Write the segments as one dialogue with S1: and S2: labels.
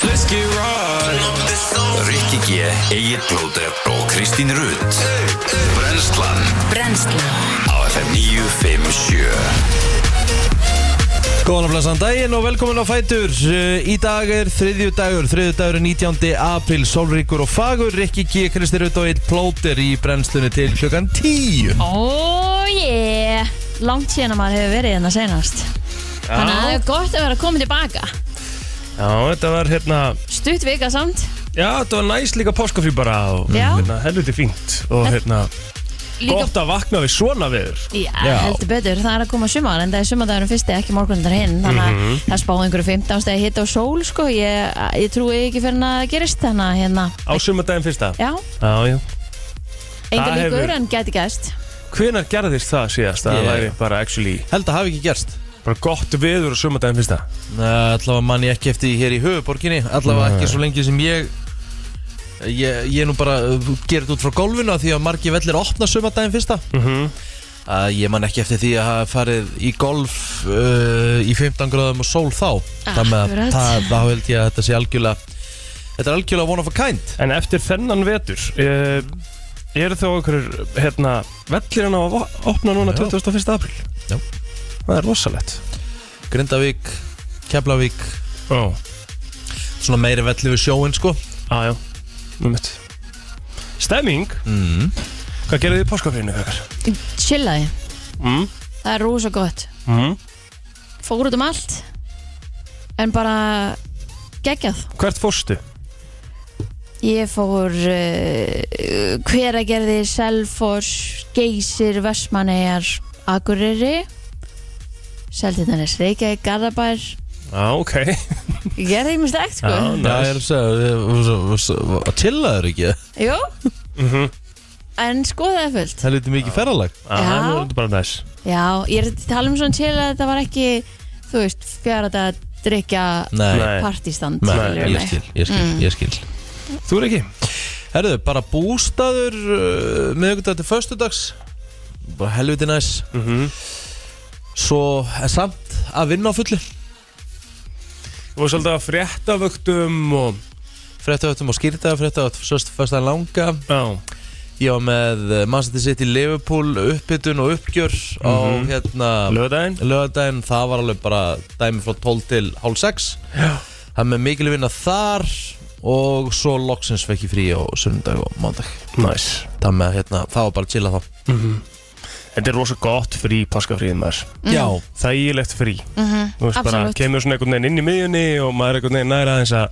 S1: kannski right
S2: Rikki G, Egil Blóter og Kristín Rutt Brenslan
S3: Brennslan
S2: á FM 957
S1: Góðan og blæsan daginn og velkomin á Fætur Eh, Í dag er þriðju dagur, þriðju dagur er 19. april, sólríkur og fagur Rikki G, Kristi Rutt og Eitt Plóter í brennslunni til klukkan 10
S4: Ó, ég Langt síðan að maður hefur verið hérna senast Þannig að það er gott að vera að koma tilbaka
S5: Já, þetta var hérna
S4: Stutt vika samt
S5: Já, þetta var næst líka páskafrí bara og
S4: Já.
S5: hérna, helviti fínt og hérna,
S4: Líka,
S5: gott að vakna við svona viður
S4: já, heldur betur, það er að koma sumar En það er sumardagurinn fyrsti, ekki morgunundar hinn Þannig að
S5: Mhm.
S4: það spáði einhverju 15 stegi hitt á sól sko. ég, ég trúi ekki fyrir að það gerist Þannig að hérna,
S5: á sumardaginn fyrsta Já,
S4: já,
S5: já
S4: enga
S5: Það
S4: líkur
S5: hefur-
S4: en gæti gæst
S5: Hvenær gerðist það síðast? Það
S1: Ég-
S5: væri bara actually
S1: Held að hafi ekki gerst
S5: bara gott viður á sumardaginn fyrsta
S1: Nei, Eh, allavega mann ég ekki eftir því hér í höfuborginni Allavega ekki svo lengi sem ég Ég, ég nú bara uh, gera þetta út frá gólfinu af Því að margi vellir opna sumardaginn fyrsta mm Ég man ekki eftir því að hafa farið í golf uh, Í 15 gráðum og sól þá Þannig
S4: Akkurat.
S1: að það, þá held ég að þetta sé algjörlega Þetta er algjörlega one of a kind
S5: En eftir þennan vetur uh, eru þá einhverjur hérna, vellir hann á að vo- opna núna
S1: Já.
S5: 21. apríl
S1: Já.
S5: Það er rosalegt
S1: Grindavík, Keflavík
S5: Já,
S1: Svona meiri velli við sjóin sko
S5: já, já, um mitt Stemming,
S1: mm.
S5: hvað gerðu þið í páskafrínu þegar?
S4: Chillaði,
S5: Mm,
S4: það er rosa gott
S5: mm.
S4: Fór út um allt En bara geggjað
S5: Hvert fórstu?
S4: Ég fór uh, Hveragerði, Selfoss, Geysir, Vestmannegar, Akureyri, Seldindanes, Reykjavík, Garðabær.
S5: Já, ok
S4: Ég gerði einmitt ekkert sko.
S5: Já,
S1: Já, ég er að segja Að tillaður ekki
S4: Jú,
S5: Mhm.
S4: en skoðaði fullt.
S1: Það er lítið mikið ferralag
S5: Það
S4: Já.
S5: er bara næs
S4: Já, ég er að tala um svona til að þetta var ekki, þú veist, fjárhætt að drikja
S1: Nei,
S5: Nei.
S4: partístand.
S1: Nei,
S4: skilurðu
S1: ég
S4: mig. Mm.
S1: skil, ég skil, ég skil.
S5: Þú er ekki?
S1: Herðu, bara bústaður uh, miðugundag til föstudags bara helviti næs
S5: Mm -hmm.
S1: svo er samt að vinna á fullu
S5: Þú var svolítið að frétta vögtum og
S1: fréttavöftum og skýrtaða fréttavöft sérst föstudagan langa
S5: Já,
S1: ég var með eh, Man City City Liverpool uppbytun og uppgjör á
S5: Mhm.
S1: hérna
S5: lögdæðin
S1: lögadaginn það var alveg bara dæmi frá 12 til hálf 6 það er með mikil vinna þar og svo loksins fekk ég frí á sundag og mándag
S5: Næs
S1: það með hérna, það var bara að chilla þá
S3: Mhm.
S5: Þetta er rosa gott frí, páskafríð maður
S1: já,
S5: Þægilegt frí Þú veist bara,
S4: Mm. Mhm, absolutt.
S5: kemur svona einhvern veginn inn í miðjunni og maður er einhvern veginn næra aðeins að,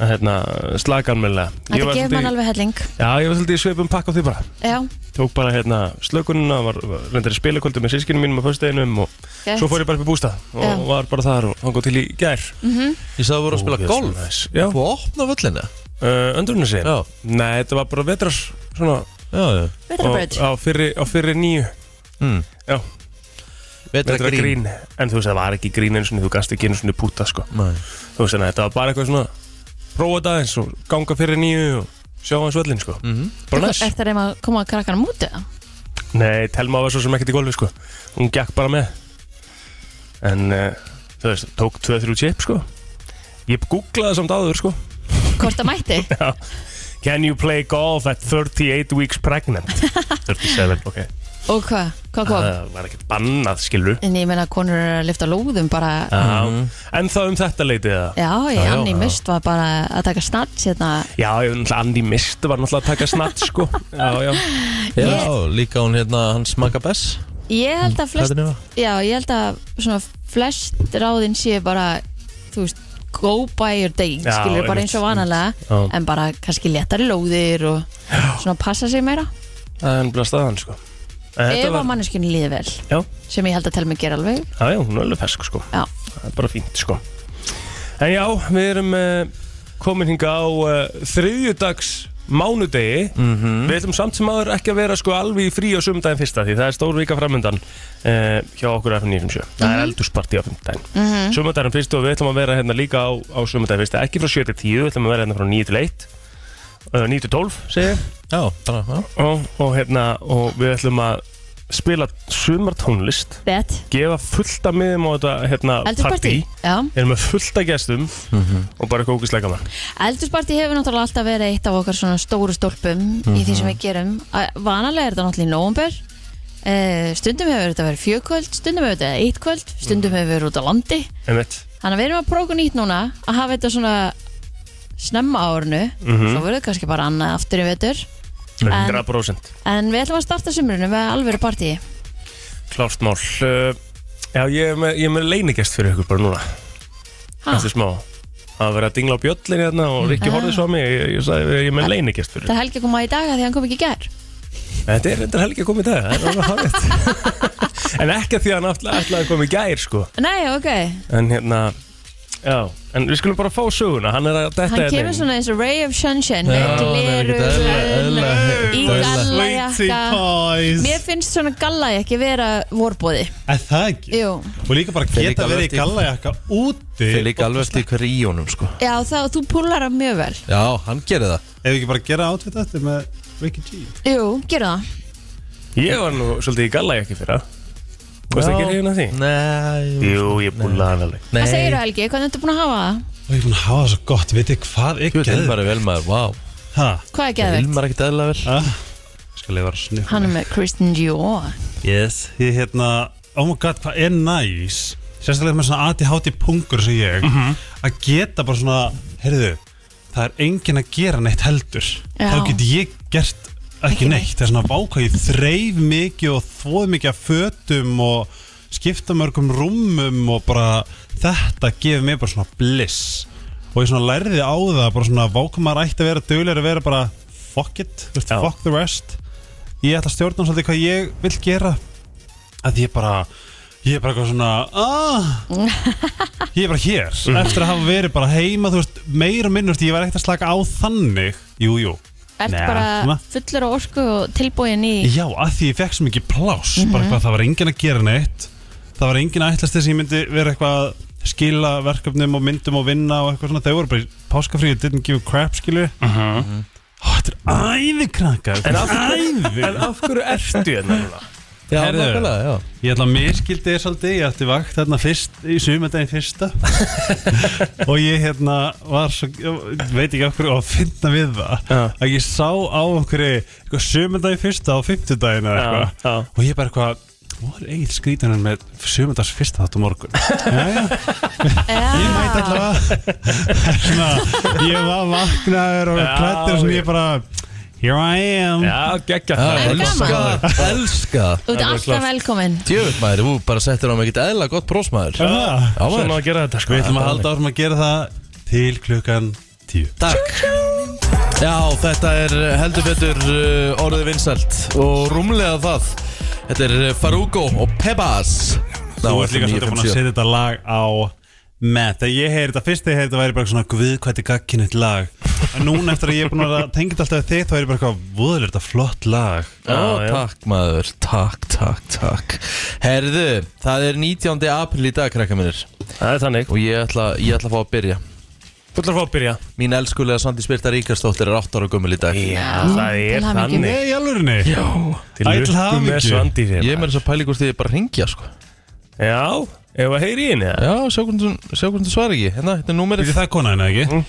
S5: að hérna, slaka almennilega Ég
S4: Mhm. Þetta
S5: var
S4: gefur
S5: svolítið-
S4: mann alveg helling.
S5: Já, ég var svolítið í sveipum pakk á því bara
S4: Já,
S5: Tók bara hérna slökununa, var, var reyndar í spilakvöldu með sískinum mínum á föstudeginum og
S4: gett.
S5: svo fór ég bara upp í bústað og
S4: Já. Mhm.
S5: var bara þar og hangað til í gær
S1: ég sagði að voru að spila
S5: Ógeðslega
S1: golf
S5: næs. Já.
S1: og opna völlina
S5: uh, öndrunni sig
S1: Já.
S5: Nei, þetta var bara vetrar svona,
S1: já, já,
S5: á,
S4: Vetrarbraut.
S5: á, fyrri, á fyrri nýju
S1: Mm.
S5: Já,
S1: vetra
S5: vetra
S1: grín
S5: grín. En þú veist, það var ekki grín eins og þú gast ekki einu svona púta sko.
S1: Nei.
S5: Þú veist, þannig að þetta var bara eitthvað svona Prófa þetta eins og ganga fyrir nýju og sjá hans völlin sko.
S1: Mhm.
S5: Bara næs
S4: Er það reyma að koma að krakkanum út eða?
S5: Nei, Telma var svo sem ekkert í golfi sko. Hún gekk bara með En uh, þú veist, tók 2-3 chip sko. Ég googlaði samt áður sko.
S4: Hvort það mætti?
S5: Can you play golf at 38 weeks pregnant? 37, ok
S4: Og hvað? Hvað kom?
S1: Ah,
S5: Það var ekkert bannað, skilur
S4: En ég meina konur eru að lifta lóðum bara
S5: Já, en það um þetta leitið það
S4: Mhm. Já, ég,
S1: já,
S4: Annie
S1: já.
S4: Mist var bara að taka snart hérna
S5: Já, ég náttúrulega Andy Mist var náttúrulega að taka snatt sko Já, já
S1: já, líka hún hérna hans Magga Bess
S4: Ég held að flest
S1: Plötunni var.
S4: Já, ég held að svona flest ráðin sé bara Þú veist, go by your day
S5: Já,
S4: Skilur bara
S5: einmitt,
S4: eins og vanalega
S5: Já.
S4: En bara kannski léttari lóðir og svona passa sig meira
S5: Það er náttúrulega staðan sko En þetta
S4: Ef að manneskjunni líði vel
S5: Já,
S4: Sem ég held að telma gera alveg
S5: já, já, hún er alveg fersk sko
S4: Já.
S5: Það er bara fínt sko En já, við erum uh, komin hinga á uh, þriðjudags mánudegi Við ætlum samt sem aður ekki að vera sko alveg í frí á sumdæðin fyrsta því það er stór vika framöndan uh, hjá okkur FN 957 Það er eldursparti á fimmdæðin mm -hmm. Sumdæðin fyrsta og við ætlum að vera hérna líka á, á sumdæðin fyrsta ekki frá 7 til 10, við ætlum að vera hérna frá 9 til 1 uh, 9 til 12 segi ég
S1: já, bara, já.
S5: og, og hérna og við ætlum að spila sumartónlist
S4: Bet,
S5: gefa fullt af miðum á þetta hérna,
S4: eldursparti
S5: partí
S4: Já,
S5: erum með fullt af gestum og bara eitthvað ógisleika mann
S4: eldursparti hefur náttúrulega alltaf verið eitt af okkar svona stóru stólpum í
S5: Mhm.
S4: því sem við gerum Æ, Vanalega er þetta náttúrulega í nóvumber Uh, stundum hefur þetta verið fjögkvöld stundum hefur þetta eitt kvöld stundum
S5: Mhm.
S4: hefur verið út á landi
S5: einmitt
S4: þannig að við erum að prófa okkur nýtt núna að hafa þetta svona snemma á árinu
S5: Mhm.
S4: svo verður þetta kannski bara annað aftur í vetur
S5: 100%
S4: en við ætlum að starta sumrunu með alvöru partíi
S5: klárt mál uh, já ég er með, ég er með leinigest fyrir ykkur bara núna
S4: Ha,
S5: eftir smá að vera að dingla á bjöllin hérna og Rikki
S4: Ah.
S5: horfði svo að mig ég, ég sagði ég er með leinigest fyrir
S4: það er helgi að koma í dag að því að hann kom ekki í gær
S5: Þetta er reyndar helgi að koma í dag það er alveg hárrétt. En ekki að því að hann ætla- ætlaði að koma í gær sko.
S4: Nei, ok,
S5: En hérna Já, en við skulum bara fá söguna Hann er að detta
S4: hann
S5: hérna
S4: kemur
S5: inn.
S4: svona eins og Ray of Sunshine
S1: Já,
S4: með
S1: það er
S4: gleru,
S1: ekkert eðlilega- eðlilega-
S4: í
S1: eðlilega-
S4: gallajakka
S3: boys
S4: Mér finnst svona gallajakki vera vorbóði
S3: Er það ekki?
S4: Jú.
S3: Og líka bara
S1: Þeir líka
S3: geta verið
S1: völd í-
S3: í gallajakka úti
S1: Þeir líka alveg eftir hver í honum sko
S4: Já, þá, þú púlar það mjög vel
S1: Já, hann gerir það
S3: Ef við ekki bara gera átfitt eftir með Ricky G
S4: Jú, gerðu það
S5: Ég var nú svolítið í galla ekki fyrir Veist það
S1: Já.
S5: ekki reyðin að því?
S1: Nei
S5: Jú, ég búlaði hann alveg
S4: Hvað segirðu Helgi, hvernig ertu búin að hafa það?
S3: Og ég er búin að hafa það svo gott, veit ég hvað er
S1: Jú,
S3: geðveikt?
S1: Hilmar er vel maður, vá
S3: Ha?
S4: Hvað er geðvegt?
S1: Hilmar er ekkert eðla vel
S3: Ah, Skal ég vera að sniffa
S4: Hann er með Kristen Dior
S3: Yes Ég hérna, oh my god, hvað er næs Sérstaklega með svona ADHD pungur sem ég Að geta bara svona, heyrðu Það er enginn að gera neitt heldur
S4: Já.
S3: Þá get ég gert ekki
S4: Ekki
S3: neitt Það er svona vákvað, ég þreif mikið og þvoð mikið af fötum og skipta mörgum rúmum og bara þetta gefur mér bara svona bliss og ég svona lærði á það bara svona vákmaður ætti að vera duglegur að vera bara fuck it, þú veist,
S5: Já.
S3: fuck the rest ég ætla að stjórna svolítið hvað ég vil gera að ég bara ég er bara eitthvað svona ah, ég er bara hér eftir að hafa verið bara heima þú veist, meir og minnust, ég var ekkert að slaka á þannig jú, jú,
S4: Ert
S3: Nei,
S4: bara
S3: svona.
S4: fullur á orku og tilbúin í
S3: já, að því ég fekk svo mikið pláss, bara eitthvað, það var enginn að gera neitt það var enginn að ætlast þess að ég myndi vera eitthvað að skila verkefnum og myndum og vinna og eitthvað svona, þau voru bara í páskafríu, didn't give a crap, skilu Ó, þetta er æði krakkar
S5: En af,
S3: æði
S5: en af hverju ertu hérna núna?
S1: Já,
S3: Heyrðu.
S1: nákvæmlega, já
S3: Ég ætla að miskildi þér svolítið, ég ætti vakt þarna fyrst, í sumandaginn fyrsta og ég hérna var svo, veit ekki af hverju að finna við það,
S5: Já.
S3: að ég sá á einhverju sumandaginn fyrsta á fimmtudaginn eða
S5: Já,
S3: eitthvað
S5: já.
S3: og ég bara eitthvað, hvað er eigin skrítunum með sumandags fyrsta þátt á morgun? Já, já, ég mæti
S4: Já,
S3: alltaf að, svona, ég var vaknaður og
S5: Já,
S3: klættur og svona,
S5: já.
S3: ég bara, here I am.
S5: Já, geggja
S1: Já,
S5: það
S4: er
S1: elska
S4: gaman.
S1: það, elska það
S4: Þú ert alltaf velkominn
S1: Djöfut maður, þú bara settir á mig ekkert eðla gott prósmaður Já
S3: Er það?
S5: Svo má
S1: maður,
S5: að gera þetta sko
S3: Við ætlum að halda áfram að gera það til klukkan tíu.
S1: takk Já, þetta er uh, heldur betur uh, orðið vinsælt og rúmlega það Þetta er uh, Farugo og Pebas
S3: Þú ert líka svolítið búin að setja þetta lag á með þegar ég heyri þetta fyrst þegar ég heyri þetta væri bara svona guð hvað þetta er gagkinnett lag en núna eftir að ég er búin að vera að tengja þetta alltaf við þig þá er ég bara eitthvað voðalega þetta flott lag
S5: Já,
S1: Já,
S5: já.
S1: takk maður, takk, takk, takk Herðu, það er 19. april í dag, krakka minnir
S5: Það er þannig
S1: Og ég ætla, ég ætla að fá að byrja
S5: Þú ætlar að fá að byrja
S1: Mín elskulega Sandi Spyrta Ríkarsdóttir er 8 ára gömul í dag
S5: Já, það er
S4: til hamingju.
S5: þannig
S3: Nei, í alvörunni Já,
S5: Til
S3: Ætli
S5: lukku
S3: hamingju.
S5: með svandi þér
S1: Ég er með þess að pæli hvort þið er bara að ringja sko
S5: Já, ef að heyri í henni eða?
S1: Já, sjá hvernig þú- sjá hvernig þú svarar ekki Hérna, þetta er númerið
S3: Þetta er kona henni, ekki?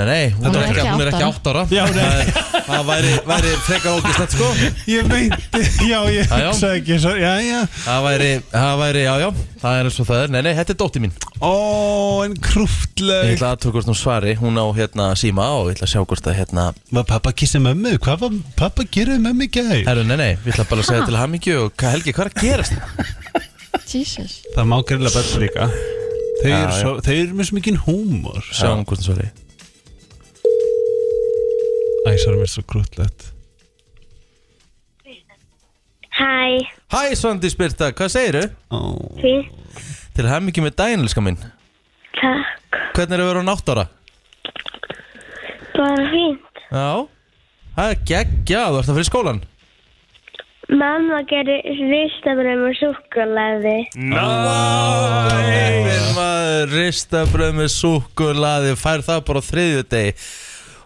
S1: Nei, nei, hún
S4: Þetta
S1: er
S4: er
S1: ekki,
S4: ekki
S1: hún er ekki 8
S4: átta
S1: ára
S3: Já, nei.
S1: Það er- Það væri, væri frekar ógislegt sko
S3: Ég meinti, já, ég
S1: Já, já.
S3: hugsa ekki svo, Já, já
S1: Það væri, það væri, já, já Það er eins og það er, nei, nei, þetta er dóttir mín
S3: Ó, en
S1: Ég
S3: krúftleg
S1: ætla aðtöku hvort hún svari, hún á hérna síma og ég ætla að sjá hvort að hérna
S3: Var pappa kissið mömmu? Hvað var pappa gerðið mömmu í gæð?
S1: Herru, nei, nei, við ætla bara að segja til hamingju og hvað Helgi, hvað er að gerast?
S4: Jesus
S3: Það má gerðilega bæta líka Þeir
S1: Já,
S3: eru
S1: já.
S3: svo- þeir eru með svo mikinn húmor
S1: Sjáum hvort það svari
S3: Æsar mér svo krútlegt
S6: Hæ,
S1: Hæ Svandi Spyrta, hvað segiru?
S6: fínt,
S1: Til hamingju með daginn, elska minn
S6: takk,
S1: Hvernig er að vera á nátt ára?
S6: bara fínt.
S1: Já Það er geggja, þú ert að fyrir skólan
S6: Mamma gerir ristabröðum og súkkulaði.
S5: Næ
S1: Þegar maður ristabröð með súkulaði fær það bara á þriðju degi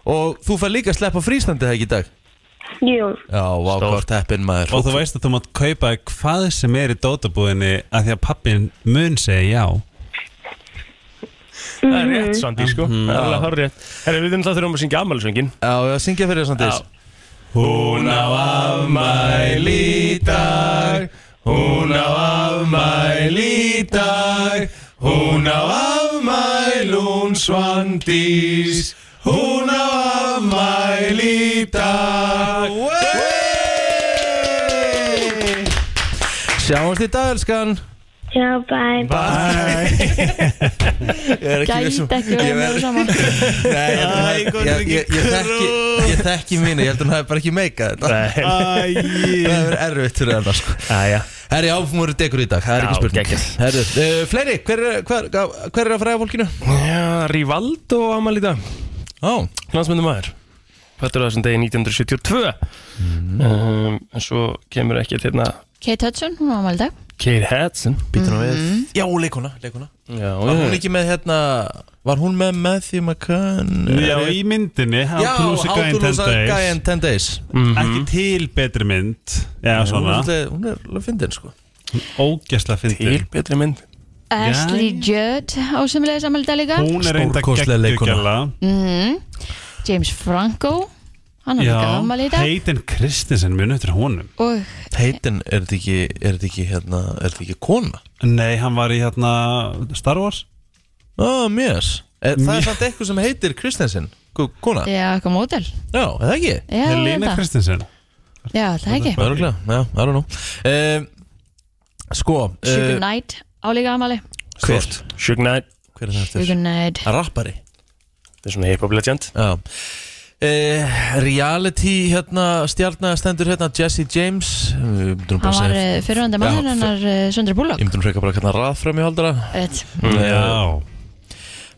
S1: Og þú fær líka að sleppa frístandi það ekki í dag
S6: Jú,
S1: Já, vákvart heppin maður
S3: Og þú veist að þú mátt kaupa hvað sem er í dótabúðinni að því að pappin mun segja já
S5: Það er rétt,
S1: Mhm.
S5: Sandi, sko
S1: Mm.
S5: Það er alveg horrið rétt Herra, við erum það þurfum að syngja afmælisöngin
S1: Já, já, syngja fyrir þessan
S5: Já.
S1: dis Hún á afmæli í dag Hún á afmæli í dag Hún á afmæl, hún svandís Hún á afmæli í dag Sjáumst í dag, elskan
S6: já, bæ, bæ.
S1: Ég er ekki viss um-
S4: Gæti ekki
S1: Ég
S4: verið
S1: er-
S4: mjög saman
S1: Nei, ég held að hún hafi- ég- ég- ég þekki Ég þekki mínu, ég held að hún hafi bara ekki meikað þetta Það
S5: Æj
S1: hefur verið erfitt fyrir hennar sko
S5: Æja
S1: Herri, áfum voru degur í dag, það er
S5: Já,
S1: ekki spurning
S5: geggjað.
S1: Herri, uh, fleiri, hver, er- hver, hver er að fræða fólkinu?
S5: Já, Rivaldo afmæli í dag
S1: Ó,
S5: Landsmyndum maður Fættur á þessum degi 1972
S1: Mhm.
S5: um, En svo kemur ekki hérna
S4: Kate Hudson, hún var ámæli dag
S5: Kate Hudson
S1: býtum við Já, leikuna, leikuna
S5: Já,
S1: Var hún ekki með hérna, var hún með Matthew McCann?
S3: Já, í myndinni How
S1: Já,
S3: to Lose a Guy in
S1: Guy in 10
S3: 10 Days Mhm.
S1: Days Mhm.
S3: Ekki til betri mynd Já,
S1: Hún
S3: svona
S1: er svolítið- hún er alveg fyndin sko
S3: Ógæsla fyndin
S5: Til betri mynd
S4: Ashley Judd á semilegis ámæli dag líka
S3: Hún er reynda
S1: Stórkostleg leikkona.
S3: geggjala
S4: Mhm. James Franco hann er líka
S3: Já,
S4: ámæli í dag
S3: Hayden Christensen mun eftir honum
S4: og
S1: Heitin, er þetta ekki, er þetta ekki hérna, er þetta ekki kona?
S3: Nei, hann var í hérna Star Wars
S1: Ó, mjög er, Það
S3: Mjög.
S1: er samt eitthvað sem heitir Kristensen Kona?
S4: já, eitthvað mótel
S1: Já, er það ekki?
S4: já, ég held
S3: Helena
S4: það.
S3: Christensen
S4: já, það ekki
S1: Öruglega, já, I don't know um, Sko
S4: Sugar
S1: uh,
S4: Knight á líka ámæli
S1: Hver?
S5: Suge Knight
S1: Hver er það eftir?
S4: Sugar Knight
S1: Rappari
S5: Það er svona hip-hop legend
S1: Já uh, Reality hérna stjarnar stendur hérna Jesse James Ég myndi nú bara
S4: hann var eh,
S1: segja-
S4: fyrirvönda
S1: Já,
S4: mann hennar uh, Söndra Bullock
S1: Ég myndi nú freka bara hérna raðframi haldara
S4: Rétt.
S1: Mm,
S3: Já
S1: eh,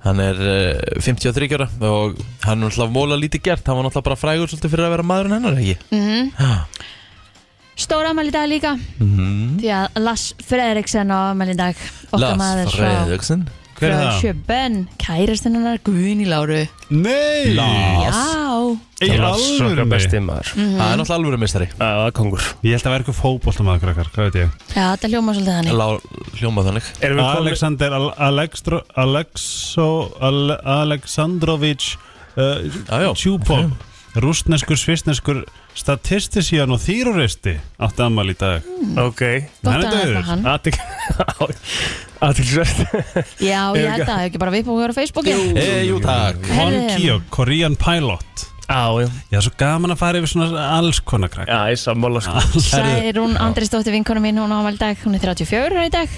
S1: Hann er uh, 53 ára og hann er náttúrulega móla lítið gert Hann var náttúrulega bara frægur svolítið fyrir að vera maðurinn hennar ekki
S4: Mhm. stór ámæli í dag líka því að Lars Fredriksen á ámæli í dag okkar maður
S1: Lars
S4: frá
S1: Fredriksen
S3: Hver er það?
S4: Sjöben kærastinn hennar Guðni Láru
S3: Nei
S1: Lars
S4: já,
S3: Í
S5: Sokkar
S3: alvörunni?
S5: besti maður Já,
S4: Mhm.
S1: Það er náttúrulega alvöru meistari
S5: Það er kongur
S3: Ég held að vera eitthvað fótboltamaður krakkar, hvað veit ég
S4: já, þetta hljóma svolítið þannig
S1: Hljómað þannig
S5: Erum við komin
S3: Alexander Al Alexdro Alexo Ale Aleksandrovich uh,
S1: Já, já.
S3: Tjúpov Rústneskur, svistneskur statistisían og þýruristi átti ammali í dag
S5: Ok
S4: gott
S3: Hann er
S4: að nefna
S3: dauður.
S4: hann
S5: Aðtik Aðtiksvert
S4: já, ég held að, hefur ekki bara viðbúið að vera á Facebooki
S1: Eh, Jú takk
S3: Hon
S4: Herðu.
S3: Kyo, Korean Pilot
S5: Á, já
S3: Já, svo gaman að fara yfir svona alls konar krakk
S5: Já, ég sammála sko
S4: Særún Andrisdóttir vinkonu mín, hún á ámæli í dag, hún er 34 ára í dag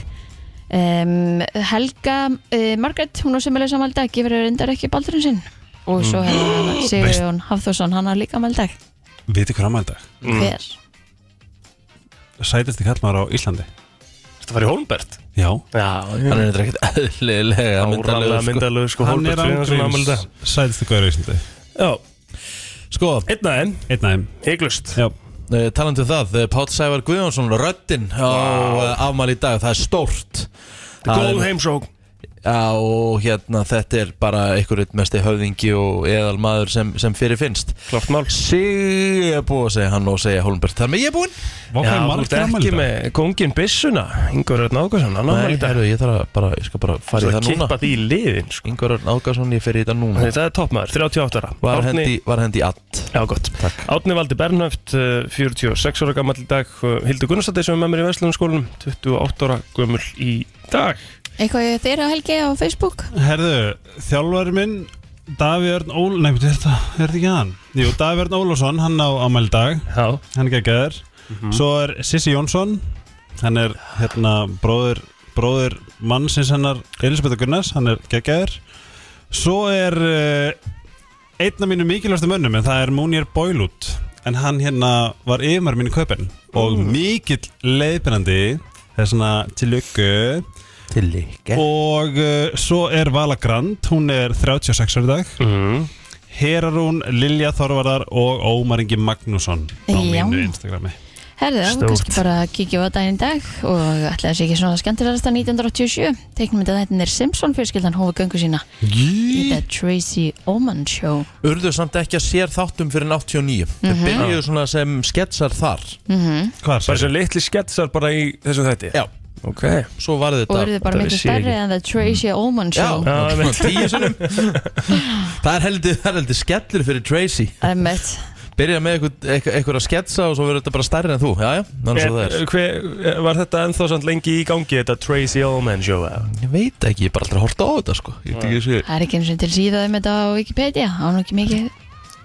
S4: um, Helga uh, Margrét, hún á semilegs ámæli í dag, gefur þau reyndar ekki baldurinn sinn og svo hefur Sigurjón Hafþórsson, hann á líka ámæli í dag
S3: Vitið hver ammali í dag?
S5: Mm.
S4: hver?
S3: Sætasti kallmaður á Íslandi
S5: Þetta var í Holmberg
S3: Já
S5: Já,
S1: Hann er þetta ekkert eðlilega myndarlegur, sko.
S5: áralega myndalög sko
S3: Hann er
S5: Hólmbert Friðjónsson afmæli í
S3: ángríns
S5: dag.
S3: Sætasti kallmaður á Íslandi
S5: Já,
S1: Sko,
S5: einn aðeinn
S3: Einn aðeim
S5: Hygglust
S3: Já
S1: uh, talandi um það, uh, Páll Sævar Guðjónsson Röddinn á uh, afmæli í dag Það er stórt Það
S5: Góð
S1: er-
S5: heimsók
S1: Já, og hérna þetta er bara einhverjum mesti höfðingi og eðal maður sem, sem fyrir finnst
S5: Klart mál
S1: Sig er búið að segja hann og segja Holmberg Þar með ég er búinn
S3: Vá, hvað
S5: Já,
S3: er
S5: þú ert
S3: margir
S5: ekki
S3: ammali í dag?
S5: með kongin Bissuna Ingur Örn Ágarsson, hann
S1: Nei,
S5: ámæli í dag
S1: heru, ég, þarf að bara, ég skal bara fara í
S5: Það
S1: það núna
S5: kippa því í liðin sko
S1: Ingvar Örn Ágason, ég fer í þetta núna
S5: Þetta er toppmaður, 38 ára
S1: Var
S5: Árni-
S1: hendi, var hendi allt
S5: Já, gott. Takk. Átni Valdi Bernhöft, eh, 46 ára gammal í dag. eh, Hildur Gunnarsdóttir sem er með mér í Vestlunarskólanum, 28 ára gömul í dag.
S4: Eitthvað ég þeirra Helgi á Facebook
S3: Herðu, þjálfari minn Davíð Örn Ól... Nei, betur þetta, er þetta ekki hann? Jú, Davíð Örn Ólásson, hann á afmæli í dag
S5: Já.
S3: Hann er geggjæður Svo er Sissi Jónsson Hann er hérna bróður, bróður mannsins hennar Elisabeth Gunnars Hann er geggjæður Svo er uh, einn af mínu mikilvægstu mönnum En það er Múnir Boylút En hann hérna var yfirmar mínu kaupin Og mikill leiðbyrnandi Það er svona til lukku
S1: Til líka
S3: Og uh, svo er Vala Grand, hún er 36 ári dag
S5: Mm.
S3: Herarún, Lilja Þorvarðar og Ómar Ingi Magnússon á
S4: Já.
S3: mínu Instagrami
S4: Herðu, þá
S5: Stórt.
S4: kannski bara kíkjum við á daginn í dag og ætlaði þessi ekki svona skemmtilegasta 1987 teiknumynda þetta er Simpson fjölskyldan hófa göngu sína í The Tracy Oman Show
S1: Urðu samt ekki að sér þáttum fyrir 89
S5: Mhm.
S1: Þeir byrjuðu svona sem sketsar þar
S4: Mhm.
S3: Hvað
S5: Bara
S3: er
S5: þessi litli sketsar bara í þessu þætti
S1: Já,
S5: Ok
S1: svo varði
S4: og
S1: þetta
S4: eru þau bara
S5: það
S4: miklu
S5: vissi ég
S4: stærri
S5: ekki.
S4: en The Tracy Oman Show
S1: Mm. Já,
S5: Já,
S1: svona tíu sinnum Það er heldur, það er heldur skellur fyrir Tracy
S4: Emmett,
S1: Byrja með einhver, einhver, einhver að sketsa og svo verður þetta bara stærri en þú Já, já, þannig
S5: En, eh,
S1: svo það er
S5: hver, var þetta ennþá samt lengi í gangi þetta Tracy Ullman show eða?
S1: Ég veit ekki, ég er bara aldrei að horta á þetta sko Ég veit ekki þessi
S4: það er ekki eins og til síða um þetta á Wikipedia, það var nú ekki mikið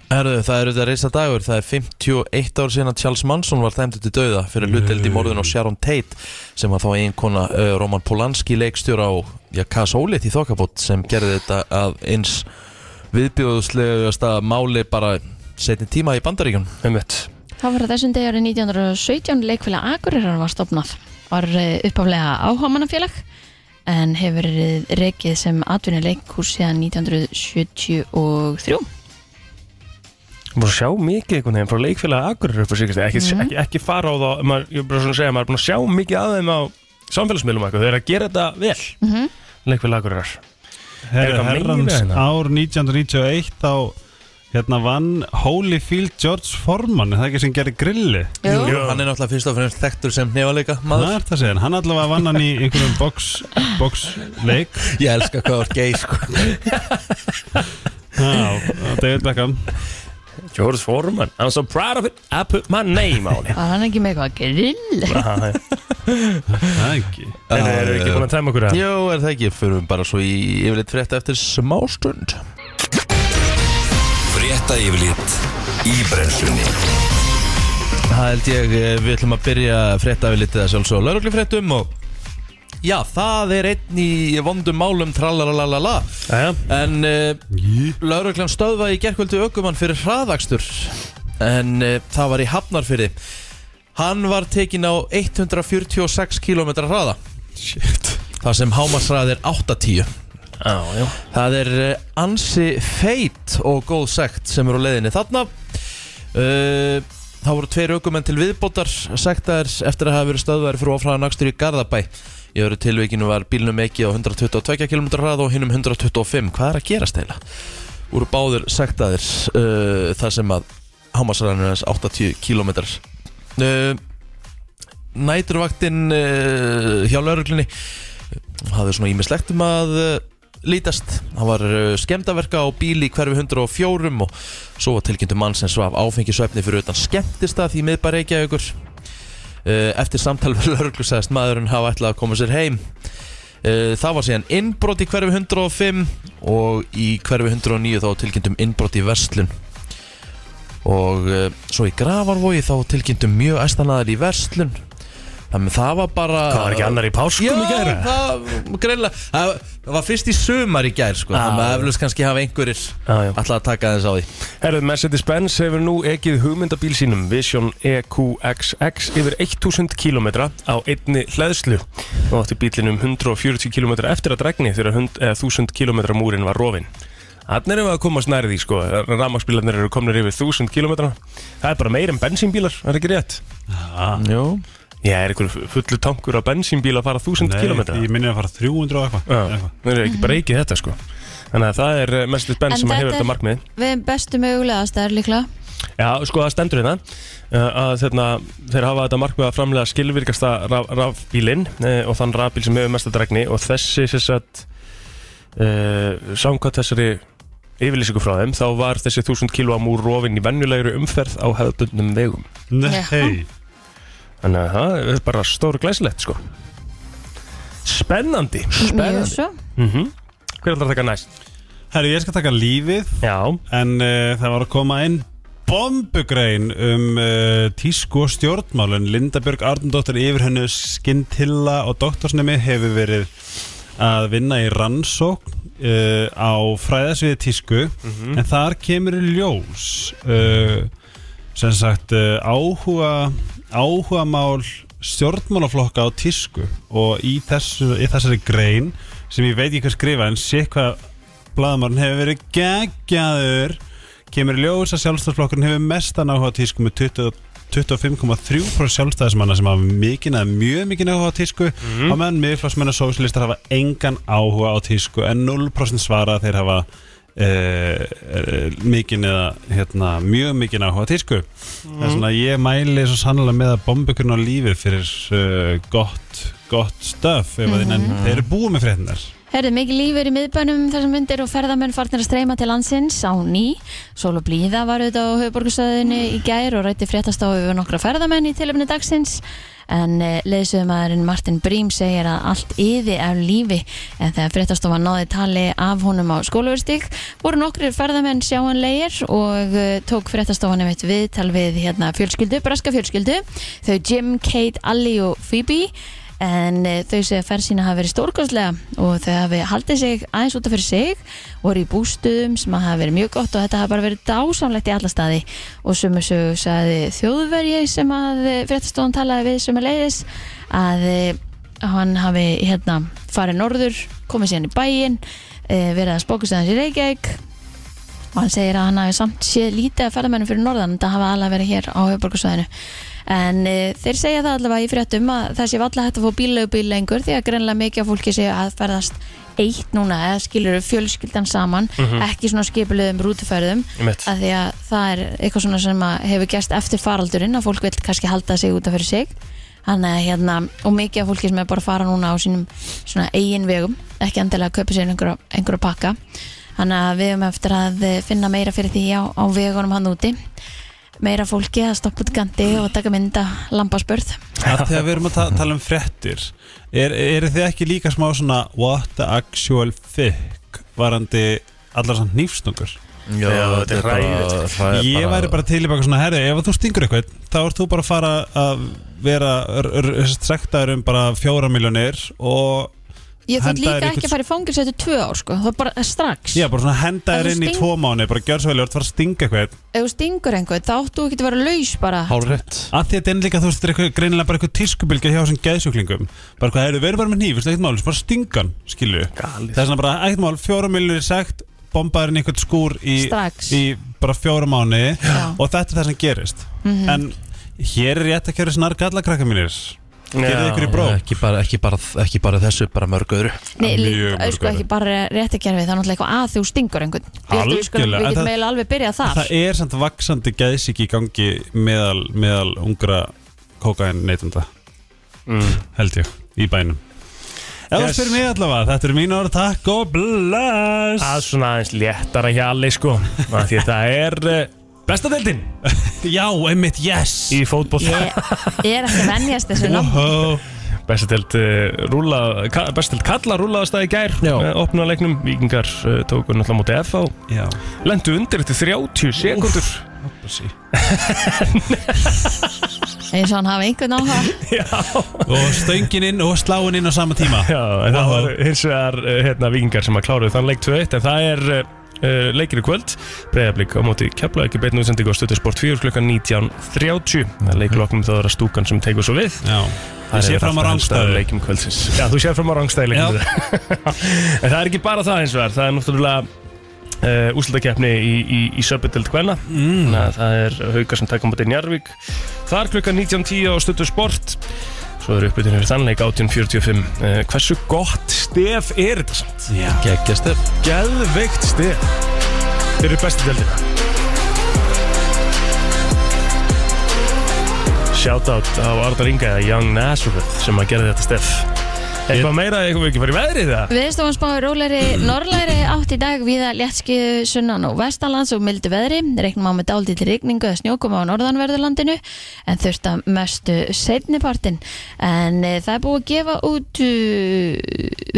S1: Herðu, það eru þetta reysa dagur, það er 51 ár síðan að Charles Manson var dæmdur til dauða fyrir hluteld í morðun á Sharon Tate sem var þá einkona uh, Roman Polanski leikstjóra á ja, Kasólit í Þokkabót sem gerði þetta að eins viðbjóðslegasta máli bara setni tíma í Bandaríkjum
S5: Einmitt.
S4: Það var á þessum degi árið 1917 leikfélag Akureyrar var stopnað. Var eh, upphaflega áhámanafélag en hefur verið rekið sem atvinnuleikhús síðan 1973.
S5: Búin að sjá mikið einhvern veginn frá leikfélag Akureyri upp á síkast ekki, ekki, ekki fara á þá maður, Ég er bara svona að segja, maður er búin að sjá mikið af þeim á samfélagsmiðlum og eitthvað Þau eru að gera þetta vel mm -hmm. Leikfélag Akureyrar Er
S3: Herra,
S5: eitthvað meira
S3: herrans
S5: hérna?
S3: ár 1991 þá hérna vann Holyfield George Foreman er það ekki sem gerir grilli
S4: Jú.
S1: Hann er náttúrulega fyrst og fremst þekktur sem nefaleika
S3: það
S1: maður
S3: er það segjan, hann allavega vann hann í einhverjum box, boxleik
S1: Ég elska hvað þú ert gay sko
S3: Já, David Beckham
S5: George Foreman, I'm so proud of it I put my name on it
S4: Var hann ekki með eitthvað grill?
S3: Það er ekki
S5: En eru ekki búin að tæma okkur að
S1: Jó, er það ekki, förum bara svo í yfirleitt frétta eftir smástund
S2: Frétta yfirlit í brennslunni
S1: Það held ég, eh, við ætlum að byrja frétta við litið að sjálfsög lauruglifréttum og já, það er einn í vondum málum tralalalala
S5: Jæja.
S1: en uh, lauruglan stöðvaði í gerkvöldu aukumann fyrir hraðakstur en uh, það var í Hafnarfyrði hann var tekin á 146 km hraða
S3: Shit
S1: þar sem hámarsraði er 810
S5: Já, já
S1: Það er eh, ansi feit og góð sekt sem eru á leiðinni þarna uh, Þá voru tveir aukumenn til viðbótar sektaðir eftir að hafa verið stöðværi fyrir ofræðan akstur í Garðabæ Í öðru tilvikinu var bílnum ekki á 122 km hrað og hinnum 125 Hvað er að gerast eila? Úr báður sektaðir uh, þar sem að hámasræðinu er aðeins 80 km uh, Næturvaktin uh, hjá lauruglunni hafði svona ímislegt um að uh, lítast. Hann var uh, skemmtaverka á bíli í hverfi 104 og svo var tilkynntu mann sem svaf áfengisvefni fyrir utan skemmtistað í miðbæ Reykjavíkur. Uh, eftir samtal við lörglu sagðist maðurinn hafa ætlað að koma sér heim. Uh, það var síðan innbrot í hverfi 105 og í hverfi 109 þá var tilkynnt um innbrot í verslun. Og uh, svo í gravarvogi þá var tilkynnt um mjög æstanaðar í verslun. Þannig að það var bara...
S5: Það var ekki annar í páskum
S1: Já,
S5: í gæra
S1: það, greinlega, það það var fyrst í sumar í gær sko,
S5: Já.
S1: þannig að eflust kannski hafa einhverjir
S5: Já, já.
S1: alltaf að taka þess á því
S5: Herðu, Mercedes-Benz hefur nú ekið hugmyndabíl sínum Vision E EQXX yfir 1000 km á einni hlæðslu og átti bílinum 140 km eftir að dregni þegar hund- eh, 1000 km múrin var rofin. Þannig erum við að komast nærið því sko, rafmaksbílarnir eru komnir yfir 1000 km Það er bara meir en bensínbílar, það er ekki rétt
S1: Jó.
S5: Ég er einhver fullu tankur af bensínbíl að fara 1000 km
S3: Ég minni að fara 300 og eitthvað eitthva.
S5: Það er ekki bara ekki þetta sko Þannig að það er
S4: En
S5: Mercedes-Benz sem
S4: þetta
S5: hefur
S4: er-
S5: þetta markmið
S4: Við bestu mögulega aðstæður líklega.
S5: Já, sko það stendur hérna uh, að þeirna, þeir hafa þetta markmið að framlega skilvirkasta raf, rafbílinn uh, og þann rafbíl sem hefur mesta dregni og þessi sem sagt uh, samkvæmt þessari yfirlýsingu frá þeim þá var þessi 1000 kg múr rofin í venjulegri umferð á hefðbundnum vegum
S3: Nei
S5: þannig að það er bara stór glæsilegt sko Spennandi
S4: Mjög
S5: Spennandi
S4: svo.
S5: mm Hver ætlar að taka næst?
S3: Herru, ég skal taka lífið
S5: Já,
S3: En uh, það var að koma inn bombugrein um uh, tísku og stjórnmálun Linda Björg Arndóttir yfir hennu skintilla og doktorsnemi hefur verið að vinna í rannsókn uh, á fræðasviði tísku
S5: Mhm.
S3: en þar kemur í ljós uh, sem sagt uh, áhuga áhugamál stjórnmálaflokka á tísku og í, þessu, í þessari grein sem ég veit ekki hvað skrifa en sé hvað blaðamarinn hefur verið geggjaður kemur í ljós að sjálfstaflokkurinn hefur mestan áhuga á tísku með 20 25,3% sjálfstæðismanna sem hafa mikinn eða mjög mikinn áhuga á tísku mm. og meðan miðflossmenn og sósialistar hafa engan áhuga á tísku en 0% svara að þeir hafa uh, mikinn eða hérna, mjög mikinn áhuga á tísku það er svona ég mæli svo sannlega með að bombukurinn á lífið fyrir uh, gott, gott stöf ef að þið nenni, þeir eru búið með fréttinar
S4: Herðu, mikið líf er í miðbænum þessum myndir og ferðamenn farnir að streyma til landsins á ný. Sól og blíða var auðvitað á höfuborgarstöðinu í gær og rætti fréttast á yfir nokkra ferðamenn í tilöfni dagsins. En leysöðumæðurinn Martin Brím segir að allt yði af lífi en þegar fréttastofa náði tali af honum á skólaverstík voru nokkrir ferðamenn sjáanlegir og eh, tók fréttastofan um eitt viðtal við hérna fjölskyldu, braska fjölskyldu þau Jim, Kate, Allie og Phoebe en eh, þau segja að ferð sína hafi verið stórkostlega og þau hafi haldið sig aðeins út af fyrir sig voru í bústuðum sem hafi verið mjög gott og þetta hafi bara verið dásamlegt í alla staði og sem þessu sagði þjóðverji sem að eh, fréttastofan talaði við sem að leiðis að eh, hann hafi hérna farið norður, komið síðan í bæinn eh, verið að spókast aðeins í Reykjavík og hann segir að hann hafi samt séð lítið að ferðamennum fyrir norðan en það hafa alveg verið hér á höfuborgarsvæðinu en e, þeir segja það allavega í fréttum að það sé valla hægt að fá bílaugubíl lengur því að greinlega mikið af fólki sé að ferðast eitt núna eða skilur fjölskyldan saman ekki svona skipulegum rútuferðum
S5: Einmitt.
S4: að því að það er eitthvað svona sem að hefur gerst eftir faraldurinn að fólk vil kannski halda sig út af fyrir sig Þannig að hérna, og mikið af fólki sem er bara að fara núna á sínum svona eigin vegum, ekki endilega að kaupa sér einhverja, einhverja pakka. Þannig að við höfum eftir að eh, finna meira fyrir því á, á vegunum hann úti. Meira fólki að stoppa út í ganti og taka mynda lambaspörð.
S3: að þegar við erum að ta tala um frettir er, eru þið ekki líka smá svona what the actual fuck varandi allar samt nýfstungur
S1: Já,
S5: þetta er hræðilegt.
S1: það er
S3: ég væri bara til í baka svona herri ef að þú stingur eitthvað þá ert þú bara að fara að vera strektaður um bara fjóra miljonir og
S4: Ég þarf
S3: Henda
S4: líka
S3: þér
S4: ekki
S3: einhvern-
S4: að fara í fangins eftir tvö ár sko, það er bara strax.
S3: já, bara svona henda
S4: En
S3: þér
S4: þú
S3: inn í
S4: sting-
S3: tvo mánu bara gjör svo vel, þú ert að fara að stinga eitthvað
S4: Ef þú stingur einhvern, þá áttu ekki að vera laus bara.
S1: Hálfrétt
S3: að því að þetta er líka þú veist þetta er eitthvað- greinilega bara eitthvað tískubilgja hjá þessum geðsjúklingum bara hvað eru verið bara með nýf, ekkert mál, bara stingan skilju, það er svona bara ekkert mál fjóra miljonir sagt, bombaðurinn í eitthvað skúr í,
S4: Strax.
S3: í bara fjóra mánu
S4: Já. Mhm.
S3: og þetta er það sem gerist en hér er rétt að kjöra snar gallakrakka mínir gerðið ykkur í bró
S1: ekki bara, ekki, bara, ekki bara þessu, bara mörg öðru
S4: Nei,
S3: Mjög
S4: líka,
S3: mörg
S4: sko,
S3: öðru.
S4: ekki bara réttakerfið, það er náttúrulega eitthvað að þú stingur einhvern. Ég held að Við skulum-
S3: Algjörlega,
S4: við
S3: en
S4: getum
S3: það-
S4: eiginlega alveg byrjað þar.
S3: það er samt vaksandi geðsík í gangi meðal, meðal ungra kókain neytunda
S1: Mm.
S3: held ég, í bænum Ef þú
S5: Yes.
S3: spyrir mig allavega, þetta eru mín orð, takk og bless
S5: Það er svona aðeins léttara hjá allir sko Af Því að það er eh, besta deildin
S3: Já, einmitt, yes
S5: í fótboll
S4: Ég er ekki að venjast þessu nafn
S3: Óhó.
S5: Besta deild, eh, rúla, ka, besta deild kalla rúlaðast það í gær
S1: Já.
S5: eh, Opnaða leiknum, vikingar eh, tóku náttúrulega mútið FH
S3: Já,
S5: Lendu undir eftir 30 sekundur
S3: sí.
S4: eins og hann hafi einhvern áhuga
S3: og stöngin inn og sláin inn á sama tíma
S5: Já, en það
S3: Vá.
S5: var hins vegar eh, hérna, vikingar sem að kláruðu þann leik 2-1 En það er uh, leikir í kvöld Breiðablík á móti kepla ekki beinu útsending og stöðu sport 4 klukkan 19.30 Það er leikloknum þá er það stúkan sem tegur svo við
S3: Já, ég sé fram á rangstæðu
S5: leikjum kvöldsins Já, þú séð fram á rangstæðu leikjum En það er ekki bara það eins og það Það er náttúrulega uh, úslutakeppni í, í, í Söpudeld Kvenna mm. Það er hauka sem takum búin í Njarvík Þar klukkan 19.10 á stöttu sport Svo eru uppbytun fyrir þannleik 18.45 uh, Hversu gott stef er þetta samt?
S1: Geggjast þér
S5: Geðveikt stef Fyrir bestu deldina Shoutout á Arnar Inga eða Young Nazareth sem að gera þetta stef Eitthvað meira, eitthvað ekki farið veðrið það?
S4: Viðstofan spáir róleri norrlæri átt í dag viða léttskiðu sunnan og vestanlands og mildu veðri reiknum á með dálítil rigningu eða snjókum á norðanverðurlandinu en þurft að mestu setnipartin en e, það er búið að gefa út uh,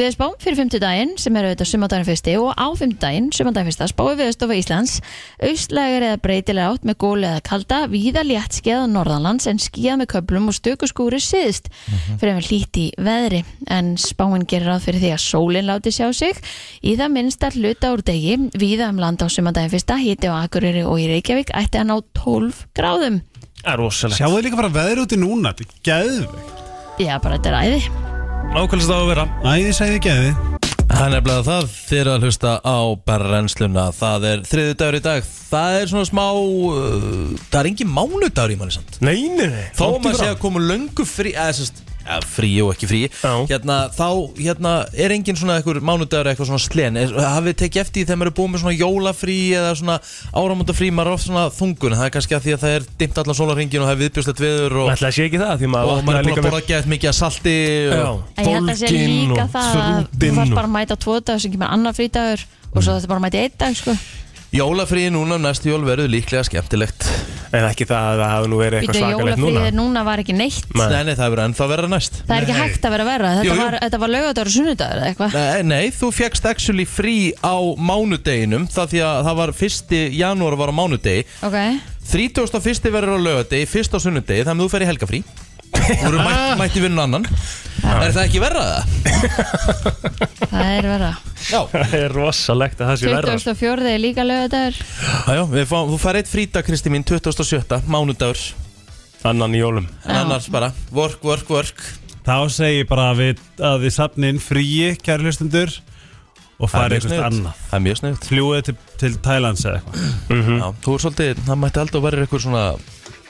S4: viðspám fyrir 50 daginn sem eru auðvitað sumandaginn fyrsti og á 5 daginn sumandaginn fyrsta spáir viðstofa Íslands austlægar eða breytilega átt með góli eða kalda viða léttskið á norðanlands en skíða með köplum og stöku skúri síðst
S5: Mhm.
S4: fremur hlýtt í veðri en spáin gerir ráð fyrir því að sólinn láti sjá sig í það minnsta hluta úr degi víða um land á sumandaginn fyrsta hiti á Akureyri og í Reykjavík ætti að ná 12 gráðum
S5: Það er rosalegt
S3: Sjáðu líka bara veður úti núna, þetta er geðvegt
S4: Já, bara þetta er æði
S5: Nákvæmst á að vera
S3: Æði, sæði geði
S1: Æ, Það er nefnilega það þegar að hlusta á brennsluna Það er þriðu dagur í dag Það er svona smá uh, Það er engin mánudagur í manni samt
S5: Nei, nei, nei
S1: Þá
S5: langt í
S1: maður
S5: frá.
S1: sé að koma löngu frí eða, sest, ja, Frí og ekki frí
S5: Já.
S1: hérna, Þá hérna, er engin svona einhver mánudagur eitthvað svona slen Er- Hafið tekið eftir því þegar maður er búið með svona jólafrí eða svona áramótafrí maður er oft svona þungun Það er kannski að því að það er dimmt allan sólarringin og það er viðbjóðslegt veður og,
S5: Ætli það sé ekki það, því maður
S1: og maður er
S5: vaknaði
S1: búin
S5: líka
S1: að
S5: með-
S1: borða gett mikið að salti
S5: Já,
S1: og,
S4: En ég held að það sé
S5: bólgin
S4: líka
S5: og
S4: það að þú
S5: þrútinn
S4: þarf
S5: og- Mm.
S4: bara að mæta tvo dag sem kemur annar frítagur og svo þetta bara að mæta einn dag sko.
S1: Jólafríi núna um næstu jól verður líklega skemmtilegt
S5: En ekki það að það hafi nú verið eitthvað
S4: Býtu
S5: svakalegt núna
S4: jólafríðir núna var ekki neitt
S5: Nei.
S1: Nei, nei, það verður ennþá verða næst
S4: Það er ekki hægt að vera verra Þetta
S1: Jú, jú.
S4: var, þetta var laugardagur og sunnudagur eða eitthvað
S1: Nei, Eh, nei, þú fegst actually frí á mánudeginum Það því að það var 1. janúar var á mánudegi
S4: Ok,
S1: 31. verður á lögadegi, 1. á sunnudegi Þannig að þú fer í helgafrí Þú verður mætt, mætt í vinnun annan Er það ekki verra það?
S4: það er verra
S1: Já,
S5: Það er rosalegt að það sé verða
S4: 2004 er líka laugardagur
S1: já, já fá, þú fær eitt frítag, Kristi mín, 27. mánudagur
S5: Annan í jólum
S1: En
S4: Já.
S1: annars bara, work, work, work
S3: Þá segi ég bara að, við, að þið safni inn fríi, kæri hlustundur Og
S1: Það er
S3: farið
S1: mjög
S3: eitthvað
S1: sniðugt.
S3: annað
S1: Það er mjög sniðut
S3: Fljúið til, til Thailands eða eitthvað Mhm.
S1: Já, þú er svolítið, það mætti aldrei að vera eitthvað svona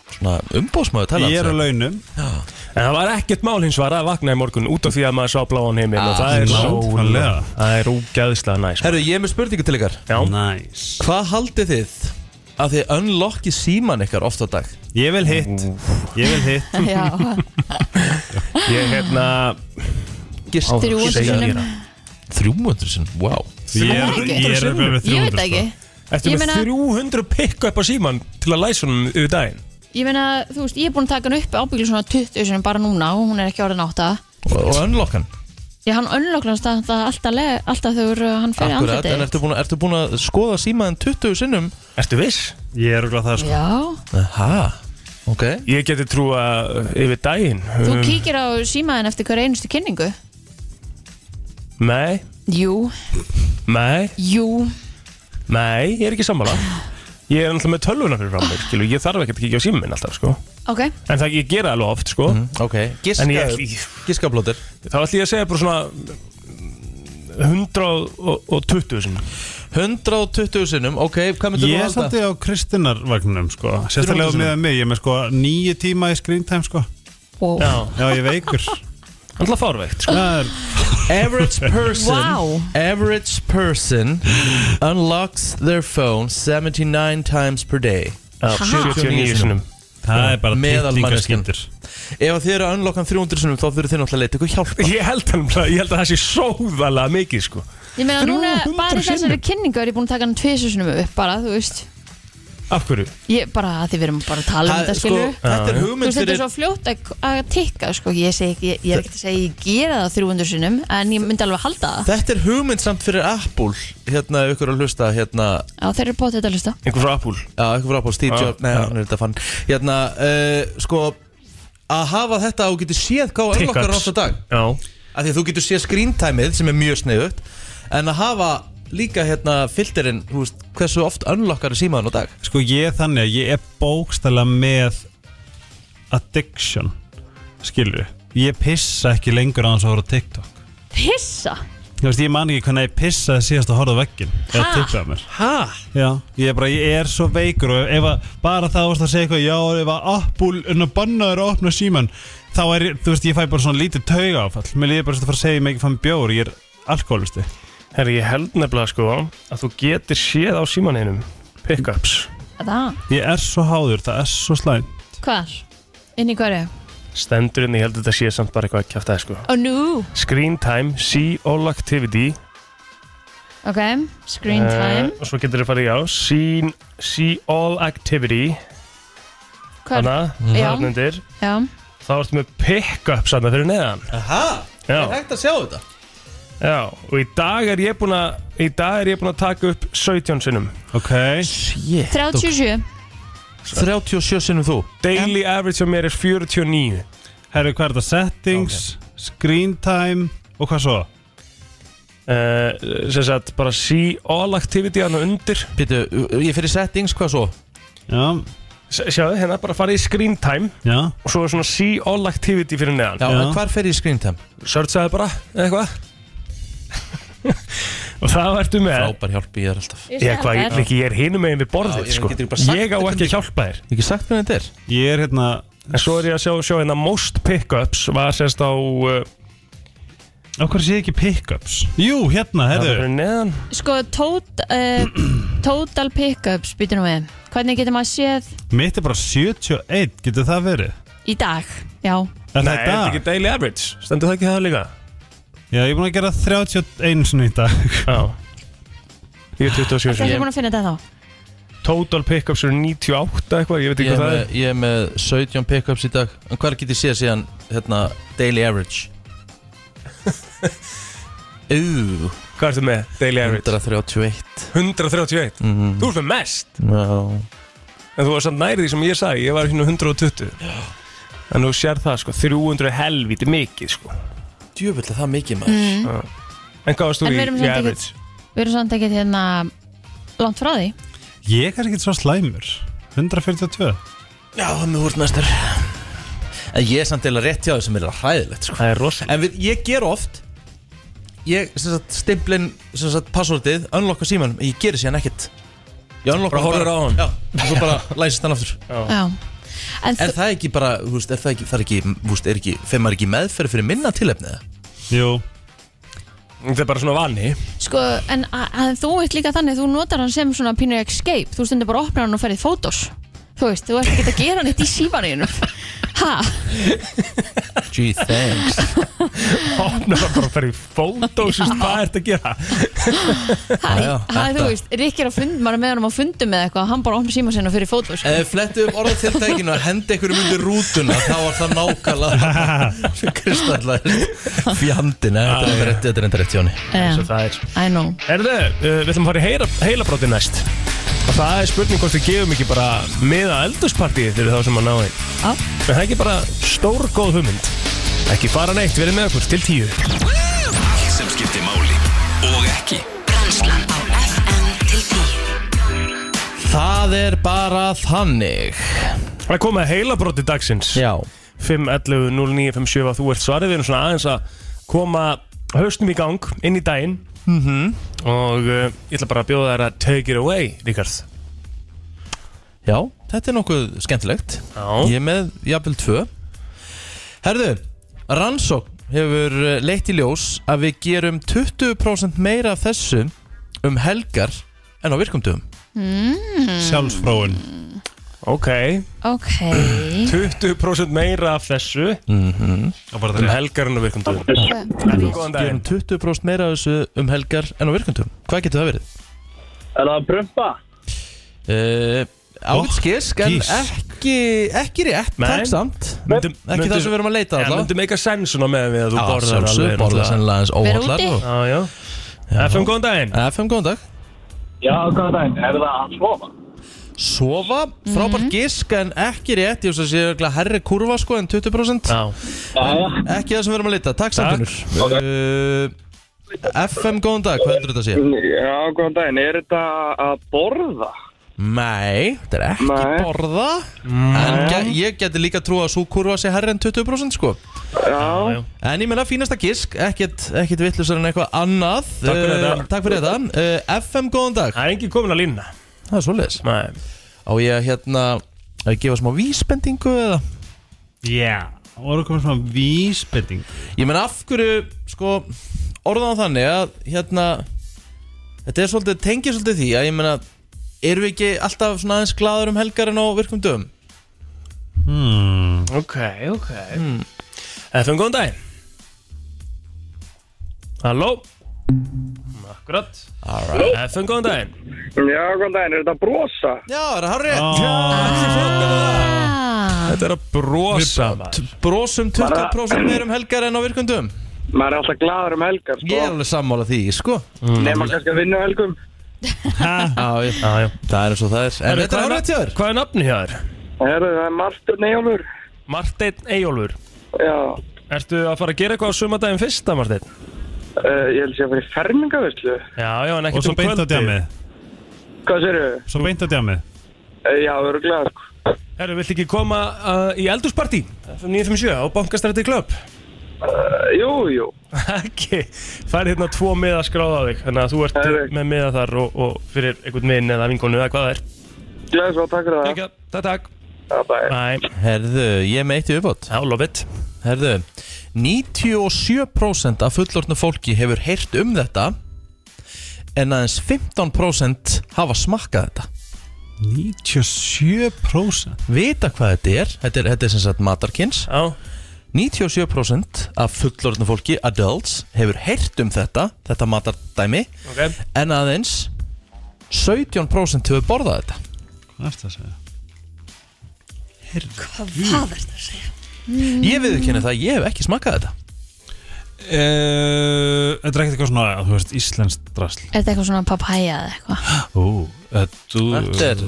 S1: Svona umbóðsmaður tala
S3: Ég er á launum
S5: En það var ekkert mál hins var að vakna í morgun út af því að maður sá bláan heimil og það er
S3: nákvæmlega.
S5: sól. Það er ógæðslega næs
S1: Ah, Herru, ég er með spurningu til ykkar
S5: Já,
S3: Nice.
S1: Hvað haldið þið að þið unlocki síman ykkar oft á dag?
S3: Ég vil hitt Ég vil hitt
S4: Já,
S5: ég hérna
S1: Gist
S4: þrjú
S5: Ég segi
S4: sinnum.
S5: þér að-
S1: 300 sinn, wow
S3: Ég er, ég er
S5: sinnum?
S3: með
S4: Ég veit
S3: 300
S4: ekki
S3: sko.
S5: Ertu
S4: Ég
S5: með
S4: meina-
S5: 300 pick upp á síman til að læsa honum yfir daginn
S4: Ég meina, þú veist, ég er búin að taka hann upp ábygglu svona 20 sinum bara núna og hún er ekki orðin átta
S1: Og, og unlockan
S4: Já, hann önloklast að það alltaf, le- alltaf þegar hann fer í
S1: Akkurat, en
S4: andlitið
S1: ertu búin, að- ertu búin að skoða símaðin 20 sinnum?
S5: Ertu viss?
S3: Ég er örugglega það sko
S4: Já,
S1: Aha, ok
S5: Ég geti trúa yfir daginn
S4: þú
S5: Um,
S4: kíkir á símaðin eftir hver einustu kynningu
S5: Nei,
S4: Jú,
S5: nei,
S4: jú,
S5: nei, ég er ekki sammála Ég er alltaf með tölvuna fyrir fram mig, skilu, ég þarf ekkert að kíkja á síminn alltaf, sko
S4: ok
S5: En það ég gera það alveg oft, sko
S1: Mhm, Ok,
S5: En ég,
S1: giska, giskablótir
S5: þá ætlum ég að segja bara svona mm, 120 sinni
S1: 120 sinnum, ok, hvað myndir
S3: Ég
S1: þú
S3: er
S1: halda?
S3: svolítið á Kristinnar vagnum sko Sérstaklega með að mig Ég er með sko nýju tíma í screen time sko
S4: wow.
S5: Já,
S3: Já, ég er veikur
S5: alltaf fárveikt, sko
S3: Það er
S1: Average person
S4: Wow.
S1: Average person unlocks their phone 79 times per day
S5: Já, 79 sinnum
S3: Það er bara
S1: Meðal manneskjan.
S3: titlingaskyndir
S1: Ef að þið eru að unlockan 300 sinnum þá þurfið þið náttúrulega að leita ykkur hjálp
S5: Ég held, hann, ég held að það sé sóðalega mikið, sko
S4: Ég meina núna,
S5: 300
S4: bara í þessari
S5: sinnum.
S4: kynningu er ég búin að taka hann tviðsjósunum upp bara, þú veist
S5: Af hverju?
S4: Ég bara, að því við erum bara að tala um
S1: Það-
S4: þetta, skilju
S1: sko, Þetta er
S4: Þú
S1: hugmynd
S4: veist, þetta er
S1: fyrir
S4: svo fljótt að, að tikka, sko Ég, seg, ég, ég er ekkert að segja, ég gera það 300 sinnum En ég myndi alveg halda það
S1: Þetta er hugmynd samt fyrir Apple Hérna, ef ykkur er að hlusta Hérna,
S4: Já, þeir eru bótið þetta lista
S5: Einhver frá Apple
S1: já, ykkur fyrir Apple Steve
S5: Já,
S1: Jobs Nei,
S5: já.
S1: hann er þetta fann Hérna, uh, sko Að hafa þetta og getur séð hvað
S5: Tick
S1: unlockar
S5: ups.
S1: rátt að dag
S5: Já
S1: Af því að þú getur séð screen timeið sem er mjög sneiðut En að hafa líka hérna filterinn Þú veist, hversu oft unlockar er símaðan á dag
S3: Sko ég er þannig að ég er bókstæla með addiction skilur ég pissa ekki lengur á hans að horfa á TikTok
S4: Pissa
S3: þú veist ég man ekki hvernig ég pissaði síðast að horfa á veggin eða
S4: Ha?
S3: tippaði mér
S1: Ha?
S3: já ég er bara ég er svo veikur og ef að bara það varst að segja eitthvað já ef að Apple en að banna þér að opna síman þá er ég- þú veist ég fæ bara svona lítið tauga áfall mér líður bara svo að fara að segja ég mig ekki fann bjór ég er alkoholisti
S5: Herri, ég held nefnilega, sko, að þú getur séð á símaneinum Pickups
S4: Það,
S3: ég er svo háður það er svo slæm
S4: hvar? Inn í hverju?
S5: Stendur inn, ég held að þetta sé samt bara eitthvað að kjæfta sko
S4: Ó, nú
S5: Screen time, see all activity
S4: Ok, screen time
S5: Eh, Og svo getur þið farið á See, see all activity
S4: Hvar? Já.
S5: Þannig
S4: Já,
S5: Þá ertu með pick-up sann fyrir neðan
S1: Aha, er
S5: Já,
S1: hægt að sjá þetta?
S5: já Og í dag er ég búin að Í dag er ég búin að taka upp 17 sinnum
S3: ok
S1: Shit,
S4: 37
S1: 37 sinnum þú
S5: Daily average á mér er 49
S3: herru hvað er þetta settings screen time og hvað svo
S5: Uh, sem sagt bara see all activity hann undir
S1: Pítu, ég fyrir settings, hvað svo?
S3: já
S5: S sjáðu hérna bara farið í screen time
S3: Já,
S5: og svo er svona see all activity fyrir neðan
S1: Já,
S3: Já.
S1: en hvar fer ég í screen time?
S5: searchaði bara eitthvað og það ertu með
S1: Frábær hjálp ég er alltaf
S4: Ég
S5: Ég, hvað, ég,
S4: er
S5: Rikki, ég er hinum megin við borðið
S1: Já, ég
S5: sko.
S1: getur bara sagt
S5: Ég
S1: þetta
S5: á ekki að
S1: líka.
S5: hjálpa þér
S1: Ég hef ekki sagt hvernig þetta er
S3: Ég er hérna
S5: En svo er ég að sjá, sjá hérna Most Pickups var sérst á uh,
S3: Á hverju sé ég ekki pickups? Jú, hérna,
S5: Það
S3: herðu
S5: er neðan
S4: Sko, tot, uh, total pickups, býtum við Hvernig getur maður séð
S3: Mitt er bara 71, getur það verið?
S4: í dag? Já,
S3: Er
S5: Nei, er
S3: það í
S5: þetta
S3: dag?
S5: ekki Daily Average? Stendur það ekki það líka?
S3: Já, ég er búin að gera 31 sinni í dag
S5: Já Ég er 27
S4: það er
S5: sinni.
S4: búin að finna þetta þá
S5: Total pickups eru 98 eitthvað, ég veit ekki
S1: Ég er
S5: hvað það
S1: með, ég er með 17 pickups í dag En hvað get ég séð síðan hérna, Daily average Ú,
S5: er Hvað ertu með? Daily average
S1: 131
S5: 131
S1: mm,
S5: Þú ert með mest
S1: Já
S5: En þú var samt nærið því sem ég sagði Ég var hérna 120 En þú sér það sko 300 er helvítið mikið sko
S1: Djöfull er það mikið maður
S5: En hvað varst þú
S4: Mhm.
S5: í,
S4: En við erum
S5: í
S4: samt ekki-
S5: average?
S4: Við erum samt ekkert hérna langt frá því
S3: Ég er kannski ekki svo slæmur 142
S1: Já, það með úrt næstur En ég er samt eða rétt hjá þessum er hræðilegt sko.
S5: Það er rosalega
S1: En við, ég ger oft Ég, sem sagt, stimplin, sem sagt, passordið Unlocka símanum, ég gerir síðan ekkert Ég unlocka
S5: Bara
S1: hann
S5: horfir á hann.
S1: Já, og svo bara læsist hann aftur
S4: Já En
S1: Er
S4: þú,
S1: það ekki bara, þú veist, er það ekki, það er ekki, þú veist, er ekki, fer maður ekki í meðferð fyrir minna tilefnið?
S3: Jú,
S5: Þetta er bara svona vani
S4: sko, en a- að þú ert líka þannig Þú notar hann sem svona pínu escape Þú stundir bara að opna hann og ferðið fótos Þú veist, þú ert ekki að gera hann eitt í símaninu Ha,
S1: Gee, thanks.
S5: Opnar það bara að fara í fótósust Hvað ert að gera?
S4: ha,
S1: Já, já,
S4: ha þú
S1: þetta.
S4: veist Rikki er að fund, maður er með hann á fundum með eitthvað Hann bara opna síman sinna fyrir fótos
S1: Ef þið flettu upp orðatiltækinu að henda einhverjum undir rútuna, þá var það nákvæmlega kristallæðist. Fjandina, þetta
S5: Ah,
S1: er enda rétt, þetta er enda rétt, Jóni.
S5: Eins og
S4: I
S5: það er
S4: know
S5: Erðu, uh, við ætlum að fara í heila, heilabróti næst Og það er spurning hvort við gefum ekki bara miða eldurspartíð fyrir þá sem að ná einn
S4: Já.
S5: En það er ekki bara stór góð hugmynd Ekki fara neitt, verið með okkur til tíu
S2: Allt sem skiptir máli og ekki
S7: Brennslan á FM til 10
S1: Það er bara þannig.
S5: Það er komið að heilabróti dagsins
S1: Já.
S5: 5.11.09.57 að þú ert svarið Við erum svona aðeins að koma haustum í gang inn í daginn -hmm. Og uh, ég ætla bara að bjóða þær að take it away, Ríkard
S1: Já, þetta er nokkuð skemmtilegt.
S5: Já.
S1: Ég er með jafnvel tvö. Herðu, rannsókn hefur eh, leitt í ljós að við gerum 20% meira af þessu um helgar en á virkumdöfum.
S4: Hmm,
S3: sjálfsfróun
S5: Ok,
S4: Ok
S5: 20% meira af þessu
S3: Og bara
S5: um
S3: það
S5: helgarinn og virkum dögum Góðan
S1: gerum
S5: daginn
S1: 20% meira af þessu um helgar en á virkundum Hvað getur það verið?
S8: Er það að prumpa?
S1: Uh, Áskisk en
S3: gís.
S1: ekki, ekki rétt
S5: Nei.
S1: Takk samt
S5: Myndum-
S1: Ekki
S5: myndum-
S1: það sem við erum að leita
S5: Já, myndi
S1: alltaf
S5: meika sens svona með við að þú borðar
S1: sjálfsög, borða
S5: alveg náttúrulega.
S1: sennilega aðeins
S4: Vera
S1: óallar
S4: úti.
S1: og-
S5: Já, já FM, góðan daginn
S1: FM, góðan dag
S8: Já, hvað er það? Er það að svofa?
S1: Sofa,
S5: Mhm.
S1: frábært gísk en ekki rétt Ég veist að sé örugglega herri kurva sko en 20%
S5: Já,
S1: Ekki það sem við erum að leita, takk samt okay. uh, FM, góðan dag, hvað heldur þetta að sé?
S8: Já, góðan daginn, er þetta að borða?
S1: Nei, þetta er ekki
S8: Nei.
S1: borða En ge ég geti líka trú að svo kurva sé herri en 20% sko
S8: Já,
S1: En ég menna fínasta gisk, ekkert, ekkert vittlusar en eitthvað annað
S5: Takk fyrir þetta.
S1: Eh, Takk fyrir þetta uh, FM, góðan dag
S5: það er engin komin að lína
S1: Það er svoleiðis
S5: Nei
S1: Á ég að hérna, að gefa smá vísbendingu eða
S3: Já Og erum komin svona vísbending
S1: Ég menna af hverju, sko, orðan þannig að hérna Þetta er svolítið, tengið svolítið því að ég menna Erum við ekki alltaf svona aðeins glaður um helgar en á virkum dögum?
S9: Hmm.
S5: Ok, ok
S1: Hmm.
S5: FM, góðan daginn Halló Akkurat right. FM, góðan daginn
S8: já, góðan daginn, er þetta að brosa?
S1: Já, það er hárið
S4: ah,
S5: Þetta er að brosa maður.
S1: Brósum 20% meir um helgar en á virkum dögum
S8: Maður er alltaf gladur um helgar, sko
S1: Ég er alveg sammála því, sko
S8: Nefna Mm. kannski að vinna helgum
S1: Já, ég,
S5: Já, já.
S1: það er eins og það er En
S5: Herru,
S1: þetta
S5: hvað
S1: er
S5: er
S1: hárið tjóður
S5: Hvað er nafni hér?
S8: Er það Martur Neyjólfur?
S5: Marteinn Eyjólfur
S8: Já,
S5: Ertu að fara að gera eitthvað á sumadaginn fyrsta, Marteinn?
S8: uh, ég held sér að fara í fermingavislu
S5: Já, já, en
S3: Og
S5: ekkert
S3: svo
S5: um
S3: beint á
S5: kvöldið
S3: djamið
S8: Hvað sérðu?
S3: Svo beint á djamið
S8: Uh, já, öruglega, sko
S5: Herru, viltu ekki koma uh, í eldursparti? 957 á Bankastræti Klöpp
S8: Uh, jú, jú.
S5: Ekki, fær hérna tvo miða skráð á þig Þannig að þú ert
S8: Herri.
S5: með miða þar og, og fyrir einhvern minn eða vinkonu eða hvað það er
S8: Gleðis og takk fyrir það.
S5: Takk, takk, takk
S8: Já, bæ.
S5: Næ,
S1: Herðu, ég er með eitt í uppátt
S5: I love it
S1: Herðu, 97% af fullortnu fólki hefur heyrt um þetta En aðeins 15% hafa smakkað þetta
S3: 97%
S1: Vita hvað þetta er, þetta er, þetta er sem sagt matarkins
S5: Já,
S1: 97% af fullorðnu fólki, adults, hefur heyrt um þetta, þetta matardæmi
S5: ok
S1: En aðeins 17% hefur borðað þetta
S3: Hvað er það að segja?
S1: Mm. Ég viðurkenni það, ég hef ekki smakkað þetta
S3: Uh,
S5: Eh,
S3: þetta er ekkert eitthvað svona, þú veist, íslenskt drasl
S4: Er þetta eitthvað svona papæja eða eitthvað?
S3: Ó, þetta
S1: Þetta er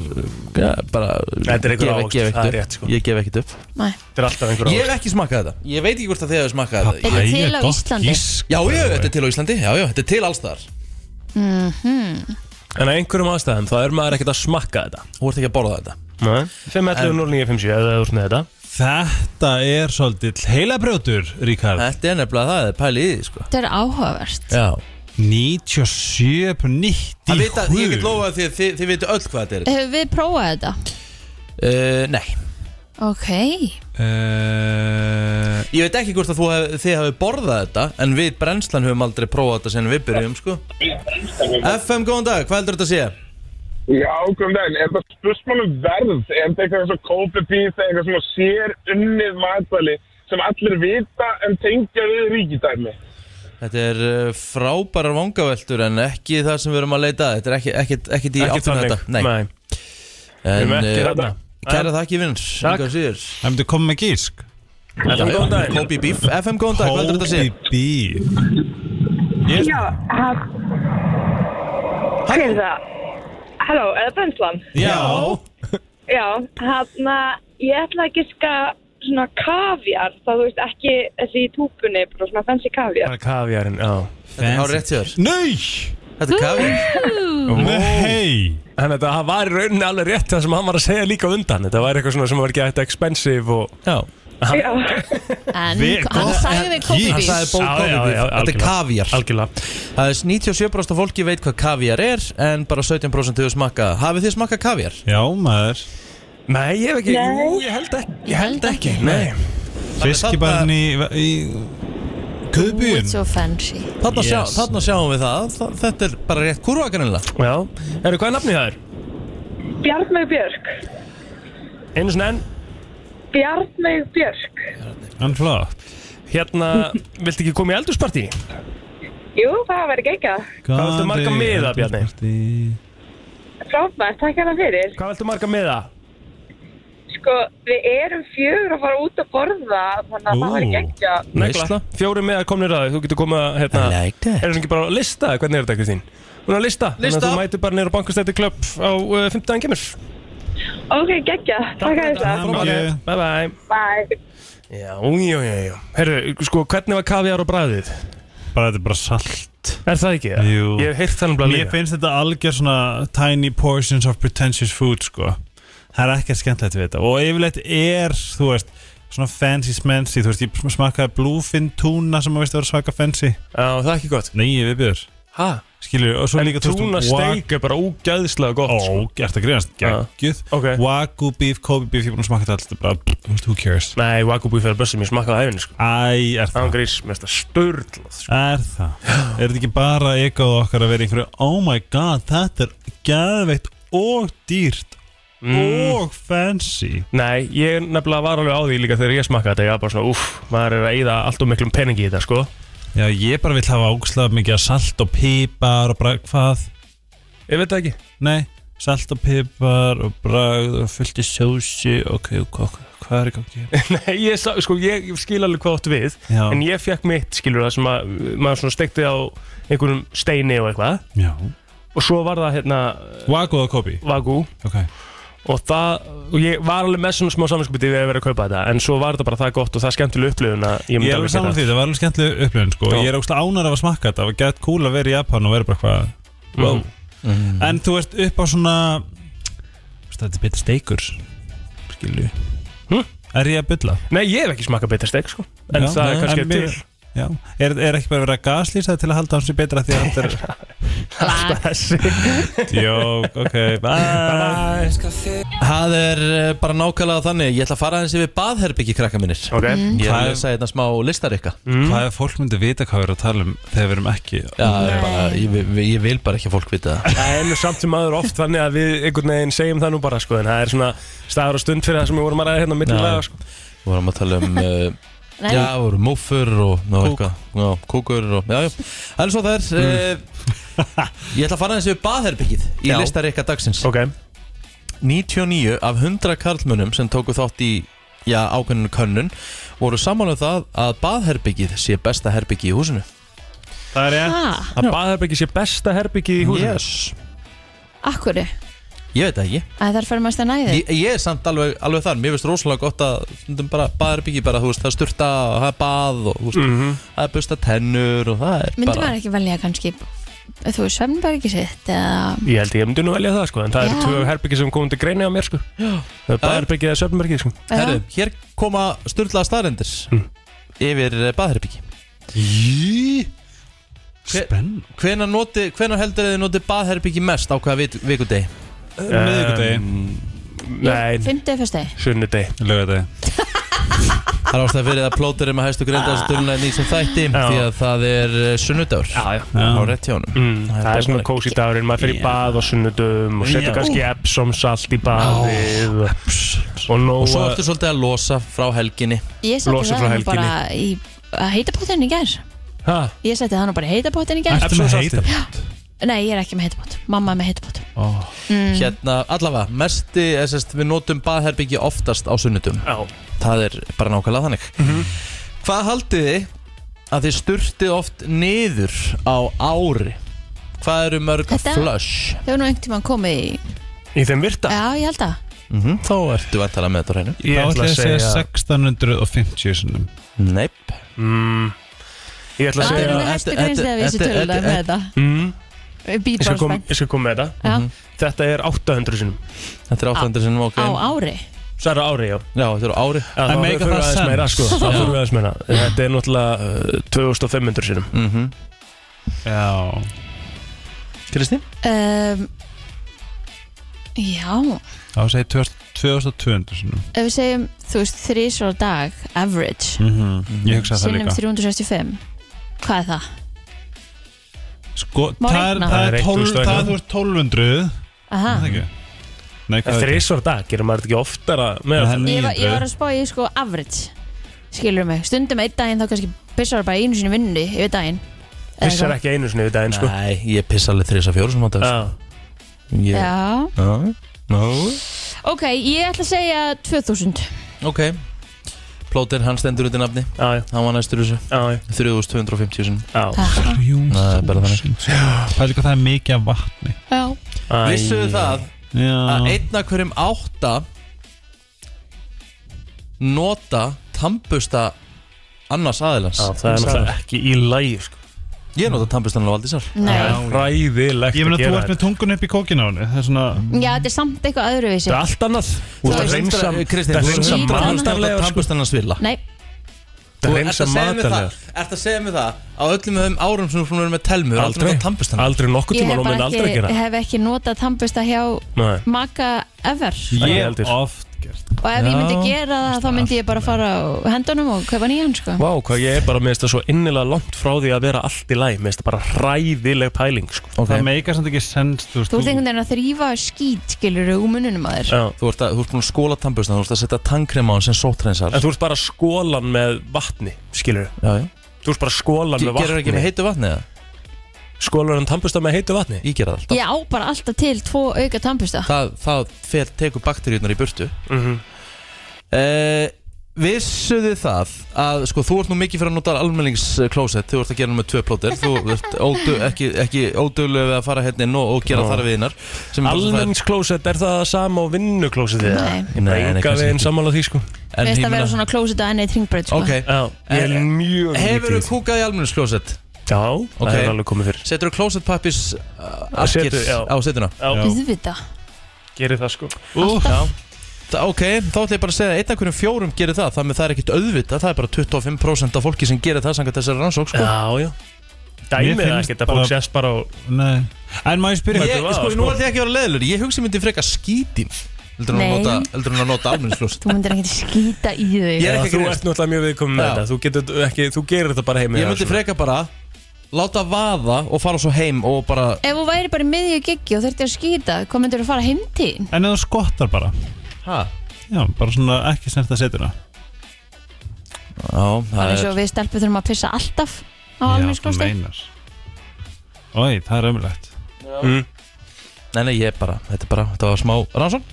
S1: ja, bara
S5: Þetta er einhver
S1: gef-
S5: ávöxt,
S1: gef ekkert
S5: það er
S1: upp.
S5: rétt, sko.
S1: Ég gef ekkert upp
S4: Nei.
S5: Þetta er alltaf einhver
S1: Ég hef
S5: ára
S1: ekki smakkað þetta Ég veit ekki hvort að þið hefur smakkað þetta
S4: Þetta er til á Íslandi.
S1: Já, já, þetta er til á Íslandi, já, já, þetta er til alls þar
S4: Mhm.
S5: En að einhverjum ástæðum, þá er maður ekkert að smakka þetta
S1: Þú ert ekki að borða þetta
S5: 5.11.09.57 eða þú ert með þetta
S3: Þetta er svolítið heilabrjótur, Ríkard
S1: Þetta er nefnilega það, það er pæli í því, sko
S4: Þetta er áhugavert.
S1: Já
S3: 97 på 90
S1: Það vita, ég get lofað því að þið, þið viti öll hvað þetta er
S4: Hefur Eh, við prófað þetta?
S1: uh, Nei,
S4: Ok.
S5: Eh.
S3: uh,
S1: ég veit ekki hvort að þú hef, þið hafi borðað þetta En við brennslan höfum aldrei prófað þetta sen við byrjum, sko FM, góðan dag, hvað heldur þetta að sé?
S10: Já, komum daginn. Er þetta spursmál um verð? Er þetta eitthvað eins og kópipís eða eitthvað sem sér unnið matvæli sem allir vita en tengja við ríkidæmi?
S1: Þetta er uh, frábærar vangaveltur en ekki það sem við erum að leita að. Þetta er ekki, ekkit, ekkit í
S5: Ekki
S1: áttunum
S5: þannig,
S1: þetta Nei,
S5: nei
S1: en
S5: Við erum ekki
S1: eh,
S5: þarna.
S1: Kæra þakki vinnur,
S5: Takk.
S1: engar síður
S3: Það myndi koma með gísk
S5: FM, góðan daginn
S1: Kobe Beef, FM góðan dag, hvað heldur þetta að segja?
S3: Hópi bí
S11: Já, ha- hvað er það? Halló, eða brennslan?
S3: Já
S11: Já, hann ég ætla að giska svona kaviar, þá þú veist ekki þessi í túpunni, bara svona fancy kaviar.
S5: Kaviarinn, já
S1: Þetta er hár rétt hjá þér
S3: Nei
S1: Þetta er kafið
S3: Nei
S5: Þannig að það var í rauninni alveg rétt það sem hann var að segja líka á undan Þetta var eitthvað svona sem var ekki eitthvað expensive og
S1: Já,
S11: Já,
S4: En
S3: Við-
S4: hann sagði við Kobe
S1: hann
S4: Beef.
S1: sagði ból
S5: Já,
S1: Kobe Beef
S5: já,
S1: Þetta
S5: já,
S1: er
S5: algjörlega.
S1: kafjar
S5: Algjörlega
S1: Það er 97% af fólki veit hvað kafjar er en bara 17% hefur smakkað Hafið þið smakkað kafjar?
S3: Já maður
S5: Nei, ég hef ekki Jú, ég held ekki Ég held ekki Nei
S3: Fiskibarn í, í
S4: Ooh,
S3: Guðbjörn
S4: It's so fancy.
S1: Þarna, sjá,
S5: Yes.
S1: þarna sjáum við það Þa- Þetta er bara rétt kurvakanilla
S5: Já Eru, hvað er nafnið það er?
S11: Bjarnveig Björk.
S5: Einu svona enn
S11: Bjarnveig Björk.
S3: Hann flott
S5: Hérna Viltu ekki koma í eldursparti?
S11: Jú, það verður ekki ekki.
S3: Hvað
S5: viltu marga miða, Bjarni?
S11: Frábært, takk hérna fyrir.
S5: Hvað viltu marga með það?
S11: Sko, við erum fjögur að fara út að borða, þannig að
S3: Ú.
S11: það verður ekki ekki.
S1: Veisla.
S5: Fjóri með að komnir að þig Þú getur koma hérna
S1: I like that.
S5: Er það ekki bara að lista? Hvernig er þetta, Kristín? Hún er að lista Þannig að
S1: Lista.
S5: þú mætir bara niður á bankastætti klubb á uh, 15. kemur
S11: Ok, geggja, takk að þetta.
S3: Hamingju.
S5: Bye bye
S11: Bye.
S5: Já, já, já, já Herru, sko, hvernig var kaviar og bræðið?
S3: Bara þetta er bara salt
S5: Er það ekki?
S3: Jú.
S5: Ég hef heyrt þannig bara
S3: Mér finnst þetta algjör svona tiny portions of pretentious food sko Það er ekkert skemmtilegt við þetta og yfirleitt er, þú veist, svona fancy smancy, þú veist, ég smakkaði bluefin túna sem að veist að vera svaka fancy
S5: Já, það er ekki gott
S3: Nei, ég viðbjör,
S5: Hæ?
S3: skilur, og svo
S5: En
S3: líka
S5: túna steik er bara ógæðislega gott
S3: Ó,
S5: sko.
S3: ert að grínast,
S5: Já.
S3: geggjuð
S5: Ah, Ok.
S3: Wagyu beef, Kobe beef, ég er búin að smakka þetta allt þetta er bara, pff, þú veist, who cares
S5: Nei, Wagyu fyrir börsum, ég smakkaði æfinni sko
S3: Æ, er það,
S5: Ángrís, mér finnst það störlað sko.
S3: er það Er þetta ekki bara ekkoð okkar að vera í einhverju Oh my god, þetta er geðveitt og dýrt Mm.
S5: Mm.
S3: og fancy
S5: Nei, ég nefnilega var alveg á því líka þegar ég smakkaði þetta Ég var bara svona, uff, maður er að eyða allt og miklum peningi í þetta sko
S3: Já, ég bara vill hafa ágslag mikið af salt og pipar og bara hvað?
S5: Ég veit það ekki
S3: Nei, salt og pipar og bragð og fullt í sósi ok, ok, ok, hvað er í gangi? hér?
S5: Nei, ég, sá, sko, ég skil alveg hvað áttu við
S3: Já.
S5: En ég fekk mitt, skilur það sem að maður svona steikti á einhverjum steini og eitthvað
S3: Já
S5: Og svo var það hérna
S3: Wago og Kobi?
S5: Wagyu
S3: Ok
S5: og það, og ég var alveg með svona smá saminskupið við að vera að kaupa þetta, en svo var þetta bara það gott og það skemmtileg upplifun að ég
S3: Ég
S5: myndi
S3: er alveg saman
S5: geta
S3: því, það var alveg skemmtileg upplifun sko.
S5: Já.
S3: Ég er ógslag ánar af að smakka þetta Það var gett cool að vera í Japan og vera bara hvað
S5: Mm.
S3: wow. En þú veist upp á svona Þú veist, Þetta er betur steikur Skilju
S5: Hm?
S3: En Er ég að bylla?
S5: Nei, ég hef ekki smakað betra steik sko En
S3: Já,
S5: það er
S3: nei,
S5: kannski
S3: en
S5: til
S3: mér- Já, er, er ekki bara verið að gaslýsa til að halda hans í betra því að þetta
S5: Alltaf þessi
S3: er Jók, ok, bye
S1: Það er eh, bara nákvæmlega þannig Ég ætla að fara aðeins yfir baðherbyggi krakka mínir
S5: okay.
S1: Ég er
S3: Hvað
S1: að
S3: er-
S1: lesa hérna smá listar ykkar
S5: Mm.
S3: Hvað er fólk myndi vita hvað við erum að tala um þegar við erum ekki
S1: Já, ég, bara, ég, ég, ég vil bara ekki að fólk vita það
S5: Það er nú samt sem aður oft þannig að við einhvern veginn segjum það nú bara sko En það er svona staður og stund fyrir það sem við vorum að ræða hérna
S1: Já.
S5: millilega sko
S1: Við vorum að tala um uh,
S4: Nei.
S1: Já, við vorum múffur og ná, eitthvað, já, kúkur og, Já, já, það er svo það er eh, Ég ætla að fara aðeins yfir baðherbyggið Í
S5: Já.
S1: listar ykkar dagsins
S5: okay.
S1: 99 af 100 karlmönnum sem tóku þátt í já, ákveðinu könnun voru saman um það að baðherbyggið sé besta herbyggi í húsinu
S3: Það er ég
S4: Ah,
S5: Að baðherbyggi sé besta herbyggi í húsinu
S1: Yes.
S4: akkurri
S1: Ég veit það ekki
S4: Æ, þar fyrir maður stæða næði
S1: ég, ég er samt alveg, alveg þar, mér finnst rosalega gott að stundum bara baðherbyggi bara, þú veist, það er sturta og það er bað og þú veist, það er busta tennur og það er
S4: Myndi
S1: bara
S4: maður ekki velja kannski Þú er svefnbergi sitt eða
S5: Ég held ég myndi nú velja það sko En það eru
S4: Já.
S5: tvö herbyggi sem komum til greina á mér sko Það er baðherbyggi eða söfnbergi sko Mhm.
S1: Herru, hér koma sturlaða staðrendir yfir eh, baðherbyggi
S3: Jí Spenn
S1: Hvenar, noti, hvenar heldur þið notið baðherbyggi mest á hvaða vik- vikudegi?
S3: Miðvikudegi,
S5: Um, Nei,
S4: Fymtið fyrstegi
S5: sunnudegi
S3: lögadegi
S1: Það er ástæða fyrir það plótur um að hæstu grinda þessu töluna í nýsum þætti því að það er eh, sunnudagur
S5: Já, já
S1: á rétt hjá honum
S5: Mm, það,
S1: bara
S5: er svona
S1: þannig.
S5: kósi dagurinn, maður fyrir í bað og sunnudum og
S1: Já.
S5: setur kannski Epsom salt í baðið og, og nóg
S1: Og svo
S5: að-
S1: ertu svolítið að losa frá helginni
S4: Ég setti
S5: Losa
S4: það
S5: frá
S4: nú bara í að heita pottin í gær
S5: Ha?
S4: Ég setti það nú bara í heita pottin í gær
S3: Ertu með heita
S4: Nei, ég er ekki með heita pott Mamma er með heita pott Mm.
S1: Hérna, allavega, mesti, eða sest, við notum baðherbyggi oftast á sunnudum
S5: Já, Mhm.
S1: Það er bara nákvæmlega þannig Hvað haldið þið að þið sturtið oft niður á ári? Hvað eru mörg
S4: Þetta-
S1: flush?
S4: Þau er nú einhvern tímann komið í
S5: í þeim virta
S4: Já, ég held að
S1: Mm Þá ertu að tala með þetta á hreinu
S5: Ég
S3: Þá
S5: ætla að segja,
S3: 1650 sinnum
S1: Neip
S5: mm, Ég ætla að
S4: Það
S1: Þetta-
S5: segja
S4: er nú næstu
S1: þetta-
S4: greinst þegar við þessi
S1: þetta- Mhm.
S4: tölulega með þetta
S5: mm,
S4: Við
S5: Ég
S4: Být
S5: skal
S4: bara
S5: koma
S4: spennt
S5: kom með þetta
S4: Já,
S5: Þetta er 800 sinum
S1: Þetta er 800 sinnum ok
S4: Á ári
S5: Særa ári, já
S1: Já, þetta er á ári
S5: Já,
S3: En
S5: þá
S3: make
S5: förum við
S3: that
S5: aðeins meira,
S3: sense.
S5: sko. Þá fyrir við aðeins meira eh, Þetta er náttúrulega uh, 2500 sinum
S1: mm
S3: Já
S1: Kristín?
S4: um, Já
S3: Þá segir 2200 sinnum
S4: Ef við segjum, þú veist, þrísar á dag Average
S3: Ég hugsa það
S4: Sinnum
S3: líka
S4: 365 Hvað er það?
S3: Sko,
S4: Má
S3: það er-
S4: reikna.
S3: það
S5: Það
S3: er
S5: er
S3: 12
S5: 1.000
S3: það er 1200
S4: Aha.
S3: Það ekki Nei, hvað er þetta?
S5: Þrísvar dag, gerir maður þetta ekki oftara með
S3: Það er
S4: Ég var, ég var
S3: 900
S4: að spá í sko average Skilur mig, stundum einn daginn þá kannski Pissar bara einu sinni vinnunni yfir daginn Eða
S5: Pissar
S4: eitthvað.
S5: ekki einu sinni við daginn, sko
S1: Nei, ég pissa alveg 3-4 sem á dag sko.
S5: Já,
S1: Ég-
S4: Já,
S1: Já, no.
S4: ok, ég ætla að segja 2000
S1: Ok Plóter, hann stendur út í nafni
S5: já, já,
S1: Hann var næstur þessu
S5: já,
S1: 3250 sinni
S5: já
S4: Takk
S1: Það er bara þannig
S3: Pæli hvað það er mikið af vatni
S4: Já,
S5: Æ.
S1: Vissuðu það að
S3: Já
S1: einna hverjum átta Nota Tambusta annars aðilans
S5: Já, það er náttúrulega ekki í lægi sko.
S1: Ég nota tambusta alveg aldrei sár
S4: nei
S5: Ræðilegt
S3: Ég meina,
S5: að
S3: þú
S5: gera
S3: ert með tungun upp í kókinu á henni Það er svona
S4: Já, þetta er samt eitthvað öðruvísi
S5: Þetta er allt annað Þú ert að reynsa
S1: Kristín,
S5: Það
S1: þú
S5: reynsa
S1: ert að nota
S5: matarlega sko.
S1: tambusta annars vila
S4: Nei,
S5: Það reynsa matarlega
S1: Ert að segja mig það Á öllum þeim árum sem þú erum með telmu þú ert Aldrei
S5: Aldrei,
S1: nota tambusta annars
S5: aldrei nokkuð
S4: ég
S5: tíma
S4: hef
S5: Nú minn
S4: bara
S5: aldrei
S4: ekki,
S5: gera
S4: hef ekki notað tannbusta hjá
S5: Nei.
S4: maka ever
S5: Ekki
S3: Ég
S5: heldur.
S3: oft gert
S4: Og ef ég myndi
S1: Já.
S4: gera það, þá myndi ég bara fara á hendunum og kaupa nýjan, sko
S5: Vá, hvað ég er bara með þetta svo innilega langt frá því að vera allt í læg Með þetta bara ræðileg pæling sko.
S3: Það meikar samt ekki sens Þú veist,
S4: Þú ert einhvern veginn að þrýfa skít, skilur, úr mununum að þér
S5: Já.
S1: Þú ert, að, þú ert búin að skóla tannbustan, þú ert að setja tannkrem á hann sem sótrensar
S5: En þú ert bara skólan með vatni Skilur
S1: Já, já
S5: Þú ert bara skólan með
S1: Gerur ekki með
S5: vatni
S1: heitu vatni eða?
S5: Skólan en tampusta með heitu vatni
S1: Ég ger það alltaf
S4: Ég á bara alltaf til tvo auka tannbusta
S1: Það, það fel, tekur bakteríunar í burtu
S5: mm
S1: uh, Vissuðu það að sko, þú ert nú mikið fyrir að nota almenningsklósett Þú ert að gera nú með tvö plóter Þú ert ódu, ekki, ekki óduglega við að fara hérna inn og, og gera
S5: Já.
S1: þarfiðinar
S5: Almenningsklósett, er það sama og vinnuklósett
S4: Nei.
S5: Ég
S1: Nei, nei,
S5: breyka
S1: kannski
S5: við einn
S1: ekki.
S5: sammála því sko
S4: Mér finnst að vera svona klósit að enni í tringbröð sko.
S1: Ok,
S5: Já, ég er
S1: Eh,
S5: mjög
S1: hefur þú
S5: lítið.
S1: kúkað í almenningsklósett?
S5: Já, það
S1: Ok.
S5: hefur alveg komið fyrir
S1: Setur þú klósettpappis uh,
S5: setu,
S1: akkir
S5: já.
S1: á setuna?
S5: Já,
S4: Auðvitað
S5: gerir það sko
S3: Ú,
S5: Já,
S1: Þa- Ok, þá ætla ég bara að segja að einn af hverjum fjórum gerir það Þannig að það er ekkit auðvitað, það er bara 25% af fólki sem gerir það samkvæmt þessari rannsók sko.
S5: Já, já Dæmið það ekkert að fólk sést bara á
S3: Nei En má ég spyrja
S1: Ég, sko, nú ætla ég ekki að vera leiðilegur Ég hugsi ég myndi freka skítin Heldur hún að
S4: Nei.
S1: nota, heldur en að nota almenningsljóst
S4: Þú myndir ekkert skýta í þau
S1: Ég er ekki
S5: Þú
S1: grínast.
S5: ert náttúrulega mjög viðkomin með
S1: Já.
S5: þetta Þú getur ekki, þú gerir þetta bara heim
S1: Ég myndi freka bara Láta vaða og fara svo heim og bara
S4: Ef þú væri bara í miðju giggi og þurfti að skýta Hvað myndir þú að fara heim til?
S3: En eða skottar bara
S1: Hæ?
S3: Já, bara svona ekki snert að setja
S1: Já,
S4: Það er eins og við stelpur þurfum að pissa alltaf á
S3: þú
S4: almenningsklosti
S3: meinar Ói, það er ömulegt
S1: mm. Nei, nei, ég bara, þetta er bara, þetta var smá rannsón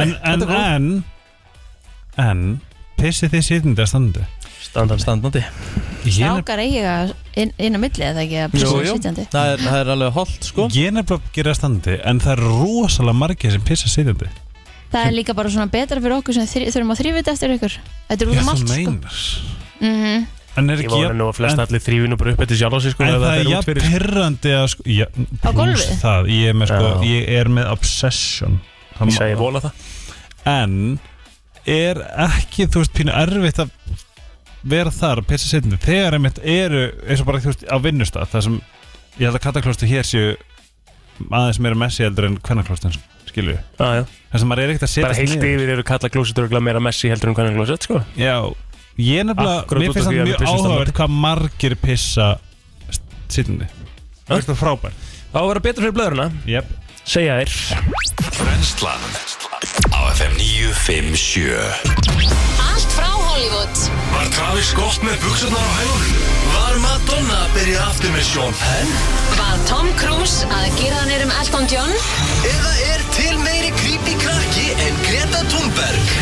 S3: En, en, en En Pissið þið sitjandi að standandi
S5: Standandi
S1: Standandi
S3: Ég er
S4: Strákar eiga inn, inn á milli eða ekki að pissa
S3: Jú, jú.
S4: sitjandi
S1: það er, það er alveg holdt sko
S3: Ég er nefnilega að gera standandi En það er rosalega margir sem pissa sitjandi
S4: Það er líka bara svona betra fyrir okkur sem þri, þurfum að þrývita eftir ykkur Þetta er út
S3: Já,
S4: um
S3: þú
S4: allt sko
S3: meinar
S4: mm -hmm.
S3: En
S5: Ég
S3: er ekki
S5: vona nú að flest allir þrýfinu bara upp eftir sjálf á sig sko
S3: En
S5: ef
S3: það
S5: þetta
S3: er
S5: út
S3: jafn
S5: fyrir-
S3: pyrrandi að sko já,
S4: Á
S3: plús
S4: gólfið?
S3: það, ég, er með, sko,
S5: Já.
S3: ég er með obsession
S5: Ég segi, ég vona það
S3: En er ekki, þú veist, pínu erfitt að vera þar að pissa setjandi þegar einmitt eru, eins og bara, þú veist, á vinnustaf það sem, ég held að kataklóstu hér séu aðeins meira messi heldur en kvennaklóstin, skilju
S5: Ah, Já, já.
S3: þess að maður er ekkert að setja
S5: Bara heilt yfir eru kalla glósiturugla meira messi heldur en hvernig glósit sko
S3: Já, ég er nefnilega,
S5: Akkúrat út
S3: mér
S5: af
S3: finnst
S5: því
S3: það
S5: að
S3: mjög
S5: við pissumst á
S3: áhugavert hvað margir pissa setjandi Það er það frábær
S5: Það á að vera betur fyrir blöðurna
S3: Jep,
S5: Segja þér
S2: Brenslan Á FM 957
S7: Allt frá Hollywood
S2: Var Travis gott með buksunar á hælunum? Var Madonna að byrja aftur með Sean Penn?
S7: Var Tom Cruise að gera hann um Elton John?
S2: Eða er til meiri creepy krakki en Greta Thunberg?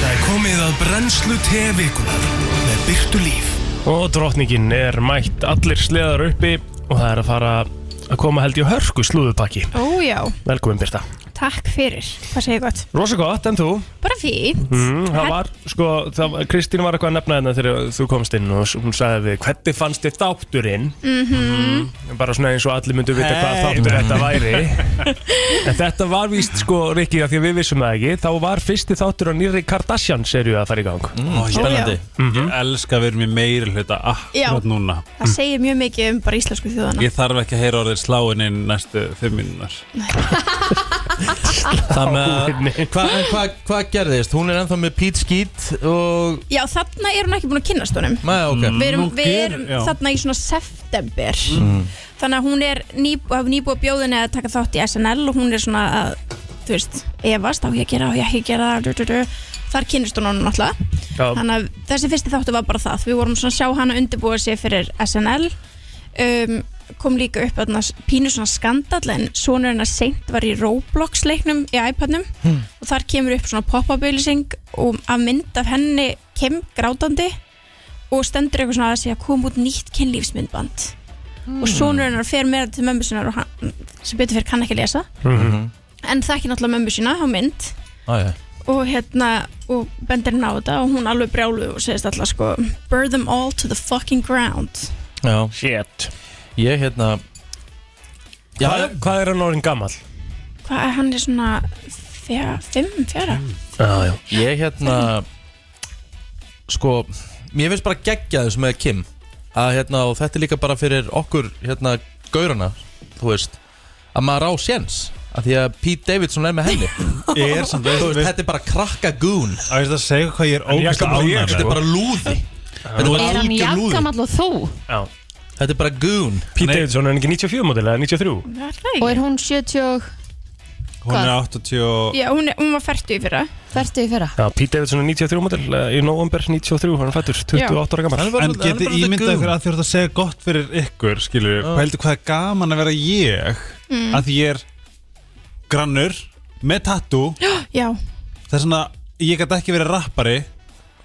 S2: Það er komið að brennslu tevikunar með byrtu líf
S5: Og drottningin er mætt allir sleðar uppi Og það er að fara að koma held ég á hörku slúðupakki
S12: Ó já,
S5: Velkomin Birta
S12: takk fyrir, hvað segir gott?
S5: Rosa gott, en þú?
S12: Bara fín
S5: Mm, það var, sko, það, var- Kristín var eitthvað að nefna hérna þegar þú komst inn og s- hún sagði við hvernig fannst þér þátturinn
S12: Mhm.
S5: bara svona eins og allir myndu vita hvað
S12: Hey.
S5: þáttur þetta væri en þetta var víst sko, Rikki, af því að við vissum það ekki þá var fyrsti þáttur á nýri Kardashian serju að fara í gang
S3: Ó,
S12: Spennandi.
S5: Mhm.
S3: Ég elska að vera mér meiri hluta
S12: Já.
S3: akkurat núna
S12: Það segir mjög mikið um bara íslensku þjóðana
S3: Ég þarf ekki að heyra orðið sláin inn næstu fimm minúnar
S1: Þannig að hvað hva, hva gerðist? Hún er ennþá með Pete Skeet og
S12: Já, þarna er hún ekki búin að kynnast honum
S1: Nei, ok
S5: Mm,
S12: Við erum, við erum þarna í svona september
S1: Mm.
S12: Þannig að hún er ný, nýbúið að bjóðinni að taka þátt í SNL og hún er svona að, þú veist, efast á ég að gera, á ég ekki að gera du, du, du. Þar kynnist hún honum náttúrulega
S5: Já.
S12: Þannig að þessi fyrsti þáttu var bara það Við vorum svona að sjá hana undirbúa sig fyrir SNL um, Kom líka upp að pínu svona skandall En sonur hennar seint var í Roblox leiknum í iPadnum
S7: Hmm.
S12: Og þar kemur upp svona pop-up auðlýsing Og að mynd af henni kem grátandi Og stendur eitthvað svona að segja Kom út nýtt kynlífsmyndband Og sonur hennar fer með þetta til mömmu sinnar Og hann, sem betur fyrir kann ekki lesa
S1: Mhm.
S5: Mhm.
S12: En þekki náttúrulega mömmu sína á mynd
S1: Æja
S12: og hérna og bendir henni á þetta og hún alveg brjálu og segist alltaf sko burn them all to the fucking ground
S1: Já
S5: Shit
S1: Ég hérna Já,
S5: hvað, hvað er hann orðin gammal?
S12: hvað er hann er svona fjara, fimm, fjara
S5: Já, já
S1: Ég hérna Sko Mér finnst bara geggja þess með Kim að, hérna, Og þetta er líka bara fyrir okkur hérna, Gaurana, þú veist Að maður á séns Af því að Pete Davidson er með henni
S3: Ég er samt-
S1: Þú veist, Þetta er bara krakka gún
S3: Það er að segja hvað ég er
S1: Ég
S3: ógæst
S1: skal bara- ég- Þetta er
S3: sko.
S1: bara lúði Þetta er bara
S4: Er hann
S1: algjör lúði
S4: jafngamall og þú?
S5: Já.
S1: Þetta er bara goon
S5: Pete Davidson er hann ekki 94 mótil eða 93
S4: Og er hún 70 og
S3: Hún er 80 og
S12: já, hún, er, hún var fært í fyrra
S4: Fertu í fyrra
S5: Já, Pete Davidson er 93 mótil eh, í november 93 hann er fættur 28 ára gammal
S3: En getið ímyndað ykkur að því að það segja gott fyrir ykkur Skilur,
S5: Já.
S3: hvað heldur hvað er gaman að vera ég
S12: Mm.
S3: Að ég er grannur Með tattoo
S12: já,
S3: Það er svona, ég gæti ekki verið rappari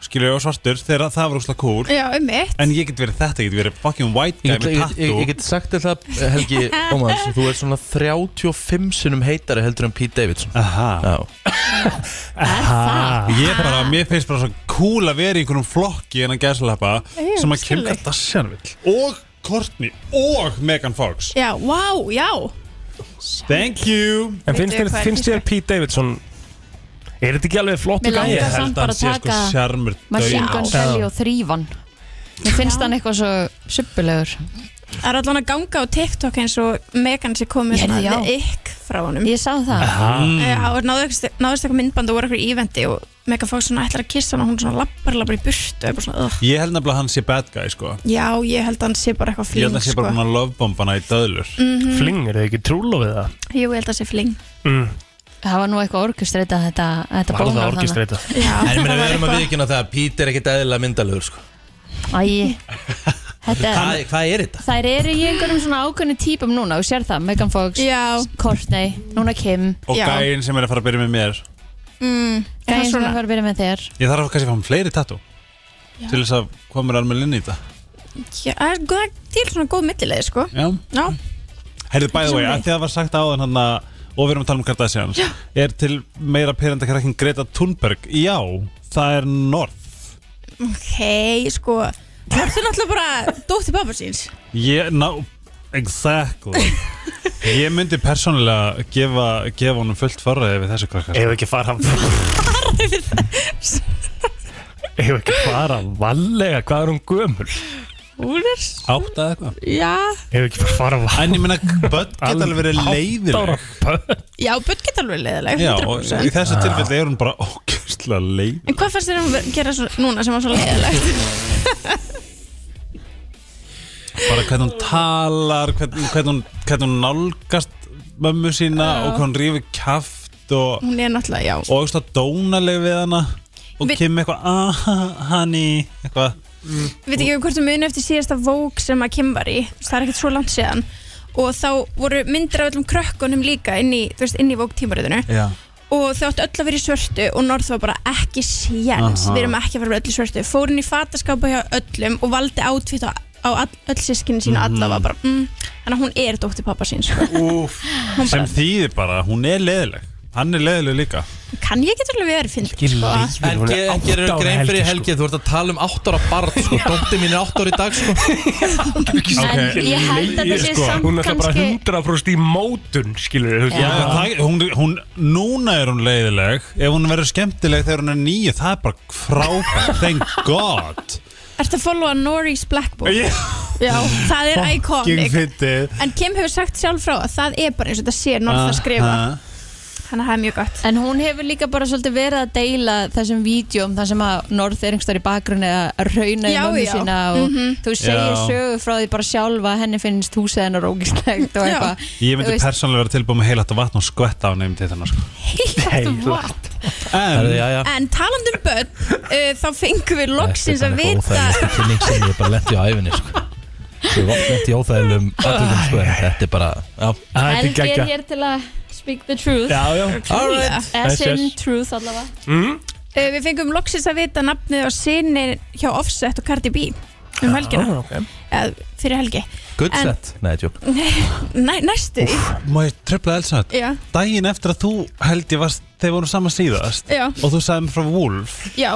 S3: Skilur, og svartur Þegar það var úsla cool
S12: já, um mitt
S3: En ég get verið þetta, ég get verið fucking white guy
S1: Ég get,
S3: með
S1: ég, ég,
S3: tattoo
S1: ég get sagt þér það, Helgi Ómans, þú ert svona 35 sinnum heitari heldur en Pete Davidson
S3: Aha
S1: Já.
S3: Aha. Ég bara, mér finnst bara svo cool að vera í einhverjum flokki en að gæslepa
S12: Jú,
S3: sem að Kim
S12: skilur.
S3: Kardashian vill og Courtney og Megan Fox
S12: já, wow, já
S3: Thank you
S5: En finnst
S12: Veitu
S5: þér,
S12: hvað er
S5: finnst þér Pete Davidson Er þetta ekki alveg flott
S4: Mér langar samt bara að
S5: sko,
S4: taka
S3: sko
S4: Machine Gun Kelly og þrývan Mér finnst hann eitthvað svo suppulegur
S12: Það er allan að ganga á TikTok eins og Megan sé komið
S4: Heyrðu, já.
S12: með ykk frá honum
S4: Ég sá það
S12: Já, og náðist eitthvað myndband og voru eitthvað í eventi og Megan Fox svona ætlar að kissa hann og hún svona lappar lappar í burt og er bara svona "Ugh."
S3: Ég held nefnilega að hann sé bad guy sko
S12: Já, ég held að hann sé bara eitthvað
S3: Ég held
S12: fling
S3: að hann sé bara
S12: sko.
S3: búin að lovebombana í döðlur
S12: Mhm.
S5: Fling, er það ekki trúlofið það?
S12: Jú, ég held að það sé fling
S5: Mm.
S4: Það var nú eitthvað orkustreita þetta, þetta bónar þarna.
S1: En ég meina við
S4: það var
S1: erum að
S4: eitthvað.
S1: viðkynna það að Pít er ekkit eðlilega myndalegur sko.
S4: Æi, þetta
S1: Hvað hvað er þetta?
S4: Þær eru í einhverjum svona ákveðni típum núna og sér það, Megan Fox, Já. Courtney, núna Kim
S3: Og gæinn sem er að fara að byrja með mér
S4: mm, Gæinn sem
S12: svona?
S4: var að byrja með þér
S3: Ég þarf að kannski að fá hann fleiri tattoo
S12: Já.
S3: Til þess að koma mér alveg inn í þetta
S12: Já, það er góð- til svona góð millilegi sko
S3: Já
S12: Já,
S3: Heyrðu, by the way,
S12: Sjónvarpið.
S3: að því að það var sagt áðan hann að og við erum að tala um Kardashians er til meira perenda krakkin Greta Thunberg já, það er North
S12: ok, sko Norð er náttúrulega bara dóttir pappa síns
S3: ég, ná, exactly ég myndi persónulega gefa, gefa honum fullt farraði við þessu krakkar
S5: ef ekki fara Ég hef ekki bara vallega, hvað er hún gömul?
S12: Hún er
S3: átt að eitthvað
S12: Já,
S5: Ég hef ekki bara fara vallega
S3: En ég meina, börn geta alveg verið leiðileg.
S12: já, börn geta alveg leiðileg
S3: já, og
S12: 100%.
S3: í þessu tilfelli er hún bara ógæslega leið
S12: En hvað fannst þér um að ver- gera svo, núna sem var svo leiðilegt?
S3: bara hvernig hún talar hvernig, hvernig, hún, hvernig hún nálgast mömmu sína
S12: Já.
S3: og hvernig hún rífur kæft og
S12: Hún er náttúrulega, já
S3: og eitthvað dónaleg við hana og
S12: Vi-
S3: Vi... kemur eitthvað ah, honey eitthvað
S12: Við veitum ekki hvort þú muni eftir síðasta vók sem að Kim var í þú veist, Það er ekkert svo langt síðan Og þá voru myndir af öllum krökkunum líka inn í, þú veist, inn í vók tímariðinu
S3: Já.
S12: Og þau áttu öll að vera í svörtu Og Norð var bara ekki séns
S3: Aha.
S12: Við erum ekki að vera öll í svörtu Fórin í fataskápa hjá öllum Og valdi átvít á, á all, öll sískinni sína
S3: Mhm.
S12: Alla var bara, mm, þannig að hún er dóttir pappa sín sko.
S3: Úf, sem þýðir bara að hún er leðileg hann er leðileg líka
S12: Kann ég getur alveg verið fyndin, sko.
S1: Helgi,
S5: hún er
S1: Helgi er
S5: átta ára
S1: grein
S5: Helgi,
S1: fyrir
S5: sko.
S1: Helgi Þú ert að tala um 8 ára barn sko. Dóttir mín er 8 ára í dag sko.
S4: En ég held að þetta sé samt
S5: Hún er alltaf bara
S4: kannski
S5: 100% í mótun, skilur
S3: Já, það, hún, hún, núna er hún leiðileg ef hún verður skemmtileg þegar hún er nýju það er bara frábært, thank god
S12: Ertu að followa Norris Blackbook?
S3: Já.
S12: Já, það er iconic
S3: fyndið
S12: En Kim hefur sagt sjálf frá að það er bara eins og þetta sé Norð
S3: Ah,
S12: að skrifa Þannig að það er mjög gott
S4: En hún hefur líka bara svolítið verið að deila þessum vídjum þar sem að Norð er einhverstaðar í bakgrunni að rauna í
S12: Já,
S4: mömmu
S12: já.
S4: sína og
S12: Mhm.
S4: þú segir
S3: Já.
S4: sögu frá því bara sjálfa að henni finnst húsið hennar ógislegt og eitthvað
S3: ég
S4: Þú
S3: myndi
S4: veist,
S3: persónulega vera tilbúið með heilat og vatn og skvetta á nefn til þennan sko.
S12: Heilat vatn.
S3: en,
S1: já, já.
S12: En taland um börn uh, Þá fengum við loksins að vita
S1: óþægilegsta kynning sem ég hef bara lendi á æfinni sko. Ég hef oft lendi í óþægilegum atvöldum sko, en þetta er bara já.
S4: Helgi er hér til að speak the truth
S5: Já, já.
S12: All right.
S4: As
S12: Yes,
S4: in
S12: yes.
S4: truth allavega
S5: Mm?
S12: uh, Við fengum loksins að vita nafnið á sinni hjá Offset og Cardi B um helgina, eða fyrir helgi
S1: Good
S12: En-
S1: set Nei, tjók
S12: Næ, Næstu því
S3: má ég tröfla elsat
S12: Já,
S3: daginn eftir að þú held ég varst þeir voru saman síðast
S12: Já.
S3: og þú sagði mér frá Wolf
S12: já,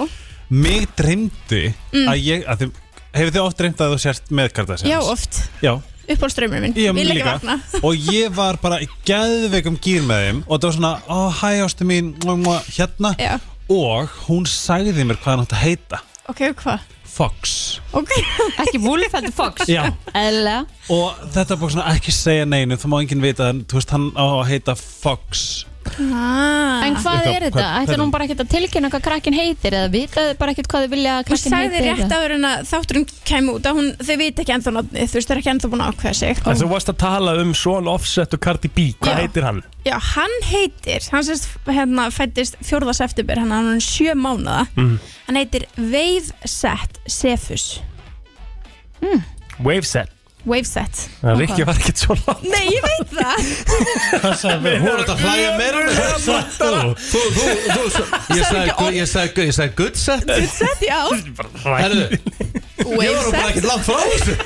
S3: mig dreymdi
S12: Mm.
S3: að ég að þið, hefur þið oft dreymt að þú sért með Kardashians
S12: já oft
S3: já
S12: Uppáhaldstraumurinn minn,
S3: Ég
S12: vil ekki
S3: líka.
S12: vakna
S3: og ég var bara í geðveikum gýr með þeim og það var svona, ó, hæ ástu mín mua, mua, hérna,
S12: Já.
S3: og hún sagði mér hvað hann átt að heita
S12: Ok, hvað?
S3: Fox
S12: Okay.
S4: Ekki Wolf, þetta er Fox
S3: Já.
S4: Eðlilega
S3: og þetta er bara svona ekki segja neinu þú má enginn vita, en þú veist, hann á að heita Fox
S12: ah.
S4: En hvað
S3: Eitthvað-
S4: er þetta?
S3: hvað-
S4: Ætlar hún
S3: hvernig-
S4: bara ekkert að tilkynna hvað krakkin heitir eða vita þau bara ekkert hvað þau vilja að
S12: Hún
S4: krakkin heitir
S12: sagði rétt áður en að þátturinn kæmi út að hún, þau veit ekki ennþá nafnið, þú veist, þau er ekki ennþá búin að ákveða sig
S5: En þú varst að tala um Sean Offset og Cardi B, hvað heitir hann?
S12: Já, hann heitir, hann sérst hérna fættist 4. september, hann hann er sjö mánuða,
S5: Mm.
S12: hann heitir Waveset Sefus
S5: Waveset
S12: Waveset
S5: Það er ekki var ekkert svo langt
S12: Nei, ég veit það
S3: það sagði mér, hún átt að hlæja meira en það sagði þú
S1: Þú, þú, þú, þú Ég sagði, gu- ég sagði, gu- ég sagði good set
S12: Waveset, já
S1: Herðu, ég var nú bara
S12: Waveset
S1: ekkert langt frá þessu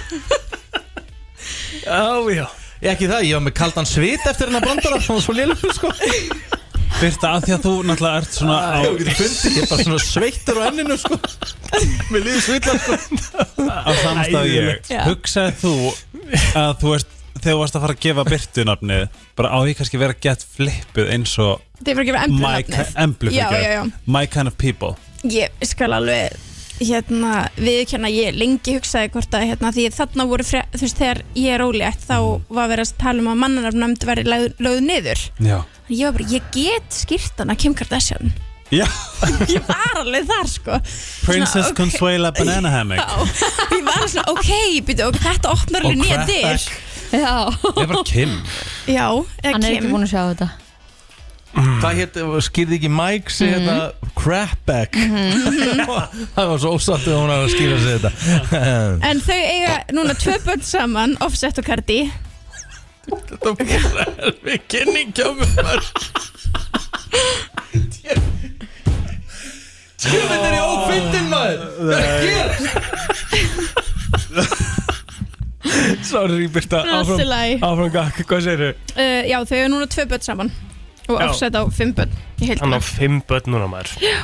S5: Já, já
S1: Ekki það, ég var með kaldan svit eftir hennar brandara Það var svo lélum, sko
S3: Birta, að því að þú náttúrulega ert svona á
S1: Ég getur fundið, ég er bara svona sveittur á enninu, sko Mér líður svitla, sko
S3: á samstæðu ég
S12: Já.
S3: hugsaði þú að þú ert þegar þú varst að fara að gefa Byrtu nafnið bara á ég kannski vera gett flippuð eins og
S12: Þið fyrir að gefa
S3: My
S12: emblu
S3: ki- Emblu
S12: Já,
S3: fyrirgefðu.
S12: já, já
S3: My kind of people
S12: Ég skal alveg hérna, viðkjanna ég lengi hugsaði hvort að hérna, því þarna voru fre, þú veist þegar ég er ólétt þá var verið að tala um að mannarnafnæmt verið lögð, lögð niður
S3: Já
S12: ég var bara, ég get skýrt hana Kim Kardashian
S3: Já
S12: ég var alveg þar sko
S3: Princess
S12: ok.
S3: Consuela Banana Hammock
S12: Já, ég var svona, ok, býtu, ok, þetta opnar alveg
S3: Og
S12: nýja
S3: crack
S12: dyr
S3: back.
S12: Já,
S3: Ég er bara Kim
S12: já eða
S4: Hann
S12: Kim.
S4: er ekki búin að sjá þetta
S1: Hvað hétt, skýrði ekki Mike sig
S12: Mhm.
S1: mm -hmm. þetta Crapback Það var svo ósattið að hún var að skýra sig þetta
S12: En þau eiga núna tvö börn saman, Offset og Cardi
S1: Þetta er við kynningja með mér Tjöfinn er ég ófyndin maður Það er að gerast
S5: Sorry Birta,
S12: Allt í
S5: áfram,
S12: lagi.
S5: áfram gakk, hvað segirðu?
S12: uh, Já, þau eru núna tvö börn saman Og
S5: Já.
S12: Offset á fimm börn í heildina.
S5: Hann á fimm börn núna maður
S12: uh,
S5: Jæja.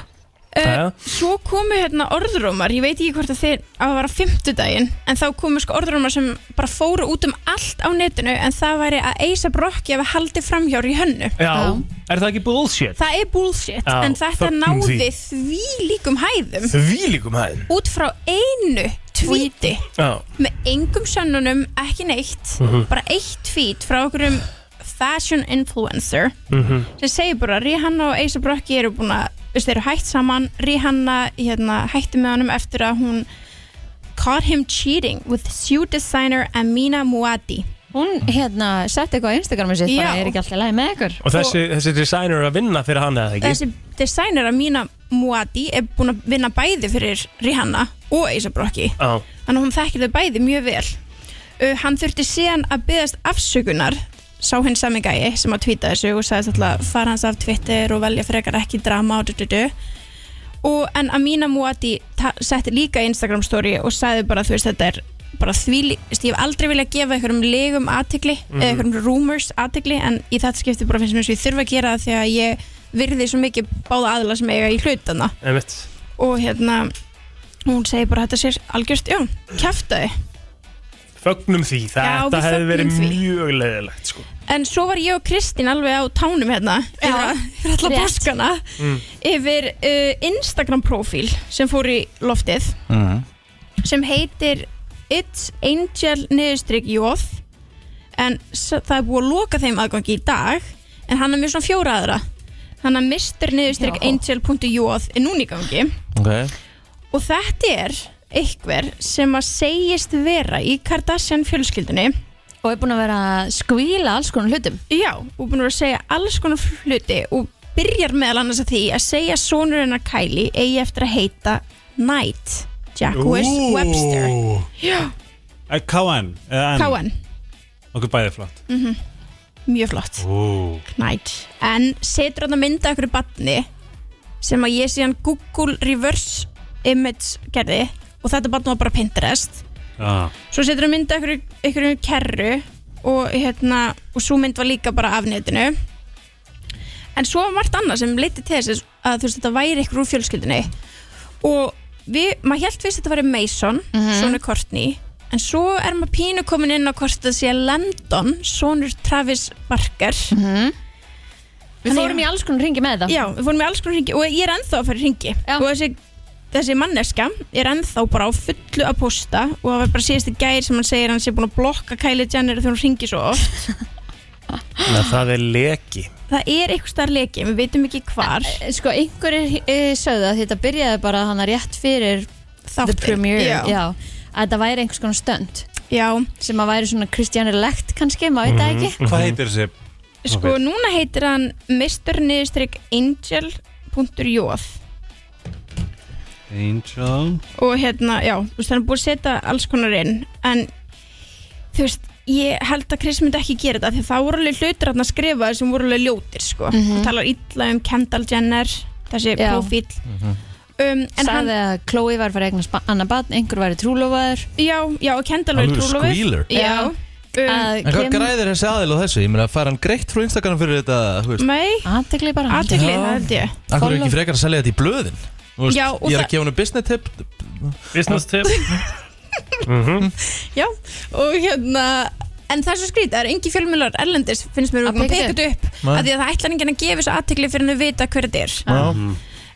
S12: Svo komu hérna orðrómar Ég veit ekki hvort að þeir að það var á fimmtudaginn En þá komu sko orðrómar sem bara fóru út um allt á netinu En það væri að Eisa Brokki hafi haldið framhjár í hönnu
S5: Já, er það ekki bullshit?
S12: Það er bullshit
S5: Já,
S12: En þetta
S5: fögnum
S12: náði því líkum hæðum
S5: Því líkum hæðin
S12: Út frá einu tvíti
S5: Já,
S12: Með engum sönnunum, ekki neitt
S5: Mhm.
S12: Bara eitt tvít frá okkur um fashion influencer
S5: mhm
S12: sem segir bara Rihanna og Asa Brocki eru búin að þú veist, þeir eru hætt saman Rihanna hérna, hætti með honum eftir að hún caught him cheating with shoe designer Amina Muati
S4: Hún hérna sett eitthvað á Instagramu sitt bara
S12: Já.
S4: er ekki alltaf læg með ykkur
S5: Og þessi, þessi designer er að vinna fyrir hann eða ekki?
S12: þessi designer Amina Muati er búin að vinna bæði fyrir Rihanna og Asa Brocki
S5: Já,
S12: þannig að hún þekkir þau bæði mjög vel uh, hann þurfti síðan að byggast afsökunar sá hinn sami gæi sem að tvíta þessu og sagðist alltaf fara hans af Twitter og velja frekar ekki drama og dududu og en Amina Muati ta- setti líka Instagram story og sagði bara þú veist þetta er bara því, ég hef aldrei viljað gefa einhverjum legum aðtegli,
S4: Mhm.
S12: eða einhverjum rumors aðtegli, en í þetta skipti bara finnst mér eins og ég þurfa að gera það því að ég virði svo mikið báða aðla sem eiga í hlutana
S5: einmitt
S12: og hérna hún segir bara að þetta sér algjörst, já, kæftaði
S5: Fögnum því,
S12: Já,
S5: þetta
S12: við
S5: hefði verið
S12: fögnum því.
S5: mjög leiðilegt sko
S12: en svo var ég og Kristín alveg á tánum hérna já, yfir alla
S4: rétt.
S12: bóskana
S5: mm.
S12: yfir uh, Instagram profíl sem fór í loftið sem heitir It's Angel niðurstrykk Jóð en s- það er búið að loka þeim aðgangi í dag en hann er með svona fjóra aðra hann er Mr. niðurstrykk angel.jóð er núna í gangi
S1: Ok
S12: Og þetta er einhver sem að segjist vera í Kardashian fjölskyldunni
S4: Og er búin að vera að skvíla alls konar hlutum
S12: Já, og búin að vera að segja alls konar hluti og byrjar meðal annars að því að segja sonur hennar Kylie eigi eftir að heita Knight Jack West Webster Já,
S3: Eh, KN eða N?
S12: KN,
S3: Okkur bæði flott
S12: mm mjög flott
S3: Ú.
S12: Knight En setur hann að mynda ykkur batni sem að ég síðan Google reverse image gerði og þetta batn var bara Pinterest
S3: Já.
S12: svo setur hann mynda ykkur, ykkur kerru og hérna og svo mynd var líka bara af netinu en svo var margt annað sem leiti til þess að þú veist þetta væri ykkur úr fjölskyldinni og við, maður held fyrst að þetta væri Mason mm
S4: Mhm.
S12: -hmm. sonur Courtney en svo er maður pínu komin inn á hvort það sé Landon, sonur Travis Barker -hmm.
S4: Við Mhm. fórum í alls konar ringi með það
S12: Já, við fórum í alls konar ringi og ég er ennþá að fara í ringi og þessi, þessi manneska er ennþá bara á fullu að posta og það var bara síðasti gær sem hann segir að hann sé búin að blokka Kylie Jenner þegar hún ringi svo oft
S5: Nei, það er leki
S12: Það er eitthvað starf leki, við veitum ekki hvar
S4: Sko einhverjir eh, sögðu að þetta byrjaði bara hann rétt fyrir The Premiere
S12: já.
S4: Að þetta væri einhvers konar stönd
S12: Já
S4: Sem að væri svona kristjánilegt kannski,
S1: Mhm,
S4: maður veit það ekki
S3: Mhm.
S4: Mhm.
S3: Hvað heitir þessi?
S12: Sko núna heitir hann mr-angel.jóð
S3: Angel
S12: og hérna, já, þú veist, hann er búið að setja alls konar inn, en þú veist, ég held að Chris myndi ekki gera þetta, því það voru alveg hlutir hann að skrifa sem voru alveg ljótir, sko mm
S4: Mhm.
S12: hann talar illa um Kendall Jenner þessi
S4: Já.
S12: profíl um, en hann,
S4: Sagði að Chloe var að fara að eignast ba- annað barn, einhver væri trúlofaður
S12: já, já, og Kendall var
S1: Alvöru
S12: trúlofið.
S1: squealer.
S12: já, um,
S1: En hvað græðir þessi aðil á þessu? Ég meina, fær hann greitt frá Instagram fyrir þetta, þú veist
S12: nei,
S4: aðtegli bara
S12: aðtegli,
S1: Já.
S12: það held ég
S1: Akkur er ekki frekar að selja þetta í blöðin? Þú veist,
S12: Já, og
S1: Ég er
S12: það-
S1: að gefa hennu business tip
S5: Business tip
S1: Mhm
S12: já, og hérna en það er svo skrítið, það er engi fjölmjölar erlendis finnst mér við
S4: Að
S12: erum að
S4: pikka
S12: peka þetta upp
S4: Nei.
S12: af því að það ætlar enginn að gefa þessu aðtekli fyrir hann að vita hver þetta er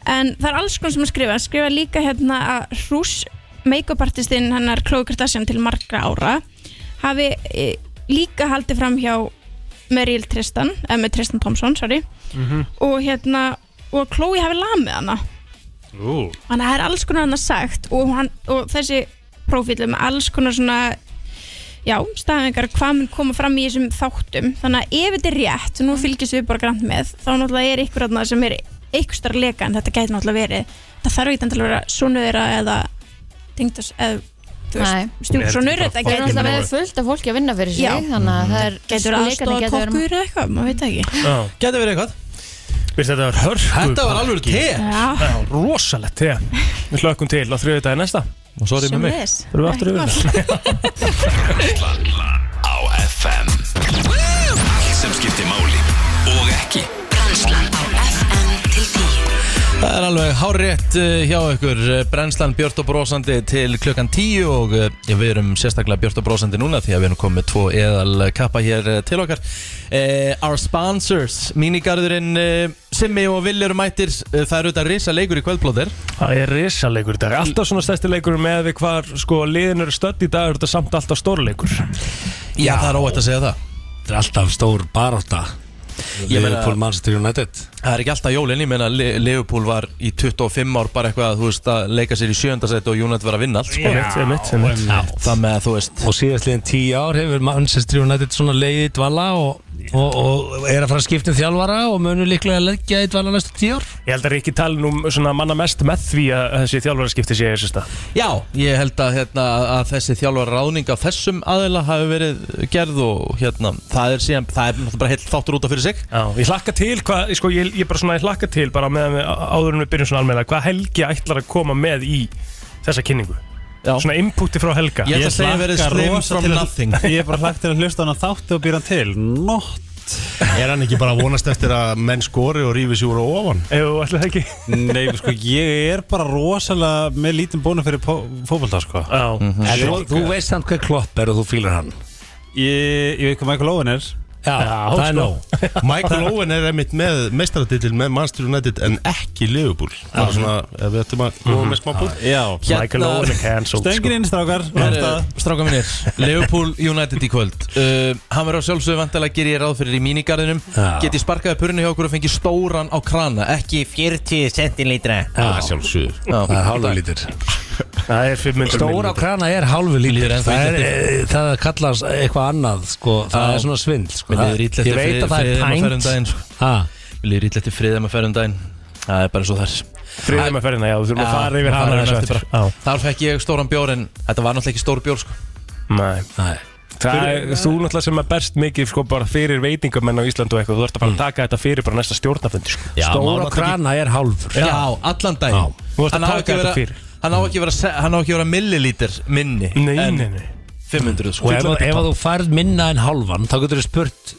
S12: en það er alls konar sem að skrifa Hann skrifa líka hérna að Rús make-up artistinn hennar Khloe Kardashian til margra ára hafi e, líka haldið fram hjá Meryl Tristan eða með Tristan Thompson, sorry
S5: Mhm.
S12: og hérna, og Khloe hafi lamið hana
S5: Ú,
S12: þannig að það er alls konar hann að sagt og, hann, og þessi prófíl er með alls konar svona já, staðingar hvað mun koma fram í þessum þáttum þannig að ef þetta er rétt, nú fylgjast við bara grann með, þá náttúrulega er ykkur þarna sem er ykkur starf leka en þetta gæti náttúrulega verið það þarf ekki endilega að vera sonuðra eða tengdas eða þú
S4: Nei.
S12: veist, stjúpsonur þetta
S4: Það er
S12: gæti
S4: alltaf með fullt af fólki að vinna fyrir sig
S12: Já.
S4: Þannig að það er
S12: Gætur
S4: leikarnir
S12: aðstofa
S4: gætu verið-
S12: kokkur eða eitthvað, maður veit það ekki
S1: Gæti verið eitthvað
S5: Vist, þetta var hörku
S1: Þetta var alveg te
S12: Já.
S5: Já, rosalegt te Við hlökkum til á þriðu dagi næsta
S1: Og sorry
S5: með mig
S12: Sömuleiðis.
S5: Þurfum við aftur
S12: Ekki
S5: yfir það
S2: á FM Allt sem skiptir máli og ekki
S1: Það er alveg hárétt eh, hjá ykkur eh, Brennslan Björt og Brósandi til klukkan 10 og eh, við erum sérstaklega Björt og Brósandi núna því að við erum komið með tvo eðal kappa hér eh, til okkar eh, Our sponsors, mínigarðurinn eh, Simmi og Vill eru mættir eh, það eru þetta risa leikur í kvöldblóðir
S5: Það er risaleikur í dag Alltaf svona stærsti leikur með við hvar sko liðin eru stödd í dag er þetta samt alltaf stórleikur
S1: Já, það er óætt að segja það
S9: Þetta er alltaf stór baróta
S1: Ég meina-
S9: Liverpool Manchester United
S1: Það er ekki alltaf jólinn, ég meina Le- Liverpool var í 25 ár bara eitthvað að þú veist að leika sér í sjöndasæti og United var að vinna allt sko.
S5: Einmitt, einmitt, einmitt.
S1: Það með að þú veist
S9: Og síðast liðin tíu ár hefur Manchester United svona leiðið í dvala og, og, og er að fara að skipta um þjálfara og munur líklega að leggja í dvala næstu tíu ár
S5: Ég held að Rikki talin um svona manna mest með því að þessi þjálfararskipti sé í þessu stað
S1: Já, ég held að, hérna, að þessi þjálfar ráðning á þessum aðila hafi verið gerð og hérna, það er síðan, það er náttúrulega bara heilt þáttur út af fyrir sig
S5: Já, ég hlakka til hvað, sko, ég, ég bara svona ég hlakka til bara meðan við á- áður en við byrjum svona almenna hvað Helgi ætlar að koma með í þessa kynningu
S1: Já.
S5: Svona inputi frá Helga
S1: Ég ætla að segja verið slim from nothing
S3: Ég er bara hlægt til að hlusta á hann að þáttu og býra hann til Not
S13: Er hann ekki bara að vonast eftir að menn skori og rífi sig úr og ofan?
S5: Jú, ætlaði ekki
S3: Nei, sko, ég er bara rosalega með lítinn bónu fyrir pó- fótbolta, sko
S5: Já
S9: En þú, þú veist hann hver klopp er og þú fýlar hann
S3: Ég, ég veit hvað Michael Owen er
S9: Já, það er nóg
S13: Michael Owen er einmitt með meistaratitil með Manchester United en ekki Liverpool Það er svona, ef við ættum að
S1: Mhm.
S13: koma með smá búl
S3: Já,
S1: Hérna,
S5: Michael Owen er
S9: sko.
S1: sko.
S5: cancelled
S3: Hérna- Stöngin inn, strákar
S1: Herru, Stráka hérna, mínir, Liverpool United í kvöld uh, Hann verður á sjálfsögðu vantilega að gera ég ráð fyrir í mínigarðinum
S9: Já.
S1: Get ég sparkaði purinu hjá okkur og fengi stóran á krana Ekki 40 centilítra
S9: Já,
S13: sjálfsögur
S9: Það er hálfur lítur
S5: Það er 500
S9: Stóra á krana er hálfu lítur
S1: ennþá
S9: það,
S1: illa
S9: er, e, það kallast eitthvað annað sko. Það
S1: Já.
S9: er svona svindl sko.
S1: Mér
S9: Það-
S1: líður ítlætti
S9: Ég veit að það er pænt
S1: um sko. Mér líður ítlætti friðum að ferðum daginn Það er bara svo þar
S5: Friðum að ferðina, já, þú þurfum að
S1: Já,
S5: fara yfir hana
S1: fara
S5: þessu
S1: eftir
S5: eftir.
S1: bara. Þar fekk ég stóran bjór en þetta var náttúrulega ekki stór bjór sko.
S5: Nei.
S9: Nei.
S5: Það er, þú náttúrulega sem er berst mikið sko bara fyrir veitingamenn á Íslandu og eitthvað, þú
S1: Mm.
S5: ert að fara að taka þetta fyrir bara næsta stjórnafundi sko.
S9: Já, Stóra krana er hálfur
S1: Já, allan dag
S9: Já.
S5: Þú ert að
S1: Hann á
S5: taka
S1: ekki að
S5: þetta
S1: vera-
S5: fyrir.
S1: hann á ekki að vera se- Hann á ekki að vera millilítir minni
S5: Nei,
S1: en
S5: nei, nei.
S1: 500
S9: Og
S1: sko.
S9: ef, ef að þú færð minna en hálfan þá getur þú spurt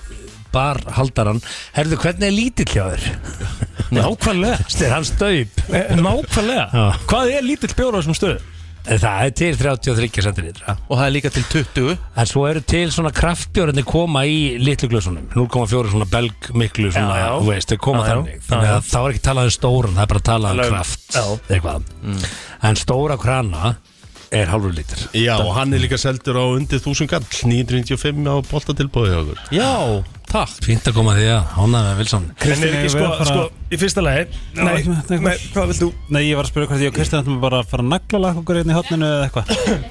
S9: barhaldaran Herðu, hvernig er lítill hjá þér?
S5: Nákvæmlega
S9: Þetta er hans staup
S5: Eh, Nákvæmlega, hvað er lítill bjór á þessum stöðu?
S9: En Eh, það er til 33 centilitra
S1: Og það er líka til 20
S9: En svo eru til svona kraftbjórnir koma í litlu glösunum 0,4 svona belg miklu svona,
S5: Já, já.
S9: þú veist, þau koma
S5: Já, já.
S9: þannig Þannig
S5: Já,
S9: að
S5: já.
S9: þá er ekki talað um stóran, það er bara talað um
S5: Alveg.
S9: kraft
S5: Já.
S9: eitthvað
S1: Mm.
S9: En stóra krana er hálfur lítur
S13: Já, og hann er líka seldur á undir 1000 gall 995 á boltatilbóðið okkur
S1: Já, takk
S9: Fínt að koma að því að hónaði með Vilson
S5: En er ekki sko, sko, í fyrsta lagi Nei,
S3: nei,
S5: nei, hvað vilt þú?
S3: Nei, ég var að spyrja hvort ég og Kristján ætlum bara að fara að nagla lakk okkur einn í hotninu eða eitthvað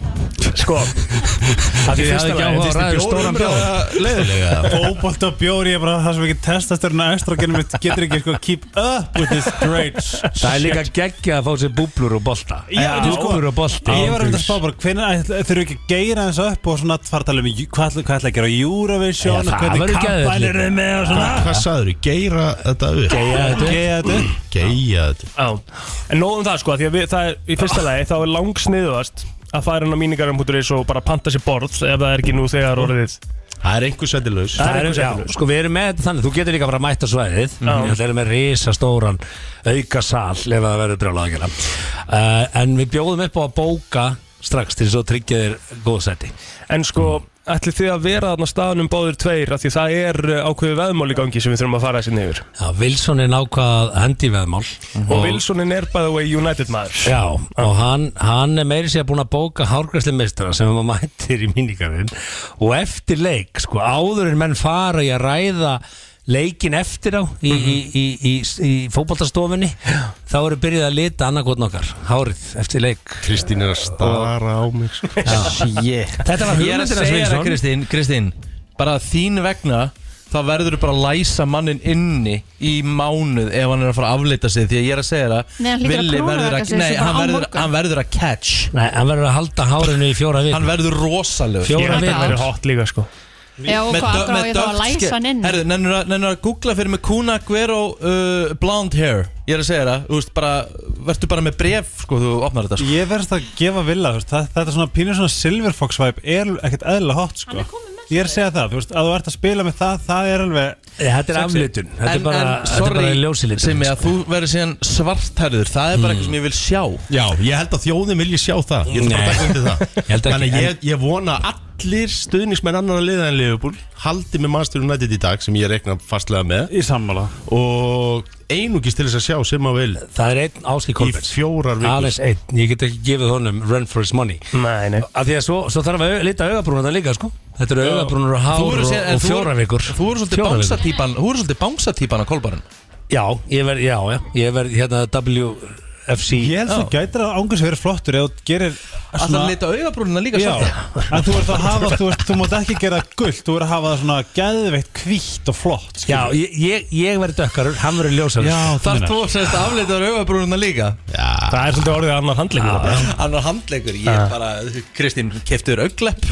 S5: Sko, að í
S9: Þið hafði
S5: fyrsta
S9: ekki
S5: lagi
S9: áhuga að ræða um stóran bjór
S1: Leðilega
S3: Óbólt og bjóri, ég bara það sem ekki testastörna östrogenum mitt getur ekki sko keep up with this great
S9: Það er líka geggja að fá sér búblur og bolta
S3: Já, þú sko,
S9: Búblur og bolti
S3: Ég var að spá bara, hvernig þurfum við ekki að geira þessu upp og svona fara að tala um jú- hvað ætla, hvað ætla að gera á
S9: Já,
S3: Eurovision og
S9: það
S3: hvernig
S9: verður geðveikt
S3: kampanir
S9: líka.
S3: eru með og svona
S13: Hvað sagður, geira þetta upp?
S9: Geigja þetta upp.
S3: Geða þetta upp.
S13: Geira þetta upp.
S5: Já, en nóðum það sko, því að við, það er, í fyrsta lagi þá er langsniðuðast að fara inn á míningarum.is og bara panta sér borð ef það er ekki nú þegar orðið
S13: Það er einhver sættilaus
S5: Það er
S9: Það er,
S5: einhver
S9: já,
S5: skemmtilegur.
S9: sko við erum með þetta þannig, þú getur líka bara að mæta svæðið Við erum með risastóran Eh, aukasal ef það verður brjálað að gera uh, En við bjóðum upp á að bóka strax til þess að tryggja þér góð seti
S5: En sko, ætli þið að vera þarna á staðnum báðir tveir af því það er uh, ákveðið veðmál í gangi sem við þurfum að fara þessi niður
S9: Já, Wilson er nákvæð hendi veðmál
S5: Mhm. Og Wilsonin er by the way United maður
S9: Já, og hann, hann er meiri sér búin að bóka hárgræsli meistara sem maður mættir í míníkarinn og eftir leik, sko, áður en menn fara í að ræða leikin eftir á í, í, í, í, í fótboltastofinni þá eru byrjuð að lita annarkotn okkar hárið eftir leik
S13: Kristín er að stara á mig sko.
S1: Shit.
S9: Þetta var
S1: Ég er að
S9: hugmyndin hans,
S1: segja þér
S9: Wilson.
S1: að Kristín, Kristín Bara að þín vegna Þá verður þú bara að læsa mannin inni í mánuð ef hann er að fara að afleita sig því að ég er að segja
S4: Nei, hann
S1: það
S4: hlýtur að krúna vegna sig
S1: Nei,
S4: þessu
S1: hann
S4: bara á
S1: verður,
S4: morgun.
S1: hann verður að catch
S9: Nei, hann verður að halda hárinu í fjóra vikur
S1: Hann verður rosalegur
S9: Fjóra Ég held að vikur. það verði
S5: hot líka sko
S4: Já, og hvað akkur á ég þá að læsa hann inn?
S1: Herðu, nennur að, nennur að googla fyrir mig Kuna Guero uh, blonde hair Ég er að segja það, þú veist bara Vertu bara með bref, sko, þú opnar þetta sko.
S3: Ég verðist að gefa vilja, þú veist, það, þetta svona pínur svona Silver Fox vibe er ekkert eðlilega hot, sko. Ég er að segja það, þú veist, að þú ert að spila með það, það er alveg...
S9: Eh, Þetta er
S3: sexy.
S9: aflitun, þetta er
S1: En-
S9: bara,
S1: en,
S9: þetta er bara
S1: sorry,
S9: ljósilitun
S1: Simmi, að þú verður síðan svartærður Það er bara
S9: Hmm.
S1: eitthvað sem ég vil sjá
S13: Já, ég held að þjóðin vilji sjá það Ég ætla bara að taka undir það
S9: Ég held ekki,
S13: Þannig að
S9: en-
S13: ég, ég vona að allir stuðnismenn annar að liða en Liverpool haldi með Master United í dag sem ég rekna fastlega með
S3: Í sammála
S13: Og einungis til þess að sjá sem að vil
S9: Það er einn áskil Kolbeins.
S13: Í fjórar vikur
S9: Aðeins einn, ég get ekki gefið honum run for his money
S5: Nei, nei
S9: Af því að svo, svo þarf að au- lita augabrúnuna líka sko Þetta eru augabrúnur og hár
S1: Þú eru
S9: og,
S1: síðan- en
S9: og
S1: þú
S9: fjóra
S1: eru-
S9: vikur
S1: Þú eru svolítið
S9: Fjórar vikur.
S1: bánsatýpan Þú eru svolítið bánsatýpan á kolbarinn
S9: Já, ég verð, já, já, ég verð hérna WFC
S3: Ég held þú gætir að ángur sem verið flottur eða þú gerir
S1: Alltaf að lita augabrúnina líka
S3: Já,
S1: svarta
S3: en þú ert að hafa, þú veist, þú mátt ekki gera gullt, þú ert að hafa það svona gæðveitt, hvítt og flott skilur.
S9: Já, ég, ég, ég verð dökkarur, hann verður ljósarur
S3: Já, þú
S1: Þar
S3: meinar.
S1: þú semst að afleitaður augabrúnina líka
S5: Það er svolítið orðið annar handleikur
S1: Annar handleikur, ég
S5: Ah.
S1: bara Kristín, keftur auglepp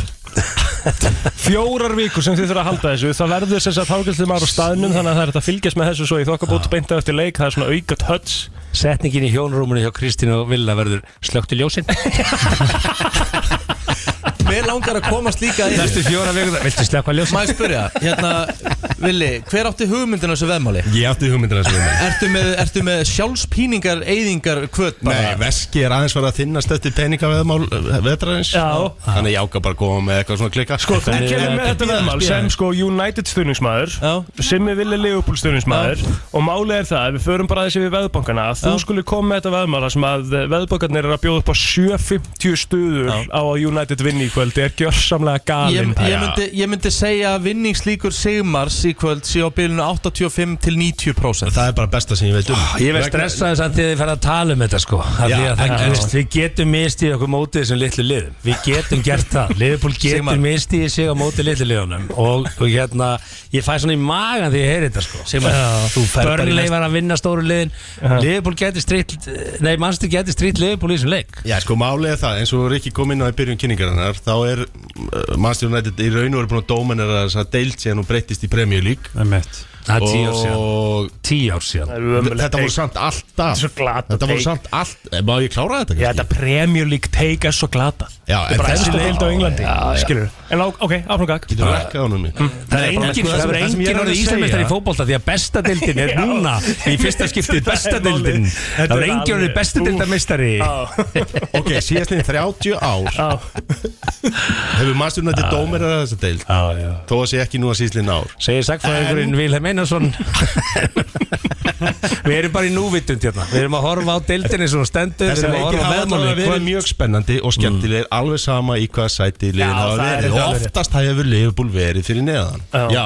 S5: Fjórar vikur sem þið þurfa að halda þessu Það verður sem sagt hálfgjöldslega maður á staðnum Þannig að það er hægt að fylgjast með þessu svo í þokkabót Beinta eftir leik, það er svona auka touch
S9: Setningin í hjónrúmunni hjá Kristín og Villa verður slökti ljósin
S1: Mér langar að komast líka inn
S9: Næstu fjóra vikur, viltu slökka ljósin?
S1: Má ég spyrja, hérna, Vili, hver átti hugmyndina á þessu veðmáli?
S13: Ég átti hugmyndina sem við
S1: Ertu með, ertu með sjálfspíningar, eyðingar, kvöt
S13: Nei,
S1: bara?
S13: veski er aðeins verið að þinnast eftir peningaveðmál veðrains
S5: Já.
S13: Þannig ég ákvað bara að koma með eitthvað svona klikka Sko,
S5: En kemur með þetta veðmál sem sko United stuðningsmaður sem er vilja Leopold stuðningsmaður og málið er það, við förum bara þessi við veðbankana að þú skulle koma með þetta veðmál þar sem að veðbankarnir eru að bjóða upp á 750 stuður á að United vinni í kvöld er gjörsamlega
S1: Ég,
S5: galinn
S1: ég, myndi, ég myndi segja að vinningslíkur Sigmars í kvöld sé á bylunu 85 til 90%
S13: Það er bara besta sem ég veit um
S9: Ah, Ég verð stressaði samt því að þið fara að tala um þetta sko Af
S13: Já,
S9: því að það
S13: en-
S9: gerist, við getum mistið okkur mótið þessum litlu liðum Við getum gert það, Liverpool
S1: Sigmar.
S9: getur mistið sig á mótið litlu liðunum og, og hérna, ég fæ svona í magan því ég heyri þetta sko
S1: Sigmar, þú ferð bara í
S9: Börnlei
S1: næst-
S9: var að vinna stóru liðin Liverpool getur strýtt, nei mannstu getur strýtt Liverpool í þessum leik
S13: Já, sko, málið er það, eins og Rikki kom inn á í byrjun kynningarinnar þá er uh, Master United í raun og er búin að dómen er að þess að deilt síðan og breyttist í Premier League
S3: Það er mitt
S9: Það er tíu ár síðan.
S13: og
S9: Tíu ár síðan
S13: þetta voru samt alltaf
S5: Svo glatað
S13: Þetta voru
S5: take.
S13: samt allt, Eh, má ég klára þetta?
S5: Já, þetta Premier League take er svo glatað
S13: Já,
S5: Það er bara efstu deild á Englandi,
S13: skilur
S5: skilur En á- ok, áfram gag
S13: Getur við rekkað honum í
S9: Það er engin, það er engin orðið íslensmestari í fótbolta því að besta deildin er
S5: Já.
S9: núna í fyrsta skiptið
S5: Þetta er
S9: besta
S5: málið.
S9: deildin
S5: Þetta
S9: Það er
S5: er
S9: engin orðið
S5: alveg-
S9: besta deildamestari
S13: Ok, síðastliðin 30 ár hefur Master United dómer er að þess að deilt þó að sé ekki nú að síðastliðin ár
S9: Segir sagfræðingurinn Vilhelm Einarsson Við erum bara í núvitund hérna Við erum að horfa á deildinni sem hún stendur Við
S13: Þessi
S9: erum að
S13: leikir
S9: horfa á
S13: hafa alveg
S9: meðmáli
S13: verið mjög spennandi og skemmtilegir
S5: Mm.
S13: alveg sama í hvaða sæti liðin
S5: Já,
S13: hafa
S5: það er
S13: verið
S5: þetta
S13: og
S5: verið.
S13: oftast hefur Liverpool verið fyrir neðan
S5: Já.
S13: Já,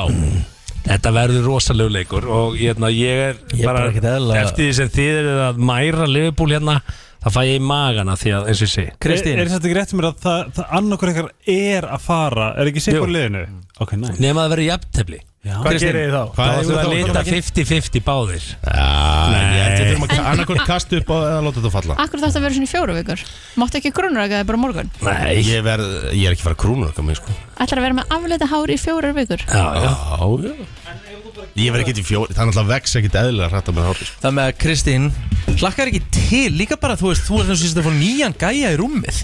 S9: Þetta verður rosalegu leikur og hérna, ég er
S1: Ég er bara ekkert eðlilega-
S9: eftir því sem þið eru að mæra Liverpool hérna það fæ ég í magana því að eins og ég segi
S1: Kristín,
S3: Er, er þetta ekki rétt mér að það, það annarkur ykkar er að fara, er ekki sigur
S9: Jú.
S3: liðinu? Ok, næ
S9: Nefn að það verður jafntefli
S5: Hvað gerir þið þá?
S9: Það
S13: hvað
S9: er
S13: hefur
S9: að
S13: það
S9: lita 50-50 báðir
S13: Ég held við þurfum
S9: Nei,
S13: að annarkvort kastu upp á eða láta þetta falla
S4: Akkur þarf það að vera svona í fjóru vikur? Máttu ekki grunuraka það bara á morgun?
S9: nei
S13: Ég, verð, ég er ekki fara krúnur okkar mig sko
S4: Ætlar að vera með afleita hár í fjórar vikur?
S9: Já, já
S13: Já, já Ég verð ekki til fjóri, það er náttúrulega vex ekkit eðlilega hrætt að með hári sko.
S1: það með að Kristín Hlakkar ekki til, líka bara þú veist Þú er þess að fá nýjan gæja í rúmið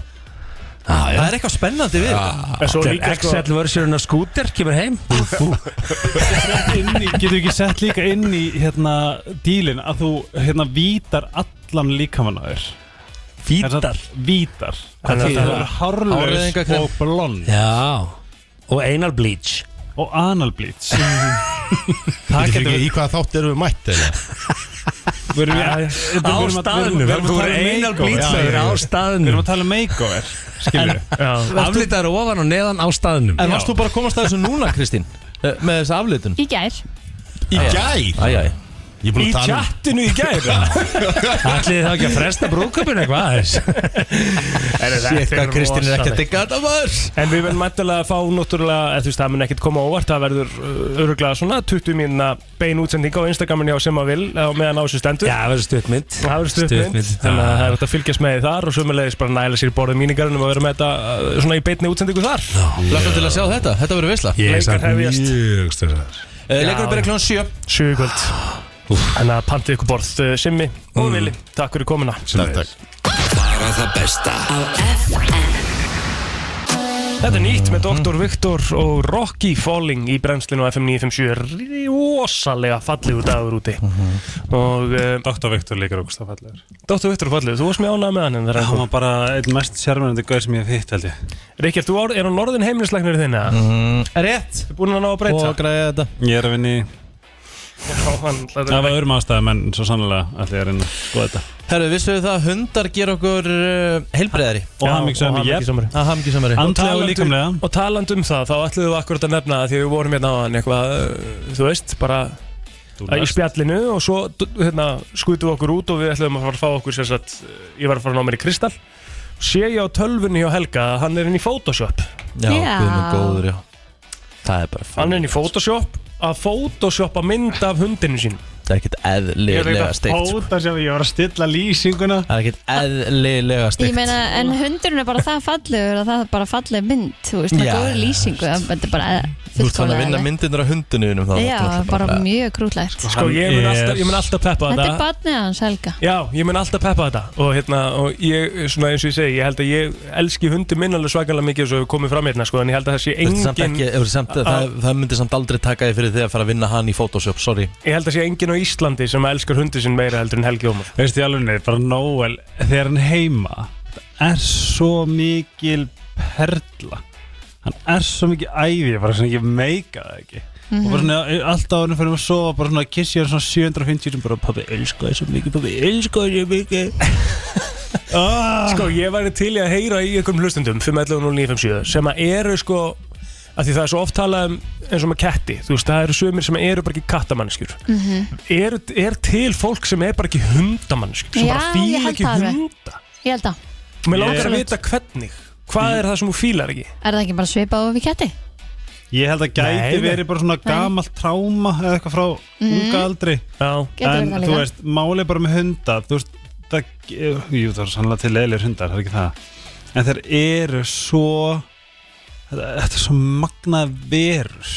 S9: Já,
S1: Það er eitthvað spennandi við þetta.
S5: En svo
S9: Þetta
S5: líka
S9: er
S5: sko
S9: Excel version af skúter kemur heim
S3: inn í, getur ekki sett líka inn í hérna dílin að þú hérna vítar allan líkamann á þér
S9: Vítar
S5: Vítar
S9: Hvað
S5: Þannig að
S9: þýðir
S5: það
S9: það?
S5: er hárlaus
S9: Háreyðingakrem.
S5: og blond
S9: Já Og anal bleach
S5: Og anal bleach
S13: Það getur ekki í hvaða þátt erum við mætt eða?
S5: Verum við-
S9: Á
S5: Við erum að-
S9: staðnum,
S5: við erum að
S9: þú
S5: tala
S9: er
S5: um
S9: anal
S5: makeover.
S9: bleach,
S5: Já,
S9: það er
S5: já,
S9: á
S5: já.
S9: staðnum.
S5: Við erum að tala um makeover Skilju
S9: Aflitaður ofan og neðan á staðnum
S1: En varst þú bara að komast að þessu núna, Kristín? Eh, Með þessu aflitun?
S4: Í gær
S1: Í
S13: gær?
S1: Æjæ
S13: Ég
S9: búin að Í tala um-
S5: Tinu í gæð
S9: Ætliði það ekki að fresta brúkupinu eitthvað aðeins
S5: Sér hvað Kristín er ekkert
S1: ekki að maður
S5: En við verðum mættilega að fá náttúrulega eða þú veist, það mun ekkert koma á óvart það verður öruglega svona 20 mínuna bein útsending á Instagramin hjá sem að vil á meðan á þessu stendur
S9: Já, það verður stuttmynd
S5: Það verður stuttmynd
S9: Stuttmynd,
S5: Þannig
S9: já.
S5: að það er hægt að fylgjast með því þar og sömulegis bara næla sér í borðið míningarinn um að vera með þetta uh, svona í beinni útsendingu þar
S1: Lakka til að sjá þetta, þetta verður veisla
S5: Ég er samt
S9: mjög stöðar
S1: Eh, leikurinn byrjar klukkan 7
S5: 7 kvöld Þannig að pantið ykkur borð uh, Simmi og
S1: Mm.
S5: Vili, takk fyrir komuna Takk, takk
S2: Bara það besta
S5: Þetta er nýtt með
S1: Mm.
S5: Dr. Viktor og Rocky Falling í brennslinu á FM 957 rosalega fallegur dagur úti
S1: Mhm.
S5: og uh,
S3: Dr. Viktor líkar okkur stað fallegur
S5: Dr. Viktor fallegur, þú varst mjög ánægð með hann en það er
S3: Það
S5: ennþá
S3: var bara einn mest sérmennandi gauð sem ég hef hitt held ég
S5: Ríkjart, þú ár- er á norðin heimilisleiknir þinn eða? Mm. Rétt Þú er búin að ná að breyta
S1: Og græði þetta
S3: Ég er að vinni í
S5: Já, hann
S3: Það var öðrum ástæðum en svo sannlega ætla ég að reyna að skoða þetta
S1: Herru, vissu við það að hundar gera okkur uh, heilbreyðari
S3: Og hamingjusamari,
S1: og hamingjusamari.
S5: jep.
S1: Ah, hamingjusamari.
S5: Andlega og um-
S3: líkamlega.
S5: Og taland um það, þá ætluðum við akkurat að nefna það því við vorum hérna á hann eitthvað, uh, þú veist, bara eh, í
S3: lest.
S5: spjallinu og svo d- hérna, skutum við okkur út og við ætluðum að fara að fá okkur sem sagt, uh, ég var að fara að ná mér í Kristall sé ég á tölvunni hjá Helga að hann er inn í Photoshop
S1: Já, Já. guð minn góður, já. Það er bara
S5: Hann er inn í Photoshop að Photoshopa mynd af hundinu sín
S1: Það er ekkert eðlilega steikt sko.
S5: Photoshop, ég var að stilla lýsinguna
S1: Það er ekkert eðlilega
S4: Ég
S1: steikt
S4: meina, en hundurinn er bara það fallegur og það er bara falleg mynd, þú veist, það
S1: Já,
S4: er góður lýsingu, það er
S1: Þú
S4: bara
S1: ert þannig að
S4: fullkomlega
S1: vinna
S4: eðlilegt.
S1: myndirnar á hundinu þínum þá
S4: Já,
S1: náttúrulega
S4: bara mjög krútlegar
S5: Sko ég mun alltaf, ég mun alltaf peppa
S4: Þetta er barnið hans Helga
S5: Já, ég mun alltaf peppa þetta og hérna, og ég, svona eins og ég segi ég held að ég elski hundi minn alveg svakalega mikið eins og hefur komið fram hérna, sko, en ég held að það sé
S1: Þetta er
S5: engin
S1: samt ekki, ef þú samt, það, það myndir samt aldrei taka þig fyrir því að fara að vinna hann í Photoshop, sorry
S5: Ég held að sé engin á Íslandi sem elskar hundi sinn meira heldur en Helgi Ómar
S3: Veist ég alveg neitt, bara Noel Þegar hann er heima Það er svo mikil perla Hann er svo mikil æði Bara svona ekki meika það ekki
S2: Mhm.
S3: Og bara svona alltaf hann fyrir að sofa Bara svona kissi hann svona 750 sem Bara pabbi, elska það svo mikið, pabbi, elska það svo Ah. mikið
S5: Sko, ég væri til í að heyra í einhverjum hlustendum 511-0957 sem að eru sko að því það er svo oft talað um eins og með ketti, þú veist, það eru sömur sem eru bara ekki kattamannskjur
S12: Mhm.
S5: er, er til fólk sem er bara ekki hundamannskjur sem bara fíla ekki hund
S4: Ég held að
S5: Mér langar að
S4: Absolutt.
S5: vita hvernig Hvað er það sem þú fílar ekki?
S4: Er það ekki bara svipað og við ketti?
S3: Ég held að gæti
S5: Nei, nei.
S3: verið bara svona gamalt tráma eða eitthvað frá
S4: Mhm.
S3: unga aldri
S5: Já.
S4: Getur
S3: En
S4: verið það
S3: þú
S4: líka.
S3: veist, máli bara með hunda Þú veist, það, jú það er sannlega til leðilegur hundar, það er ekki það En þeir eru svo Þetta þetta er svo magna verur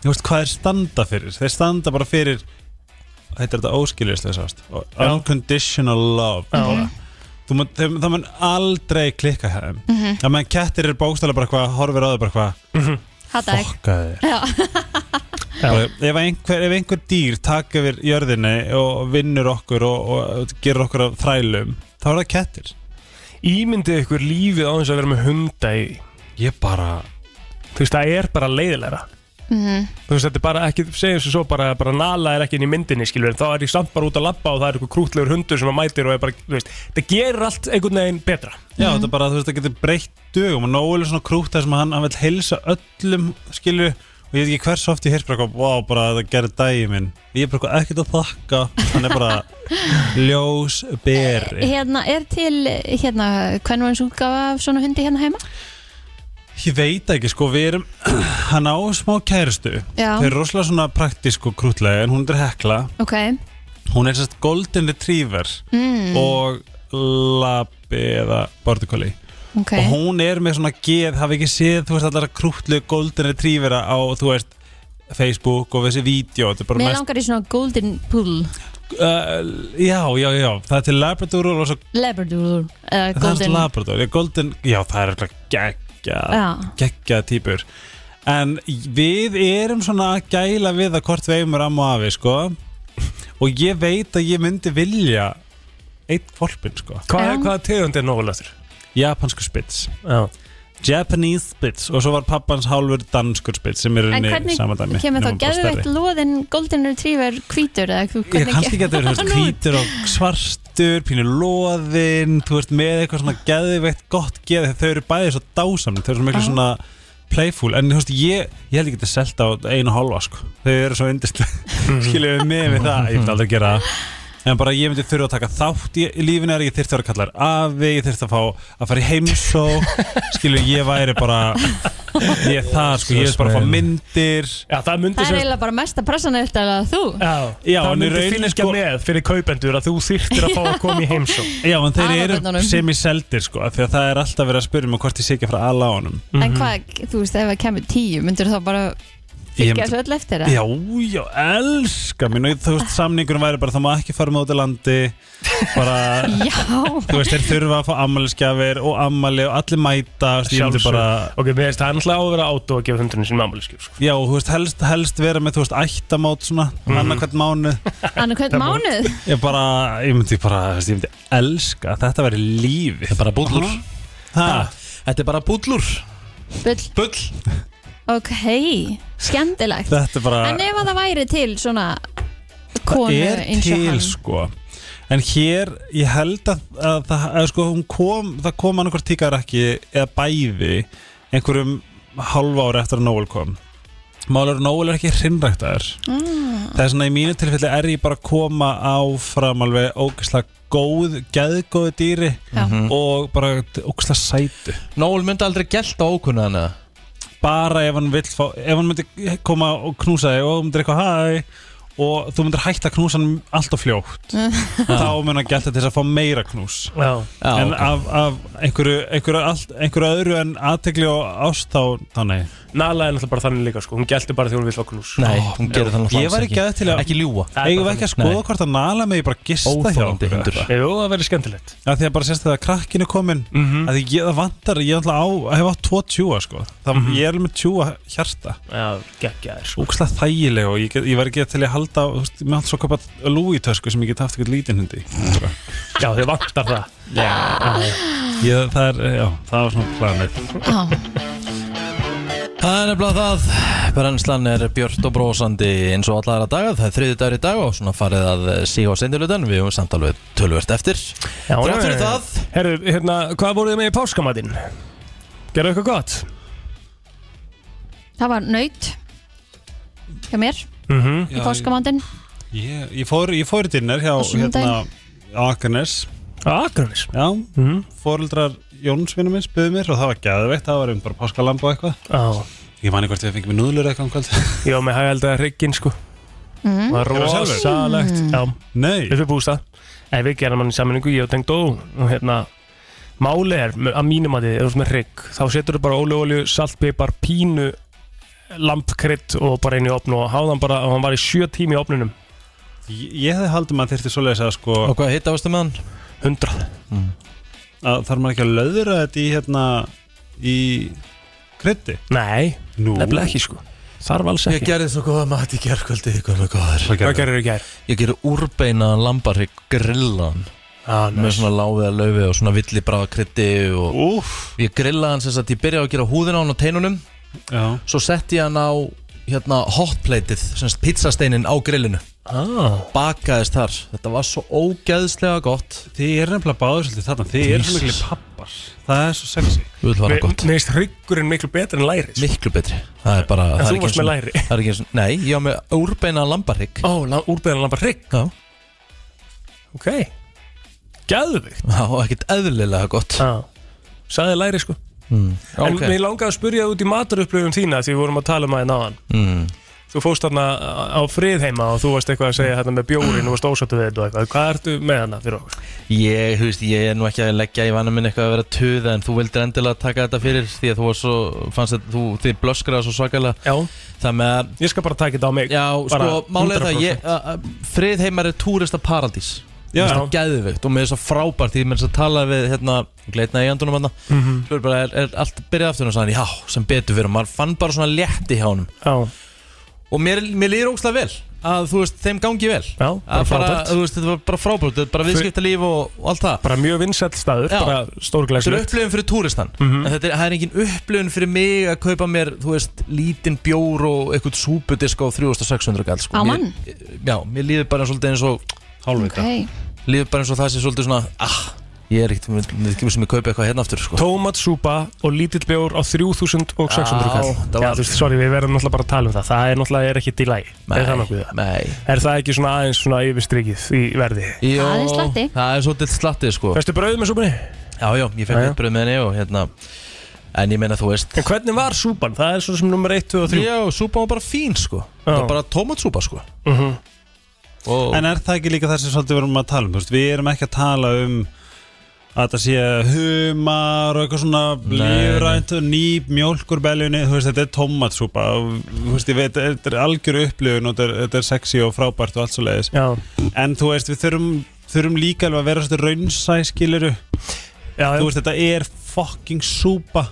S3: Þú veist, hvað þeir standa fyrir Þeir standa bara fyrir Heitir þetta óskiljuslega sást Unconditional love bara. Þú mun, þeim, það mun aldrei klikka hjá þeim
S4: Mhm.
S3: Það menn kettir er bókstæla bara hvað Horfir á þau bara hvað
S4: Hata ekki
S3: Gæðir
S4: Já,
S3: Bara, ef, einhver, ef einhver dýr taka yfir jörðinni og vinnur okkur og, og gerir okkur að þrælum þá er það kettir
S5: Ímyndið ykkur lífið á þess að vera með hunda í
S3: Ég bara
S5: Þú veist, það er bara leiðilegra
S4: Mhm.
S5: Þú veist, þetta er bara ekki, segjum sem svo bara, bara Nala er ekki inn í myndinni, skilur en þá er ég samt bara út að labba og það er eitthvað krútlegur hundur sem að mætir og er bara, þú veist, það gerir allt einhvern veginn betra
S3: Já, þetta er bara, þú veist, það getur breytt dögum og Nóel er svona krútt þar sem hann, hann vil heilsa öllum, skilju og ég veit ekki hversu oft ég heyrst bara eitthvað, wow, bara það gerir daginn minn ég er bara eitthvað ekkert að þakka hann er bara ljós beri
S4: hérna, er til hérna, hvernig var eins útgafa af svona hundi hérna heima?
S3: Ég veit það ekki, sko, við erum hann á smá kæristu
S4: Já.
S3: þau er rosalega svona praktísk og krútlega en hún er hekla
S4: Ok,
S3: hún er sérst golden retriever
S4: Mm.
S3: og labbi eða border collie
S4: ok
S3: og hún er með svona geð, hafi ekki séð þú veist allar krútlu golden retrievera á þú veist Facebook og þessi vídeo, þetta er bara
S4: Mér
S3: mest
S4: langar í svona golden pool
S3: uh, já, já, já, það er til Labrador og svo
S4: Labrador uh,
S3: það er
S4: Golden
S3: Labrador, já, golden já, það er eitthvað geggja
S4: Já.
S3: geggja típur en við erum svona að gæla við að hvort við eigum er amma og afi, sko og ég veit að ég myndi vilja
S5: eitt hvolpin sko. Hvað,
S12: Já.
S5: hvaða tegund er nógulegastur?
S3: Japansku spits Já. Japanese spits Og svo var pappans hálfur danskur spits Sem er
S4: En
S3: unni
S4: hvernig
S3: sama dæmi
S4: kemur
S3: nema
S4: þá
S3: bara
S4: geðveitt
S3: stærri.
S4: loðin Golden Retriever hvítur eða hv-
S3: Ég
S4: hvernig
S3: kannski getur, þú veist,
S4: Nú-
S3: hvítur og svartur, pínu loðinn, þú veist, með eitthvað svona geðveitt gott geð, þegar þau eru bæðið svo dásamni, þau eru svo miklu
S4: Já.
S3: svona playful, en þú veist, ég, ég held ég getið selt á einu og hálfa, sko, þau eru svo yndislega, skiljum við með við það, ég myndi aldrei gera það. En bara ég myndi þurfa að taka þátt í lífinu er ég þyrfti að vera kallar afi, ég þyrfti að fá að fara í heimsó skilur ég væri bara ég er það sko, ég er bara að fá myndir
S5: Já, það myndi
S4: Það er eiginlega bara mesta pressan eftir að þú
S5: Já,
S3: Já,
S5: það
S3: en í
S5: myndi
S3: rauninni,
S5: fylgja
S3: sko-
S5: með fyrir kaupendur að þú þyrtir að fá að koma í heimsó
S3: Já, en þeir eru
S4: Alabörnunum.
S3: sem í seldir sko af Því að það er alltaf verið að spyrja mig hvort ég sé ekki að fara ala á honum
S4: En hvað, þú veist, ef það kemur tíu myndir þá bara
S3: Ég
S4: fylgja
S3: myndi-
S4: þessu öll eftir
S3: Já, já, elska mín og þú veist, samningurum væri bara það má ekki fara með út í landi bara,
S4: Já
S3: þú veist, þeir þurfa að fá ammælisgjafir og ammæli og allir mæta þú veist, ég myndi
S5: Sjálfsög
S3: bara,
S5: Ok, við veist, hann hlaði á að vera átó að gefa hundurinn sín mammuliskjöf sko.
S3: já, þú veist, helst, helst vera með, þú veist, ættamót svona
S5: Mhm.
S3: mm. annarkvæmt mánu
S4: Annar hvern mánuð
S3: ég bara, ég myndi bara, þú veist, ég myndi elska að þetta væri lífi Þetta er bara
S1: búllur.
S3: Þetta er bara búllur
S4: Bull
S3: Bull
S4: Ok, skemmtilegt
S3: Þetta er bara
S4: En ef að það væri til svona konu
S3: það er
S4: eins og
S3: til
S4: hann
S3: sko en hér, ég held að, að, það, að sko, hún kom, það kom annarkvort tíkarakki eða bæði einhverjum halva ári eftir að Nóel kom Málur Nóel er ekki hrinnræktaður
S2: Mm.
S3: það er svona í mínu tilfelli er ég bara að koma áfram alveg ógeðslega góð, geðgóðu dýri
S1: Já. Mhm.
S3: og bara ógeðslega sætu
S1: Nóel myndi aldrei gælt á ókunna hana
S3: bara ef hann vill fá ef hann myndi koma og knúsa þig og þú myndir eitthvað hæ og þú myndir hætta að knúsa hann alltaf fljótt þá mun hann gæta til þess að fá meira knús
S5: Já. Já,
S3: en
S5: ok.
S3: af, af einhverju, einhverju, allt, einhverju öðru en aðtegli og ást þá, þá nei
S5: Nala er náttúrulega bara þannig líka sko. Hún gælti bara þegar hún vill fá knús
S1: Nei, hún gerir það náttúrulega
S3: ég var
S1: alls
S3: ekki að til að
S1: Ekki ljúga
S3: eigum við ekki að skoða
S1: Nei.
S3: hvort að nala mig bara gista hjá
S1: Óþolandi
S3: okkur
S1: hundur.
S3: eitthvað?
S5: Jú, það verður skemmtilegt Mhm.
S3: að því að bara sérst að krakkinu komin mm -hmm. að því ég, það vantar, ég ætla á að hefa tvo tjúa sko, það,
S5: Mhm.
S3: ég er alveg með tjúa hjarta
S5: Já, geggjaðir sko.
S3: úkslega þægileg og ég, get, ég var ekki til að halda á, þú veist, með allt svo kappa lúitösku sem ég get haft eitthvað lítinn hundi
S5: Já, þið vantar það
S3: Já, ég, það er, já, það var svona planið
S1: Það er nefnilega það Brennslan er björt og brósandi eins og allara daga Það er þriði dagur í dag og svona farið að síga á sendilutan Við höfum samt alveg tölvert eftir
S5: Já,
S1: Þrátt fyrir
S5: já, já.
S1: það
S5: Herru, hérna, hvað voruð þið með í páskamatinn? Gerðu eitthvað gott?
S4: Það var naut hjá mér
S5: Mm
S9: Mhm.
S5: -hmm.
S4: í páskamandinn
S3: Ég, ég, fór, ég fór í dinner hjá
S4: Á
S3: hérna,
S4: sunnudaginn?
S3: Akarnes
S5: Akarnes?
S3: Já, mm
S5: Mhm.
S3: fóreldrar Jónsvinni minn spöðu mér og það var gæðveitt, það var um bara páskalamb og eitthvað
S5: Já.
S3: Ég mani hvort ég fengi mig núðlur eitthvað um kvöld
S5: Já, með hægælda hrygginn sko
S4: Mm.
S5: var
S3: Gerðu það sjálfur?
S5: rosalegt Já,
S3: Nei
S5: Við fyrir bústað En við gerum hann í sammenningu, ég og tengd og og hérna Máli er, að mínum að þið, ef þú ert með hrygg þá setur þú bara óleolju, saltpipar, pínu lampkrydd og bara inn í opn og háðan bara, og hann var í sjö tími í opninum
S3: Ég, ég hefði haldið maður þyrfti svoleiðis að sko
S1: Og hvað hitta ástu með hann?
S5: 100
S1: Mm.
S3: að Þarf maður ekki að löðra þetta í hérna í krytti?
S5: Nei,
S3: Nú.
S5: nefnilega ekki sko Þarf alls
S1: Ég
S5: ekki
S1: gerði svo góða mat í gerkvöldi Hvað með góðar
S5: Hvað gerir þú gær?
S1: Ég gerði úrbeinaðan lambarhygg grillan
S5: ah,
S1: Með svona láfiða laufi og svona villi bráða krytti og
S3: Úf.
S1: Ég grillaði hann sem sagt, ég byrjaði að gera húðina á hann og teinunum
S3: Já.
S1: Svo setti ég hann á hérna hotplateið, sem sagt pizzasteinin á grillinu
S5: ah.
S1: Bakaðist þar, þetta var svo ógeðslega gott
S3: Þið er nefnilega báður svolítið þarna, þið er svo miklu pappar Það er svo sexy
S1: Þú vil vara gott
S5: Mér finnst hryggurinn miklu betur en læri sko.
S1: Miklu betri Það er bara
S5: En
S1: það er
S5: þú
S1: ekki
S5: varst
S1: einu
S5: með
S1: sinni-
S5: læri.
S1: Það er ekki eins og Nei, ég var með úrbeina lambarhygg
S5: Ó, la, úrbeðan lampa hrygg
S1: Já
S5: Ok Gæðvikt
S1: Já, ekkert eðlilega gott
S5: Já Sæði læri sko
S1: mm.
S5: Ah. En
S1: ok.
S5: mér langaði að spurja út í matarupplöfum þína því við vorum að tala um aðeins náðan
S1: mm.
S5: Þú fóst þarna uh, á friðheima og þú varst eitthvað að segja hérna með bjórin og varst ósattu við þetta og eitthvað Hvað ertu með hana fyrir okkur?
S1: Ég, þú veist, ég er nú ekki að leggja í vanna minn eitthvað að vera tuða En þú vildir endilega taka þetta fyrir Því að þú var svo, fannst að þú, þið blöskraði svo svakalega
S5: Já
S1: Það með að
S5: Ég skal bara taka þetta á mig
S1: Já,
S5: Bara
S1: sko, málið er það
S5: 100%.
S1: ég, uh, að- að Friðheimar er túrista paradís
S5: Já.
S1: Það er gæðvikt og mér er svo frábært Því mér er svo talað við, hérna, gleitna í andunum hann
S5: Mhm.
S1: Spurði bara, er, er allt byrjað aftur og sagði, hann, já, sem betur fyrir og maður fann bara svona létti hjá honum
S5: Já.
S1: og mér, mér líður ógslag vel að þú veist, þeim gangi vel Já,
S5: bara frábært.
S1: Þú veist, þetta var bara frábært, þetta var bara
S5: Þau-
S1: viðskiptalíf og, og allt það
S5: Bara mjög vinsæll staður,
S1: Já.
S5: bara
S1: Þetta er
S5: stórglæslegt
S1: upplifun fyrir túristan
S5: Mhm.
S1: En þetta er, það er engin upplifun fyrir mig að kaupa mér, þú veist, lítinn bjór og eitthvað súpudisk á 3600 gall sko.
S4: Á
S1: Mér-
S4: mann?
S1: Já, mér líður bara svolítið eins og Hálfvita
S4: Ok.
S1: Líður bara eins og það sé svolítið svona, ah, ég er ekkert, mér kemur sem ég kaupa eitthvað hérna aftur sko.
S5: Tómatsúpa og lítill bjór á
S1: Já,
S5: 3600 kall
S1: það var-
S5: Já, þú veist, sorry, við verðum náttúrulega bara að tala um það Það er náttúrulega er ekki í lagi
S1: Nei,
S5: Er það nokkuð?
S1: Nei
S5: Er það ekki svona aðeins svona yfirstrikið í verði?
S1: Jó, Það er svolítið slatti sko
S5: Festu brauð með súpunni?
S1: Já, já, ég fekk
S5: Já, já.
S1: mitt bröð með henni og hérna En ég meina þú veist
S5: En hvernig var súpan? Það er svona sem nummer 1, 2 og 3
S1: Já, súpan var bara fín sko Það var bara tómatsúpa sko
S3: Mhm.
S1: og...
S3: En er það ekki líka það sem svolítið við erum að tala um þú veist? Við erum ekki að tala um að það sé humar og eitthvað svona lífrænt og nýp mjólkur beljunni, þú veist þetta er tomatsúpa og þú veist ég veit, þetta er algjör upplifun og þetta er, þetta er sexy og frábært og allt svo leiðis
S5: Já.
S3: en þú veist við þurfum, þurfum líka alveg að vera svolítið raunsæ skiluru
S5: Já,
S3: þú veist þetta er fucking súpa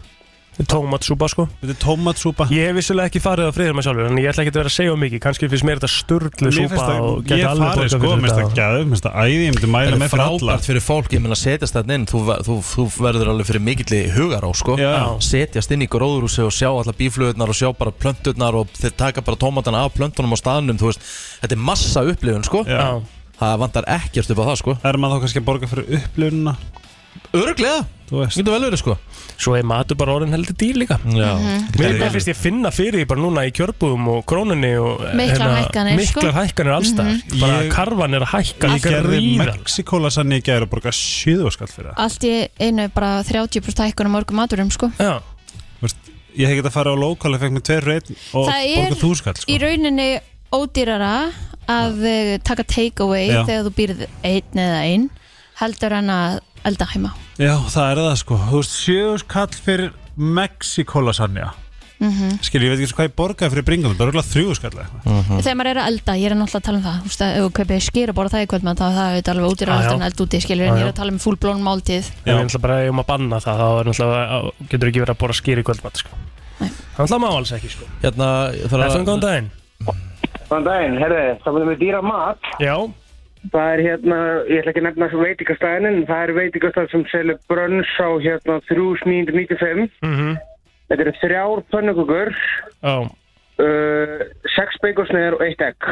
S5: Tómatsúpa sko
S3: Þetta er tómatsúpa
S5: Ég hef vissulega ekki farið á friðar maður sjálfur En ég ætla ekki að vera að segja of mikið Kanski finnst mér þetta sturlu
S3: Mér
S5: súpa
S3: finnst það-
S5: og gæti
S3: ég
S5: alveg
S3: farið,
S5: borgað
S3: sko,
S5: fyrir
S3: mér finnst
S5: þetta.
S3: það geðveikt, mér finnst það æði, ég myndi mæla
S1: Það
S3: með
S1: er
S3: fyrir alla.
S1: frábært fyrir fólk, ég meina setjast þarna inn þú, þú, þú verður alveg fyrir mikilli hugar á sko
S3: Já.
S1: Setjast inn í gróðurúsi og sjá alla bíflöðunar og sjá bara plönturnar og þeir taka bara tómatana af plöntunum á staðnum þú veist, Þetta er massa upplifun sko
S3: Já.
S1: Það vantar ekkert upp á það sko
S3: Er maður þá kannski að borga fyrir upplifunina?
S1: Örglega, getur vel verið sko
S5: Svo er matur bara orðin heldur dýr líka
S1: Já
S4: Mhm.
S5: Mér mér finnst ég finna fyrir því bara núna í kjörbúðum og krónunni og eh,
S4: Miklar hækkanir, sko.
S5: Hérna, Miklar hækkanir allstar
S4: Mhm.
S5: Bara
S3: Ég-
S5: karfan er að hækka
S3: Ég
S5: líka
S3: gerði
S5: ríðar
S3: Mexikóla sann ég gerði að borga 7 skall fyrir það
S4: Allt í einu bara 30% hækkun á mörgum maturum sko
S5: Já.
S3: Vist, Ég hef getað að fara á lokal ég fekk mér 2 reyn og
S4: Það er
S3: borga 1000 skall
S4: í
S3: sko.
S4: rauninni ódýrara að eh, taka take away
S3: Já.
S4: þegar þú býrð einn eða einn heldur en að elda heima
S3: Já, það er það sko Þú veist, 7 skall fyrir Mexikóla sann já
S4: mm
S3: Skil, ég veit ekki eins og hvað ég borgaði fyrir bringum Það er örugglega 3 skall eða eitthvað.
S4: Þegar maður er að elda, ég er náttúrulega að tala um það Þú veist að ef þú kaupir skýr og borða það í kvöld þá er það auðvitað alveg ódýrara
S5: Já, já.
S4: heldur en eld úti skilur en
S5: Já,
S4: ég
S5: já.
S4: er að tala um fullblón máltíð
S5: Ég er náttúrulega bara um að banna það þá er náttúrulega, getur ekki verið að bora skýri kvöldmatt sko. Það er náttúrulega má alls ekki sko.
S1: Hérna, það
S5: er góðan daginn
S14: Góðan daginn, herðu, það verður með dýra mat.
S5: Já.
S14: Það er hérna, ég ætla ekki að nefna sem veitingastæðin, en það er veitingastæð sem selur brönns á hérna 3995.
S5: Mhm.
S14: Þetta eru þrjár pönnukukur,
S5: Já.
S14: uh, sex beigosneiðar og eitt egg.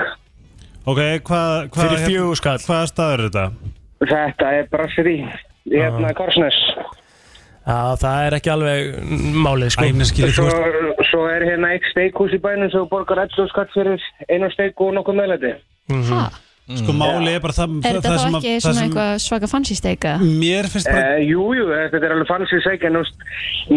S3: Ok, hvað hva,
S14: Fyrir fjögur
S3: skall Hvaða staður er þetta?
S14: Þetta er brasseri, hérna
S5: Já.
S14: Korsnes.
S5: Já, það er ekki alveg málið sko.
S14: svo, svo er hérna eitt steikhús í bænum sem þú borgar 11 skatt fyrir einu steik og nokkuð meðlæti.
S3: Sko, máli er bara það
S4: Er þetta
S3: það sem að-
S4: þá ekki
S3: það
S4: svona
S3: sem-
S4: eitthvað svaka fancy steak eða?
S3: Mér finnst
S14: bara... Eh, jú, jú, þetta er alveg fanns í segja, en þú veist,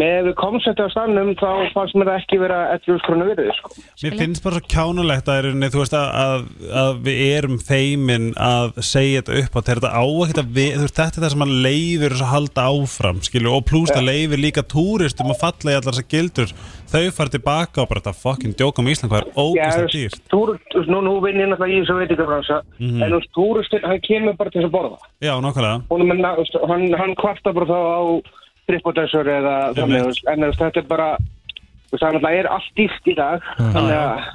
S14: með við komsættu á stannum, þá fannst mér það ekki vera 11 krónu virðið, sko.
S3: Mér finnst bara svo kjánulegt að, rauninni, þú veist, að, að, að við erum feimin að segja þetta upp á þetta á ekkert að við, þú veist, þetta er það sem að leifir að halda áfram, skilju, og pluss það leifir líka túristum að falla í allar þessar gildur þau fara tilbaka og bara þetta fucking djóka um Ísland, hvað er ógæslega
S14: Já,
S3: dýrt
S14: túr, nú, nú vinn ég náttúrulega í þessu veitingabransa
S3: Mhm.
S14: en þú veist, túristinn, hann kemur bara til þess að borða
S3: Já, nákvæmlega
S14: Hún er með ná- þú veist, hann, hann kvarta bara þá á trippodessur eða þannig, þú veist, en þú veist, þetta er bara þú veist, það náttúrulega er allt dýrt í dag þannig að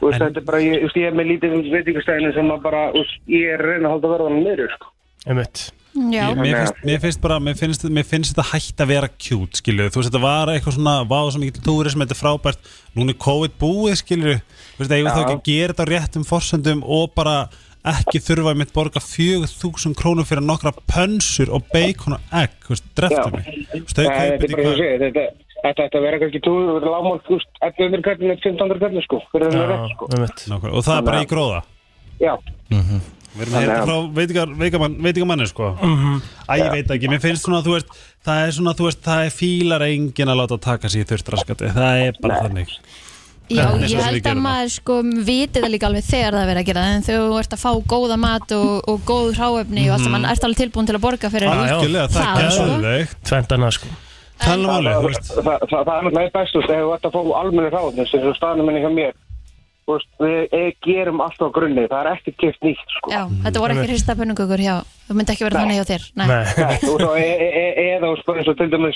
S14: þú veist, þetta er bara, ég, þú veist, ég er með lítið veitingastæðinu sem að bara, þú veist, ég er að reyna að halda verðan niður, sko
S5: Einmitt.
S4: Já.
S3: Ég- Mér finnst, mér finnst bara, mér finnst, mér finnst þetta hætt að vera kjút, skilju, þú veist, þetta var eitthvað svona, vá, sem ekki túrism, þetta er frábært núna er COVID búið, skilju þú veist, eigum
S14: Já.
S3: þá ekki að gera þetta á réttum forsendum og bara ekki þurfa mitt borga 4.000 krónur fyrir nokkra pönsur og bacon og egg, þú veist, dreftu mig þú veist, þau
S14: Það er
S3: kaupið
S14: bara þess að segja, þetta Þetta ætti að vera kannski túr, þetta er lágmál, þú veist, 1100 kallin, 1500 kallin, sko, fyrir þess að vera, sko.
S3: Nákvæmlega, og það er bara í gróða
S14: Já.
S3: Við erum að heyra þetta frá veitingar- veikamann- veitingamanni sko
S5: Mhm.
S3: Æ, ég veit ekki, mér finnst svona, þú veist það er svona, þú veist, það er fílar engin að láta taka sér í þurftraskati, það er bara þannig
S4: Já,
S3: Nei,
S4: ég
S3: svo sem við
S4: held að
S3: gerum það.
S4: maður sko viti það líka alveg þegar það er verið að gera það, en þegar þú ert að fá góða mat og, og góð hráefni og allt
S5: Mhm.
S4: það, mann ert alveg tilbúin til að borga fyrir
S5: Algjörlega, það er Mm,
S4: sko.
S5: geðveikt. Tvennt annað sko.
S3: Tala
S14: máli, þú veist. Það það- það er náttúrulega eitt bestu, þegar þú ert að fá almenni ráðnir, sem þú staðnum minni hjá mér. Þú þú veist, við eh, gerum allt á grunni, það er ekkert keft nýtt sko.
S4: Já, þetta voru ekki hrista pönnungugur hjá Það myndi ekki vera þannig hjá þér Nei.
S14: Nei, og svo e e e eða sko, eins og til dæmis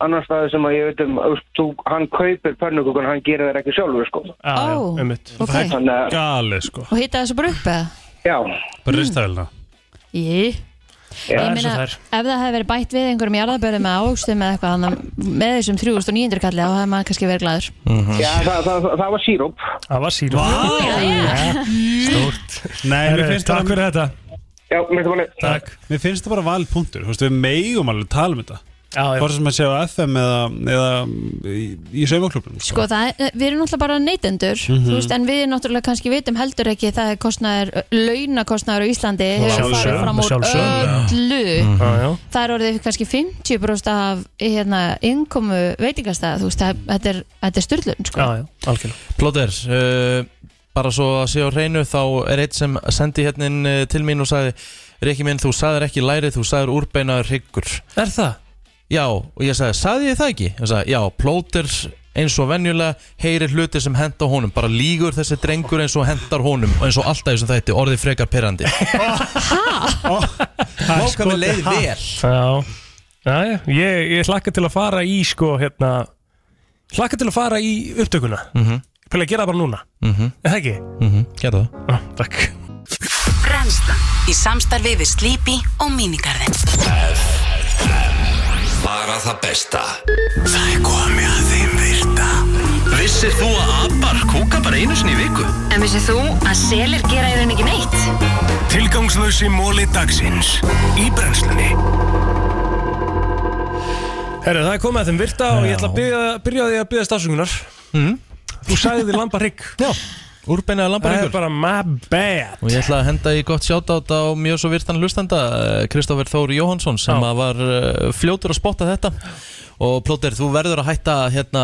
S14: annar staði sem að ég veit um þú veist, þú- hann kaupir pönnugukun, hann gerir þær ekki sjálfur sko.
S4: já, Ó, einmitt. ok.
S14: Þannig að-
S3: Gali sko
S4: Og hýta þessu bara upp eða?
S14: Já
S3: Bara ristavelna
S4: Jí
S3: Já,
S4: Ég
S3: eins og
S4: meina,
S3: þær.
S4: ef það hefði verið bætt við einhverjum jarðabörðum með ágstum eða eitthvað þannig með þessum 3900 kalli þá hefði maður kannski verið glæður
S14: Já, það, það, það, það var síróp
S5: Mhm. Það var síróp
S3: Stort Nei,
S5: Herru, takk fyrir þetta
S14: Já, mér finnst
S3: það Mér finnst það bara valið punktur Þú veist, við megum alveg tala um þetta
S5: já.
S3: Hvort sem að séu á FM eða, eða í, í saumaklubunum
S4: Sko það, er- við erum náttúrulega bara neytendur
S3: Mhm.
S4: þú veist, en við náttúrulega kannski vitum heldur ekki það er kostnaður, launakostnaður á Íslandi hefur farið
S5: Sjálfsögðu,
S4: fram úr
S5: sjálfsögðu.
S4: öllu
S11: Mhm.
S5: Já, já.
S4: það er orðið kannski 50% af hérna, innkomu veitingastæða þú veist, það, þetta er, þetta er styrlun sko.
S1: algjörlega Plóter, uh, bara svo að sé á hreinu þá er eitt sem sendi hérna inn eh, til mín og sagði Rikki minn, þú sagðir ekki læri, þú sagðir úrbeinaður hryggur
S5: Er það?
S1: Já, og ég sagði, sagði ég það ekki? Ég sagði, já, Plóter eins og venjulega heyrir hluti sem henda honum bara lígur þessi drengur eins og hendar honum og eins og alltaf þessum þætti, orðið frekar perrandi
S11: Ah.
S1: Móka með leið vel
S5: Já, já, já. Ég, ég hlakka til að fara í sko hérna Hlakka til að fara í upptökuna mm -hmm. Ég vil að gera það bara núna
S1: Mhm.
S5: Er það ekki?
S1: Mhm, Gerðu það
S5: Ah, takk
S15: Brennslan í samstarfi við Sleepy og Minigarðin
S2: Bara það besta Það er komið að þeim virta Vissir þú að abar kúka bara einu sinni í viku?
S7: En vissið þú að selir gera í raun ekki neitt?
S2: Tilgangslösi móli dagsins Í brennslunni
S5: Herru, það er komið að þeim virta og ég ætla að byrja, byrja á því að byrja stafsöngunar
S14: Mm.
S1: Mhm.
S5: Þú sagði því lambarygg
S1: Já, úrbeinaður lambaryggur
S5: Það er bara my bad
S1: Og ég ætla að henda í gott sjátátt á mjög svo virtan hlustenda eh, Kristófer Þór Jóhansson sem að var eh, fljótur að spotta þetta og Plóter, þú verður að hætta að hérna,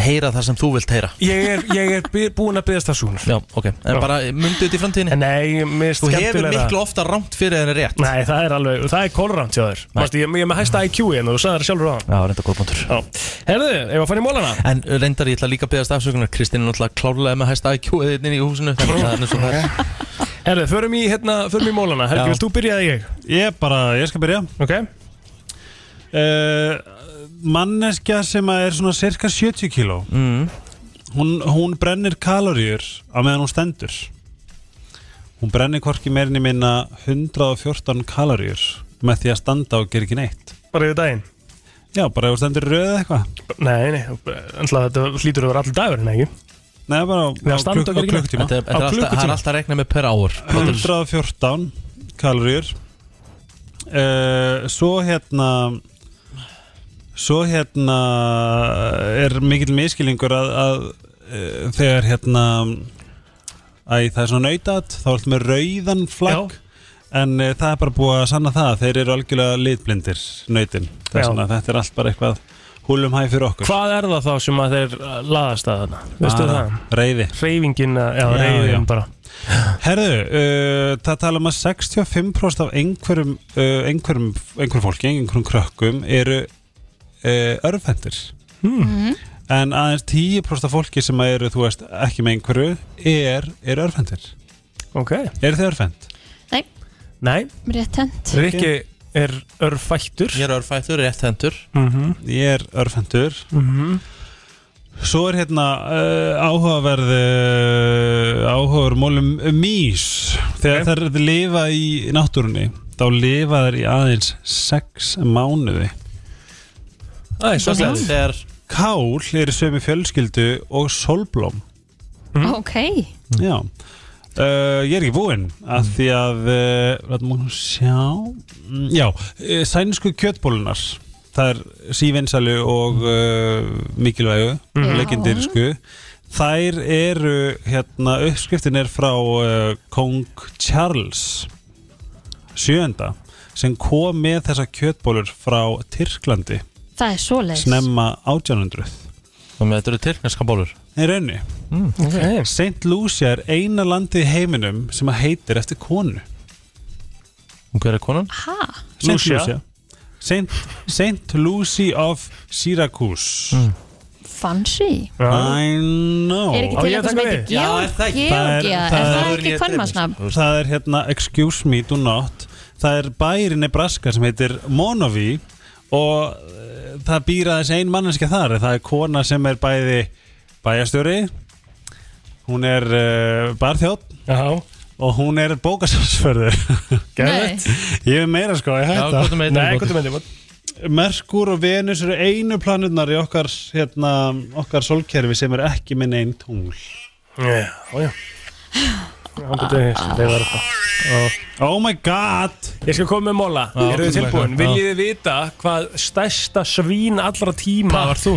S1: heyra það sem þú vilt heyra
S5: Ég er, ég er by- búinn að byrja stafsöngunar
S1: Já, ok, en bara myndu þetta í framtíðinni
S5: Nei, mér
S1: Þú hefur miklu ofta rámt fyrir en er rétt
S5: Nei, það er alveg, það er kolræmt hjá þér Mástu, ég, ég er með hæsta IQ hérna, þú sagði það sjálfur á hann
S1: Já, reynda góð punktur
S5: Herðu, ef að fann í mólana
S1: En reyndar ég ætla líka að beðast afsökunar Kristín er náttúrulega klárlega með hæsta IQ eða inn í húsinu Þannig að það er eins og það er
S5: Herðu, förum í, hérna, förum í mólana
S3: Já.
S5: Helgi, vilt þú byrja eða ég?
S3: Ég bara, ég skal byrja Eh,
S5: Ok
S3: Manneskja sem að er svona cirka 70 kíló mm. hún, hún brennir kaloríur á meðan hún stendur Hún brennir hvorki meirinni minna 114 kaloríur með því að standa og gera ekki neitt
S5: Bara yfir daginn?
S3: Já, bara ef hún stendur röð eða eitthvað
S5: Nei, nei, ennlega þetta hlýtur að vera allir dagurinn, ekki?
S3: Nei, bara á,
S5: Við að standa og gera ekki neitt.
S3: klukkutíma
S5: Þetta er- þetta er alltaf- það er alltaf
S1: að rekna með per ár
S3: 114 kaloríur uh, Svo hérna Svo hérna er mikill miskilingur að, að uh, þegar hérna Æ, það er svona nautat þá er alltaf með rauðan flagg en uh, það er bara búið að sanna það þeir eru algjörlega litblindir nautin
S5: Já.
S3: þess að þetta er allt bara eitthvað húlum hæg fyrir okkur
S5: Hvað er það þá sem að þeir uh, laðast að þarna? Veistu
S3: Bara
S5: það?
S3: Reyði
S5: Reyfingin, já,
S3: Ah, Já,
S5: reyfingin
S3: já.
S5: bara
S3: Herðu, uh, það tala um að 65% af einhverjum, uh, einhverjum, einhverjum fólki, einhverjum krökkum eru uh, örfendir
S5: Hmm.
S2: Mhm.
S3: en aðeins 10% af fólki sem eru, þú veist, ekki með einhverju er, er örfendir
S5: Ok
S3: Er þið örfend?
S4: Nei,
S5: Nei
S4: rétt hend
S5: er örfættur
S1: Ég er örfættur, rétt hendur
S5: Mhm.
S3: Ég er örfendur
S5: Mhm.
S3: Svo er hérna uh, áhugaverð uh, áhugaverð mólum um mís þegar okay. þær lifa í náttúrunni þá lifa þær í aðeins 6 mánuði
S5: Æ, svo
S1: svolítið. Þegar
S3: Kál eru sömu fjölskyldu og solblóm
S4: Ok,
S1: Mm.
S3: Já Uh, ég er ekki búinn að því að uh, látum okkur sjá Mm, já, eh, sænsku kjötbólunar það er sívinsælu og uh, mikilvægu
S2: Mhm.
S3: legendirsku þær eru hérna uppskriftin er frá uh, Kong Charles sjönda sem kom með þessa kjötbólur frá Tyrklandi
S4: það er svoleiðis
S3: snemma 1800
S1: Og með þetta eru tyrkneska bólur
S3: Nei, raunni
S1: mm,
S5: okay.
S3: St. Lucia er eina landið í heiminum sem að heitir eftir konu
S1: Og hver er konan?
S4: Ha?
S3: St.
S1: Lucia. Mm.
S3: Lucia St. St. Lucy of Syracuse
S4: Fancy
S3: I know
S4: Er ekki til eitthvað sem heitir Georg- Georgia? Er það ekki kvenmannsnafn?
S3: Það er hérna, excuse me, do not Það er bæri Nebraska sem heitir Monoví og eh, það býr aðeins ein manneska þar það er kona sem er bæði bæjastjóri hún er uh, barþjótt
S5: Já.
S3: og hún er bókasafsförður
S5: Geðveikt.
S3: Ég er meira sko, ég
S5: Já,
S3: hætta
S5: hvað er með einni Nei, viðbót? hvað er með
S3: Merkur og Venus eru einu planurnar í okkar, hérna, okkar solkerfi sem er ekki minn einn tungl
S5: Já, já
S3: Oh my god
S5: Ég skal koma með móla
S3: Já.
S5: Eru þið tilbúin?
S3: Já.
S5: Viljið þið vita hvað stærsta svín allra tíma Hvað var þú?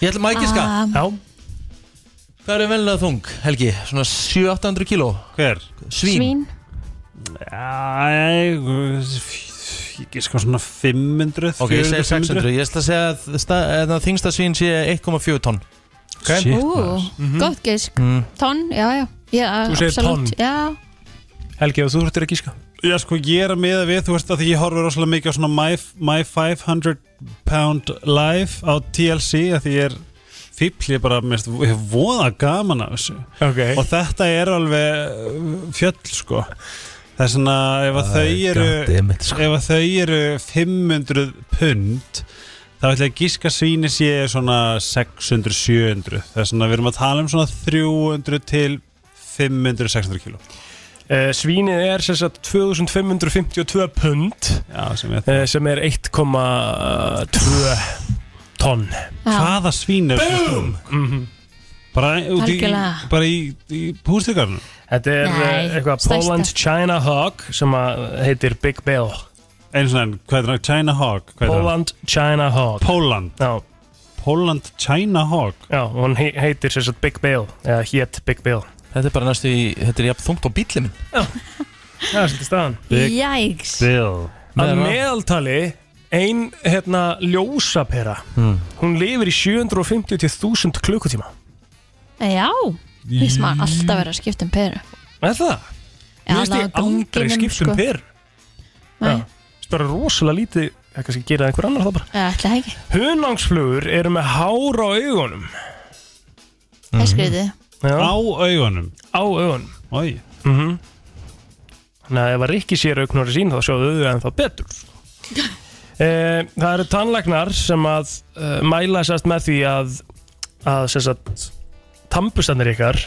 S1: Ég ætla maður ekki
S5: Ah.
S1: ská
S5: Já
S1: Hvað eru venlega þung, Helgi? Svona 700-800 kíló
S3: Hver?
S1: Svín,
S3: Æ, ég gíska svona 500
S1: Ok, ég segi
S3: 400,
S1: 600 Ég ætla að segja að sta- að það þingsta svín sé 1,4 tonn
S3: okay.
S4: Ú, gott gisk
S1: Mm.
S4: Tonn, já, já, já
S5: Mhm. Þú segir
S4: absolutt,
S5: tonn.
S4: Já,
S5: Helgi, ef þú þurftir að gíska
S3: Já, sko, ég er að miða við, þú veist að því ég horfur rosalega mikið á svona my, my 500 pound live á TLC að því ég er fíbl, ég er bara, mér finnst, ég hef voða gaman af þessu
S5: okay.
S3: og þetta er alveg uh, fjöll, sko það er svona, ef að
S1: Æ,
S3: þau eru
S1: goddammit, sko.
S3: ef að þau eru 500 pund þá ætla ég að gíska svíni sé svona 600-700 það er svona, við erum að tala um svona 300 til 500-600 kíló
S5: Eh, Svínið er sem sagt 2552 pund
S3: Já, sem,
S5: er. sem er 1,2 tonn
S3: Hvaða svín er
S5: Boom! Mhm.
S3: Bara, út í,
S5: Algjörlega.
S3: bara í, í hústíkarnu
S5: Þetta er
S3: Nei,
S5: eh, eitthvað
S3: stærsta.
S5: Poland China Hog sem að heitir Big Bill
S3: Einu svona, hvað er það? China Hog hvað er það?
S5: Poland China Hog
S3: Poland
S5: Já
S3: Poland China Hog
S5: Já, og hún he- heitir sem sagt Big Bill eða hét Big Bill
S1: Þetta er bara næstu í, þetta er jafn þungt á bíli minn
S5: Já, þetta er staðan
S4: Big Jæks.
S3: Bill
S5: Að
S1: Meðal-
S5: meðaltali ein hérna ljósapera
S3: Hmm.
S5: hún lifir í 750 til 1000 klukkutíma
S4: já Við sem að alltaf vera að skipta um peru
S5: Er það? Mér
S4: Já,
S5: finnst
S4: það
S5: ég
S4: var dunginum,
S5: aldrei skipt um
S4: sko.
S5: per
S4: Nei.
S5: Já, það er rosalega lítið ég kannski gera einhver annar það bara
S4: Það ætla ekki,
S5: Hunangsflugur eru með hár á augunum Mhm.
S4: það er skriðið
S5: Já.
S3: Á augunum
S5: Á augunum
S3: Ói
S5: mm Þannig að ef að Rikki sér augnur sín þá sjáðu auðu en þá betur e, Það eru tannlæknar sem að e, mæla sérst með því að að sérst tampustanir ykkar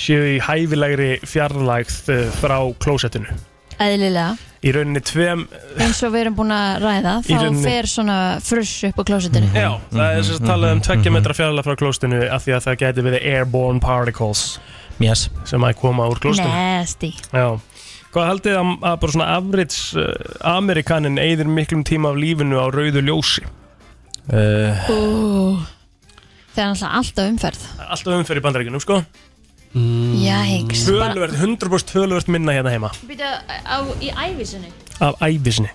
S5: séu í hæfilegri fjarlægð eh, frá klósettinu
S4: Eðlilega,
S5: í rauninni tveim eh,
S4: eins og við erum búin að ræða
S5: Í
S4: þá
S5: rauninni. Mhm.
S4: fer svona fruss upp á klósitinu
S5: Já, það er
S3: Mhm,
S5: sérst talað um 2 metra fjarlægð frá klósettinu af því að það gæti verið airborne particles
S1: yes.
S5: sem að koma úr klósettinu
S4: Nasty
S5: Já, hvað haldið að, að bara svona afrits uh, Amerikanin eyðir miklum tíma af lífinu á rauðu ljósi?
S3: Eh.
S1: Uh,
S4: Ú, Það er alltaf alltaf umferð
S5: alltaf umferð í bandaríkunum, sko
S4: mm. Jæks
S5: Tölvert, 100% tölvert minna hérna heima
S4: Býta á, í ævisinu
S5: af ævisinni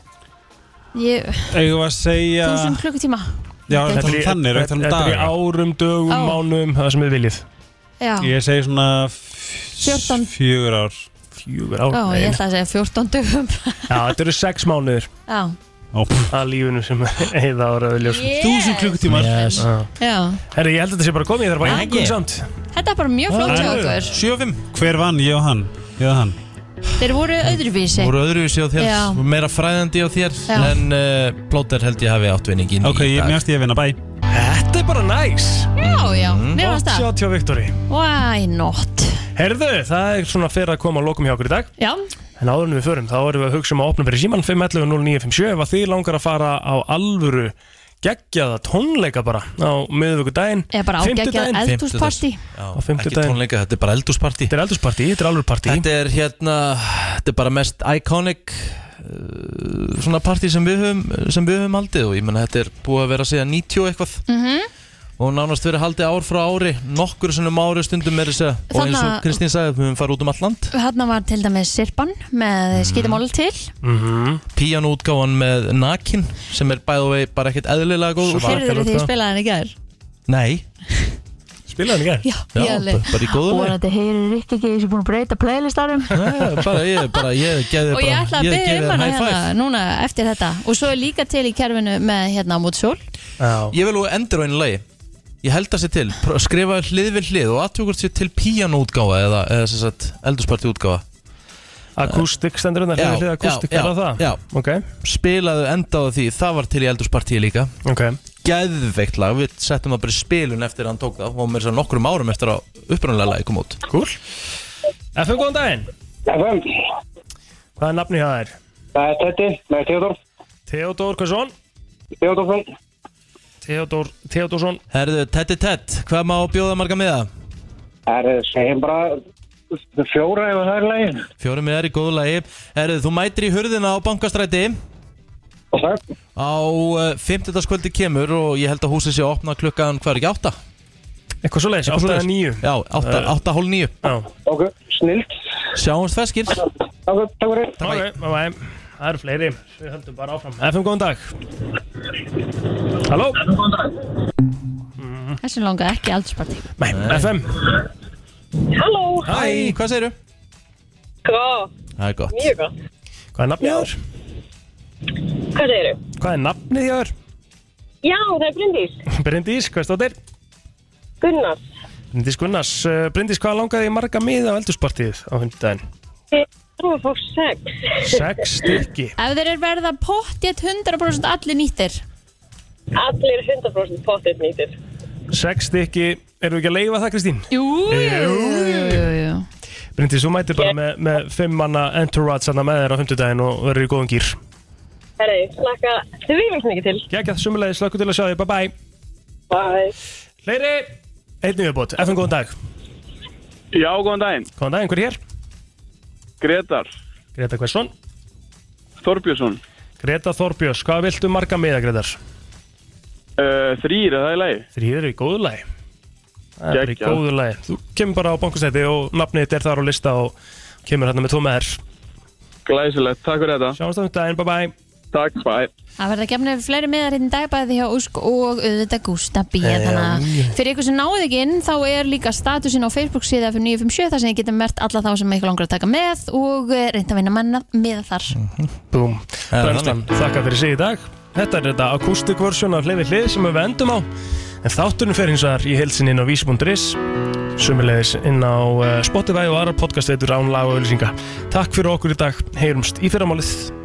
S4: Ég,
S3: Eigum við að segja
S4: þúsund klukkutíma
S3: Já, erum við að tala um þannig, erum við að tala um
S5: Þetta er í
S3: daga?
S5: árum, dögum,
S4: Á.
S5: mánuðum, það sem við viljið
S4: Já,
S3: Ég segi svona
S4: 14
S3: Fjögur ár
S5: Fjögur
S4: Já,
S5: ár,
S4: ég
S5: nei.
S4: ætla að segja 14 dögum
S5: Já, þetta eru sex mánuðir
S4: Já,
S5: að lífinu sem eyða á rauðu ljósi
S4: Yes. 1000
S5: klukkutímar yes.
S4: já
S5: Herri, ég held að þetta sé bara komið, ég þarf bara
S4: Já.
S5: að engum samt
S4: Þetta er bara mjög flott hjá okkur
S1: 7-5
S3: Hver vann, ég og hann? Ég og hann
S4: Þeir voru öðruvísi
S1: Úr öðruvísi á þér,
S4: Já.
S1: meira fræðandi á þér
S4: Já.
S1: En uh, Plóter held ég hafi áttvinningin
S3: Ok, ég mjögst ég að vinna bæ
S5: Þetta er bara næs
S4: Já, já,
S1: Mhm.
S4: mér varst
S5: Gott
S4: það
S5: shot hjá Viktori
S4: Why not?
S5: Herðu, það er svona fyrir að koma að lokum hjá okkur í dag
S4: Já,
S5: En áður en við förum, þá erum við að hugsa um að opna fyrir síman 511-0957 ef að þið langar að fara á alvöru geggjaða tónleika bara á miðvíkudaginn
S4: Eða bara á geggjað eldhúspartí.
S5: á
S1: Ekki
S5: fimmtudaginn
S1: tónleika, þetta er bara eldúsparti
S5: Þetta er eldurspartí, þetta er alveg partí
S1: Þetta er hérna, þetta er bara mest iconic uh, Svona partí sem við höfum, sem við höfum haldið Og ég menna þetta er búið að vera síðan 90 eitthvað
S4: mhm
S1: Og nánast verið haldið ár frá ári Nokkur sinnum á ári stundum er þess að Og eins og
S4: Þarna-
S1: Kristín sagði, við höfum farið út um all land
S4: Hanna var til dæmis Sirpan
S1: Mhm.
S4: með skítamál til
S1: mm
S5: Mhm.
S1: -hmm. Píanútgáfan með Nakin Sem er bæðið bara ekkert eðlilega góð
S4: Heyrður því spilaði hann í gær
S1: Nei
S5: spilaði hann í gær
S1: Já, bara bara í góðu leik
S4: Vorandi heyrir Rikki ekki sem er búin að breyta playlistarum
S1: Já, bara ég, bara ég geði
S4: Og ég
S1: bara,
S4: ætla að
S1: gefi
S4: byrja um
S1: þér
S4: hana
S1: high five.
S4: hérna núna eftir þetta Og svo er líka til í kerfinu með hérna á mót sól
S1: Ég vil og endur á einu lagi Ég held að sér til, pr- skrifa hlið við hlið og aðtökur sér til píanóutgáfa eða, eða sem sagt eldursparti útgáfa
S5: Akústik stendur hérna hlið við hlið akústik, er það það?
S1: Já,
S5: okay.
S1: spilaðu enda á því, það var til í eldurspartíi líka
S5: okay.
S1: Gæðveikt lag, við settum það bara í spilun eftir að hann tók það og mér svo nokkrum árum eftir að upprunalega lagi kom út
S5: Cool FM, góðan daginn
S14: FM
S5: Hvað er nafni hjá þér?
S14: Það er Teddy, með Theodor
S5: Theodor Hversson
S14: Theodor Fenn
S5: Theodor Theodorsson
S1: Herðu, Teddy Ted, hvað má bjóða marga miða?
S14: Það er, segjum bara fjóra ef það er lægin
S1: Fjórum miðar í góðu lagi Herðu, þú mætir í hurðina á bankastræti
S14: okay.
S1: Á uh, 50. kemur og ég held að húsið sé að opna klukkan hvað er ekki átta?
S5: Eitthvað svo leiðis, átta eða níu
S1: Já, átta,
S5: Eh.
S1: átta hólf níu
S14: Ok, snilt
S1: Sjáumst feskir
S14: Takk fyrir
S5: Ok, bye bye Það eru fleiri, við höldum bara áfram FM, góðan dag Halló
S4: Þessum langar ekki aldursparti
S5: Nei, FM
S16: Halló
S1: Hæ, hvað segirðu?
S16: Góð,
S1: Það er gott
S16: mjög góð
S5: Hvað er nafnið hjá þér?
S16: Hvað segirðu?
S5: Hvað er nafnið hjá þér?
S16: Já, það er Bryndís
S5: Bryndís, hvað stóttir?
S16: Gunnar
S5: Bryndís Gunnars Eh, Bryndís, hvað langaði í marga miða á eldursportið á 50 daginn?
S16: Þú er fór sex
S5: Sex stykki
S4: Ef þeir eru verða pottjett 100% allir nýttir
S16: Allir 100% potið nýtir
S5: Sex stykki, erum við ekki að leifa það, Kristín?
S4: Jú,
S5: jú,
S4: jú, jú.
S5: Bryndís, þú mætir bara með, með fimm manna entourage hana með þér á 50 daginn og verður í góðum gýr
S16: Herri, slaka því vilt mikið til
S5: Gægjað, sumulegði, slökku til að sjá þig, bye bye
S16: Bye
S5: Fleiri Einnig viðbót, FN góðan dag
S17: Já, góðan daginn
S5: Góðan daginn, hver er hér?
S17: Gretar
S5: Greta Hversson
S17: Þorbjörnsson
S5: Greta Þorbjörns, hvað viltu marga miða, Gretar?
S17: uh, Þrýr, er það í lagi?
S5: Þrýr er í góðu lagi Það er bara í
S17: Geggjað.
S5: góðu lagi Þú kemur bara á bankastæti og nafnið þitt er þar á lista og kemur hérna með tvo með þér
S17: Glæsilegt, takk fyrir þetta
S5: Sjáumst á þetta daginn, bye bye
S17: Takk, bye
S4: Það verða gefnir fleiri miðar hérna í dag bæði hjá Úsk og auðvitað Gústa B
S5: Ehm.
S4: Þannig að fyrir ykkur sem náðu ekki inn þá er líka statusin á Facebook síða fyrir 957 þar sem ég getum mert alla þá sem ykkur langar að taka með og eh, reynt að vinna manna miða þar
S5: Mhm. Búm, brennslan, þakka fyrir sig í dag Þetta er þetta acoustic version af hliði hlið sem við endum á En þátturinn fer hins vegar í heilsin inn á vís.is Sumulegis inn á eh, Spotify og aðra podcastveitur án laga og auðlýsinga Takk fyrir okkur í dag, heyrumst í fyrramálið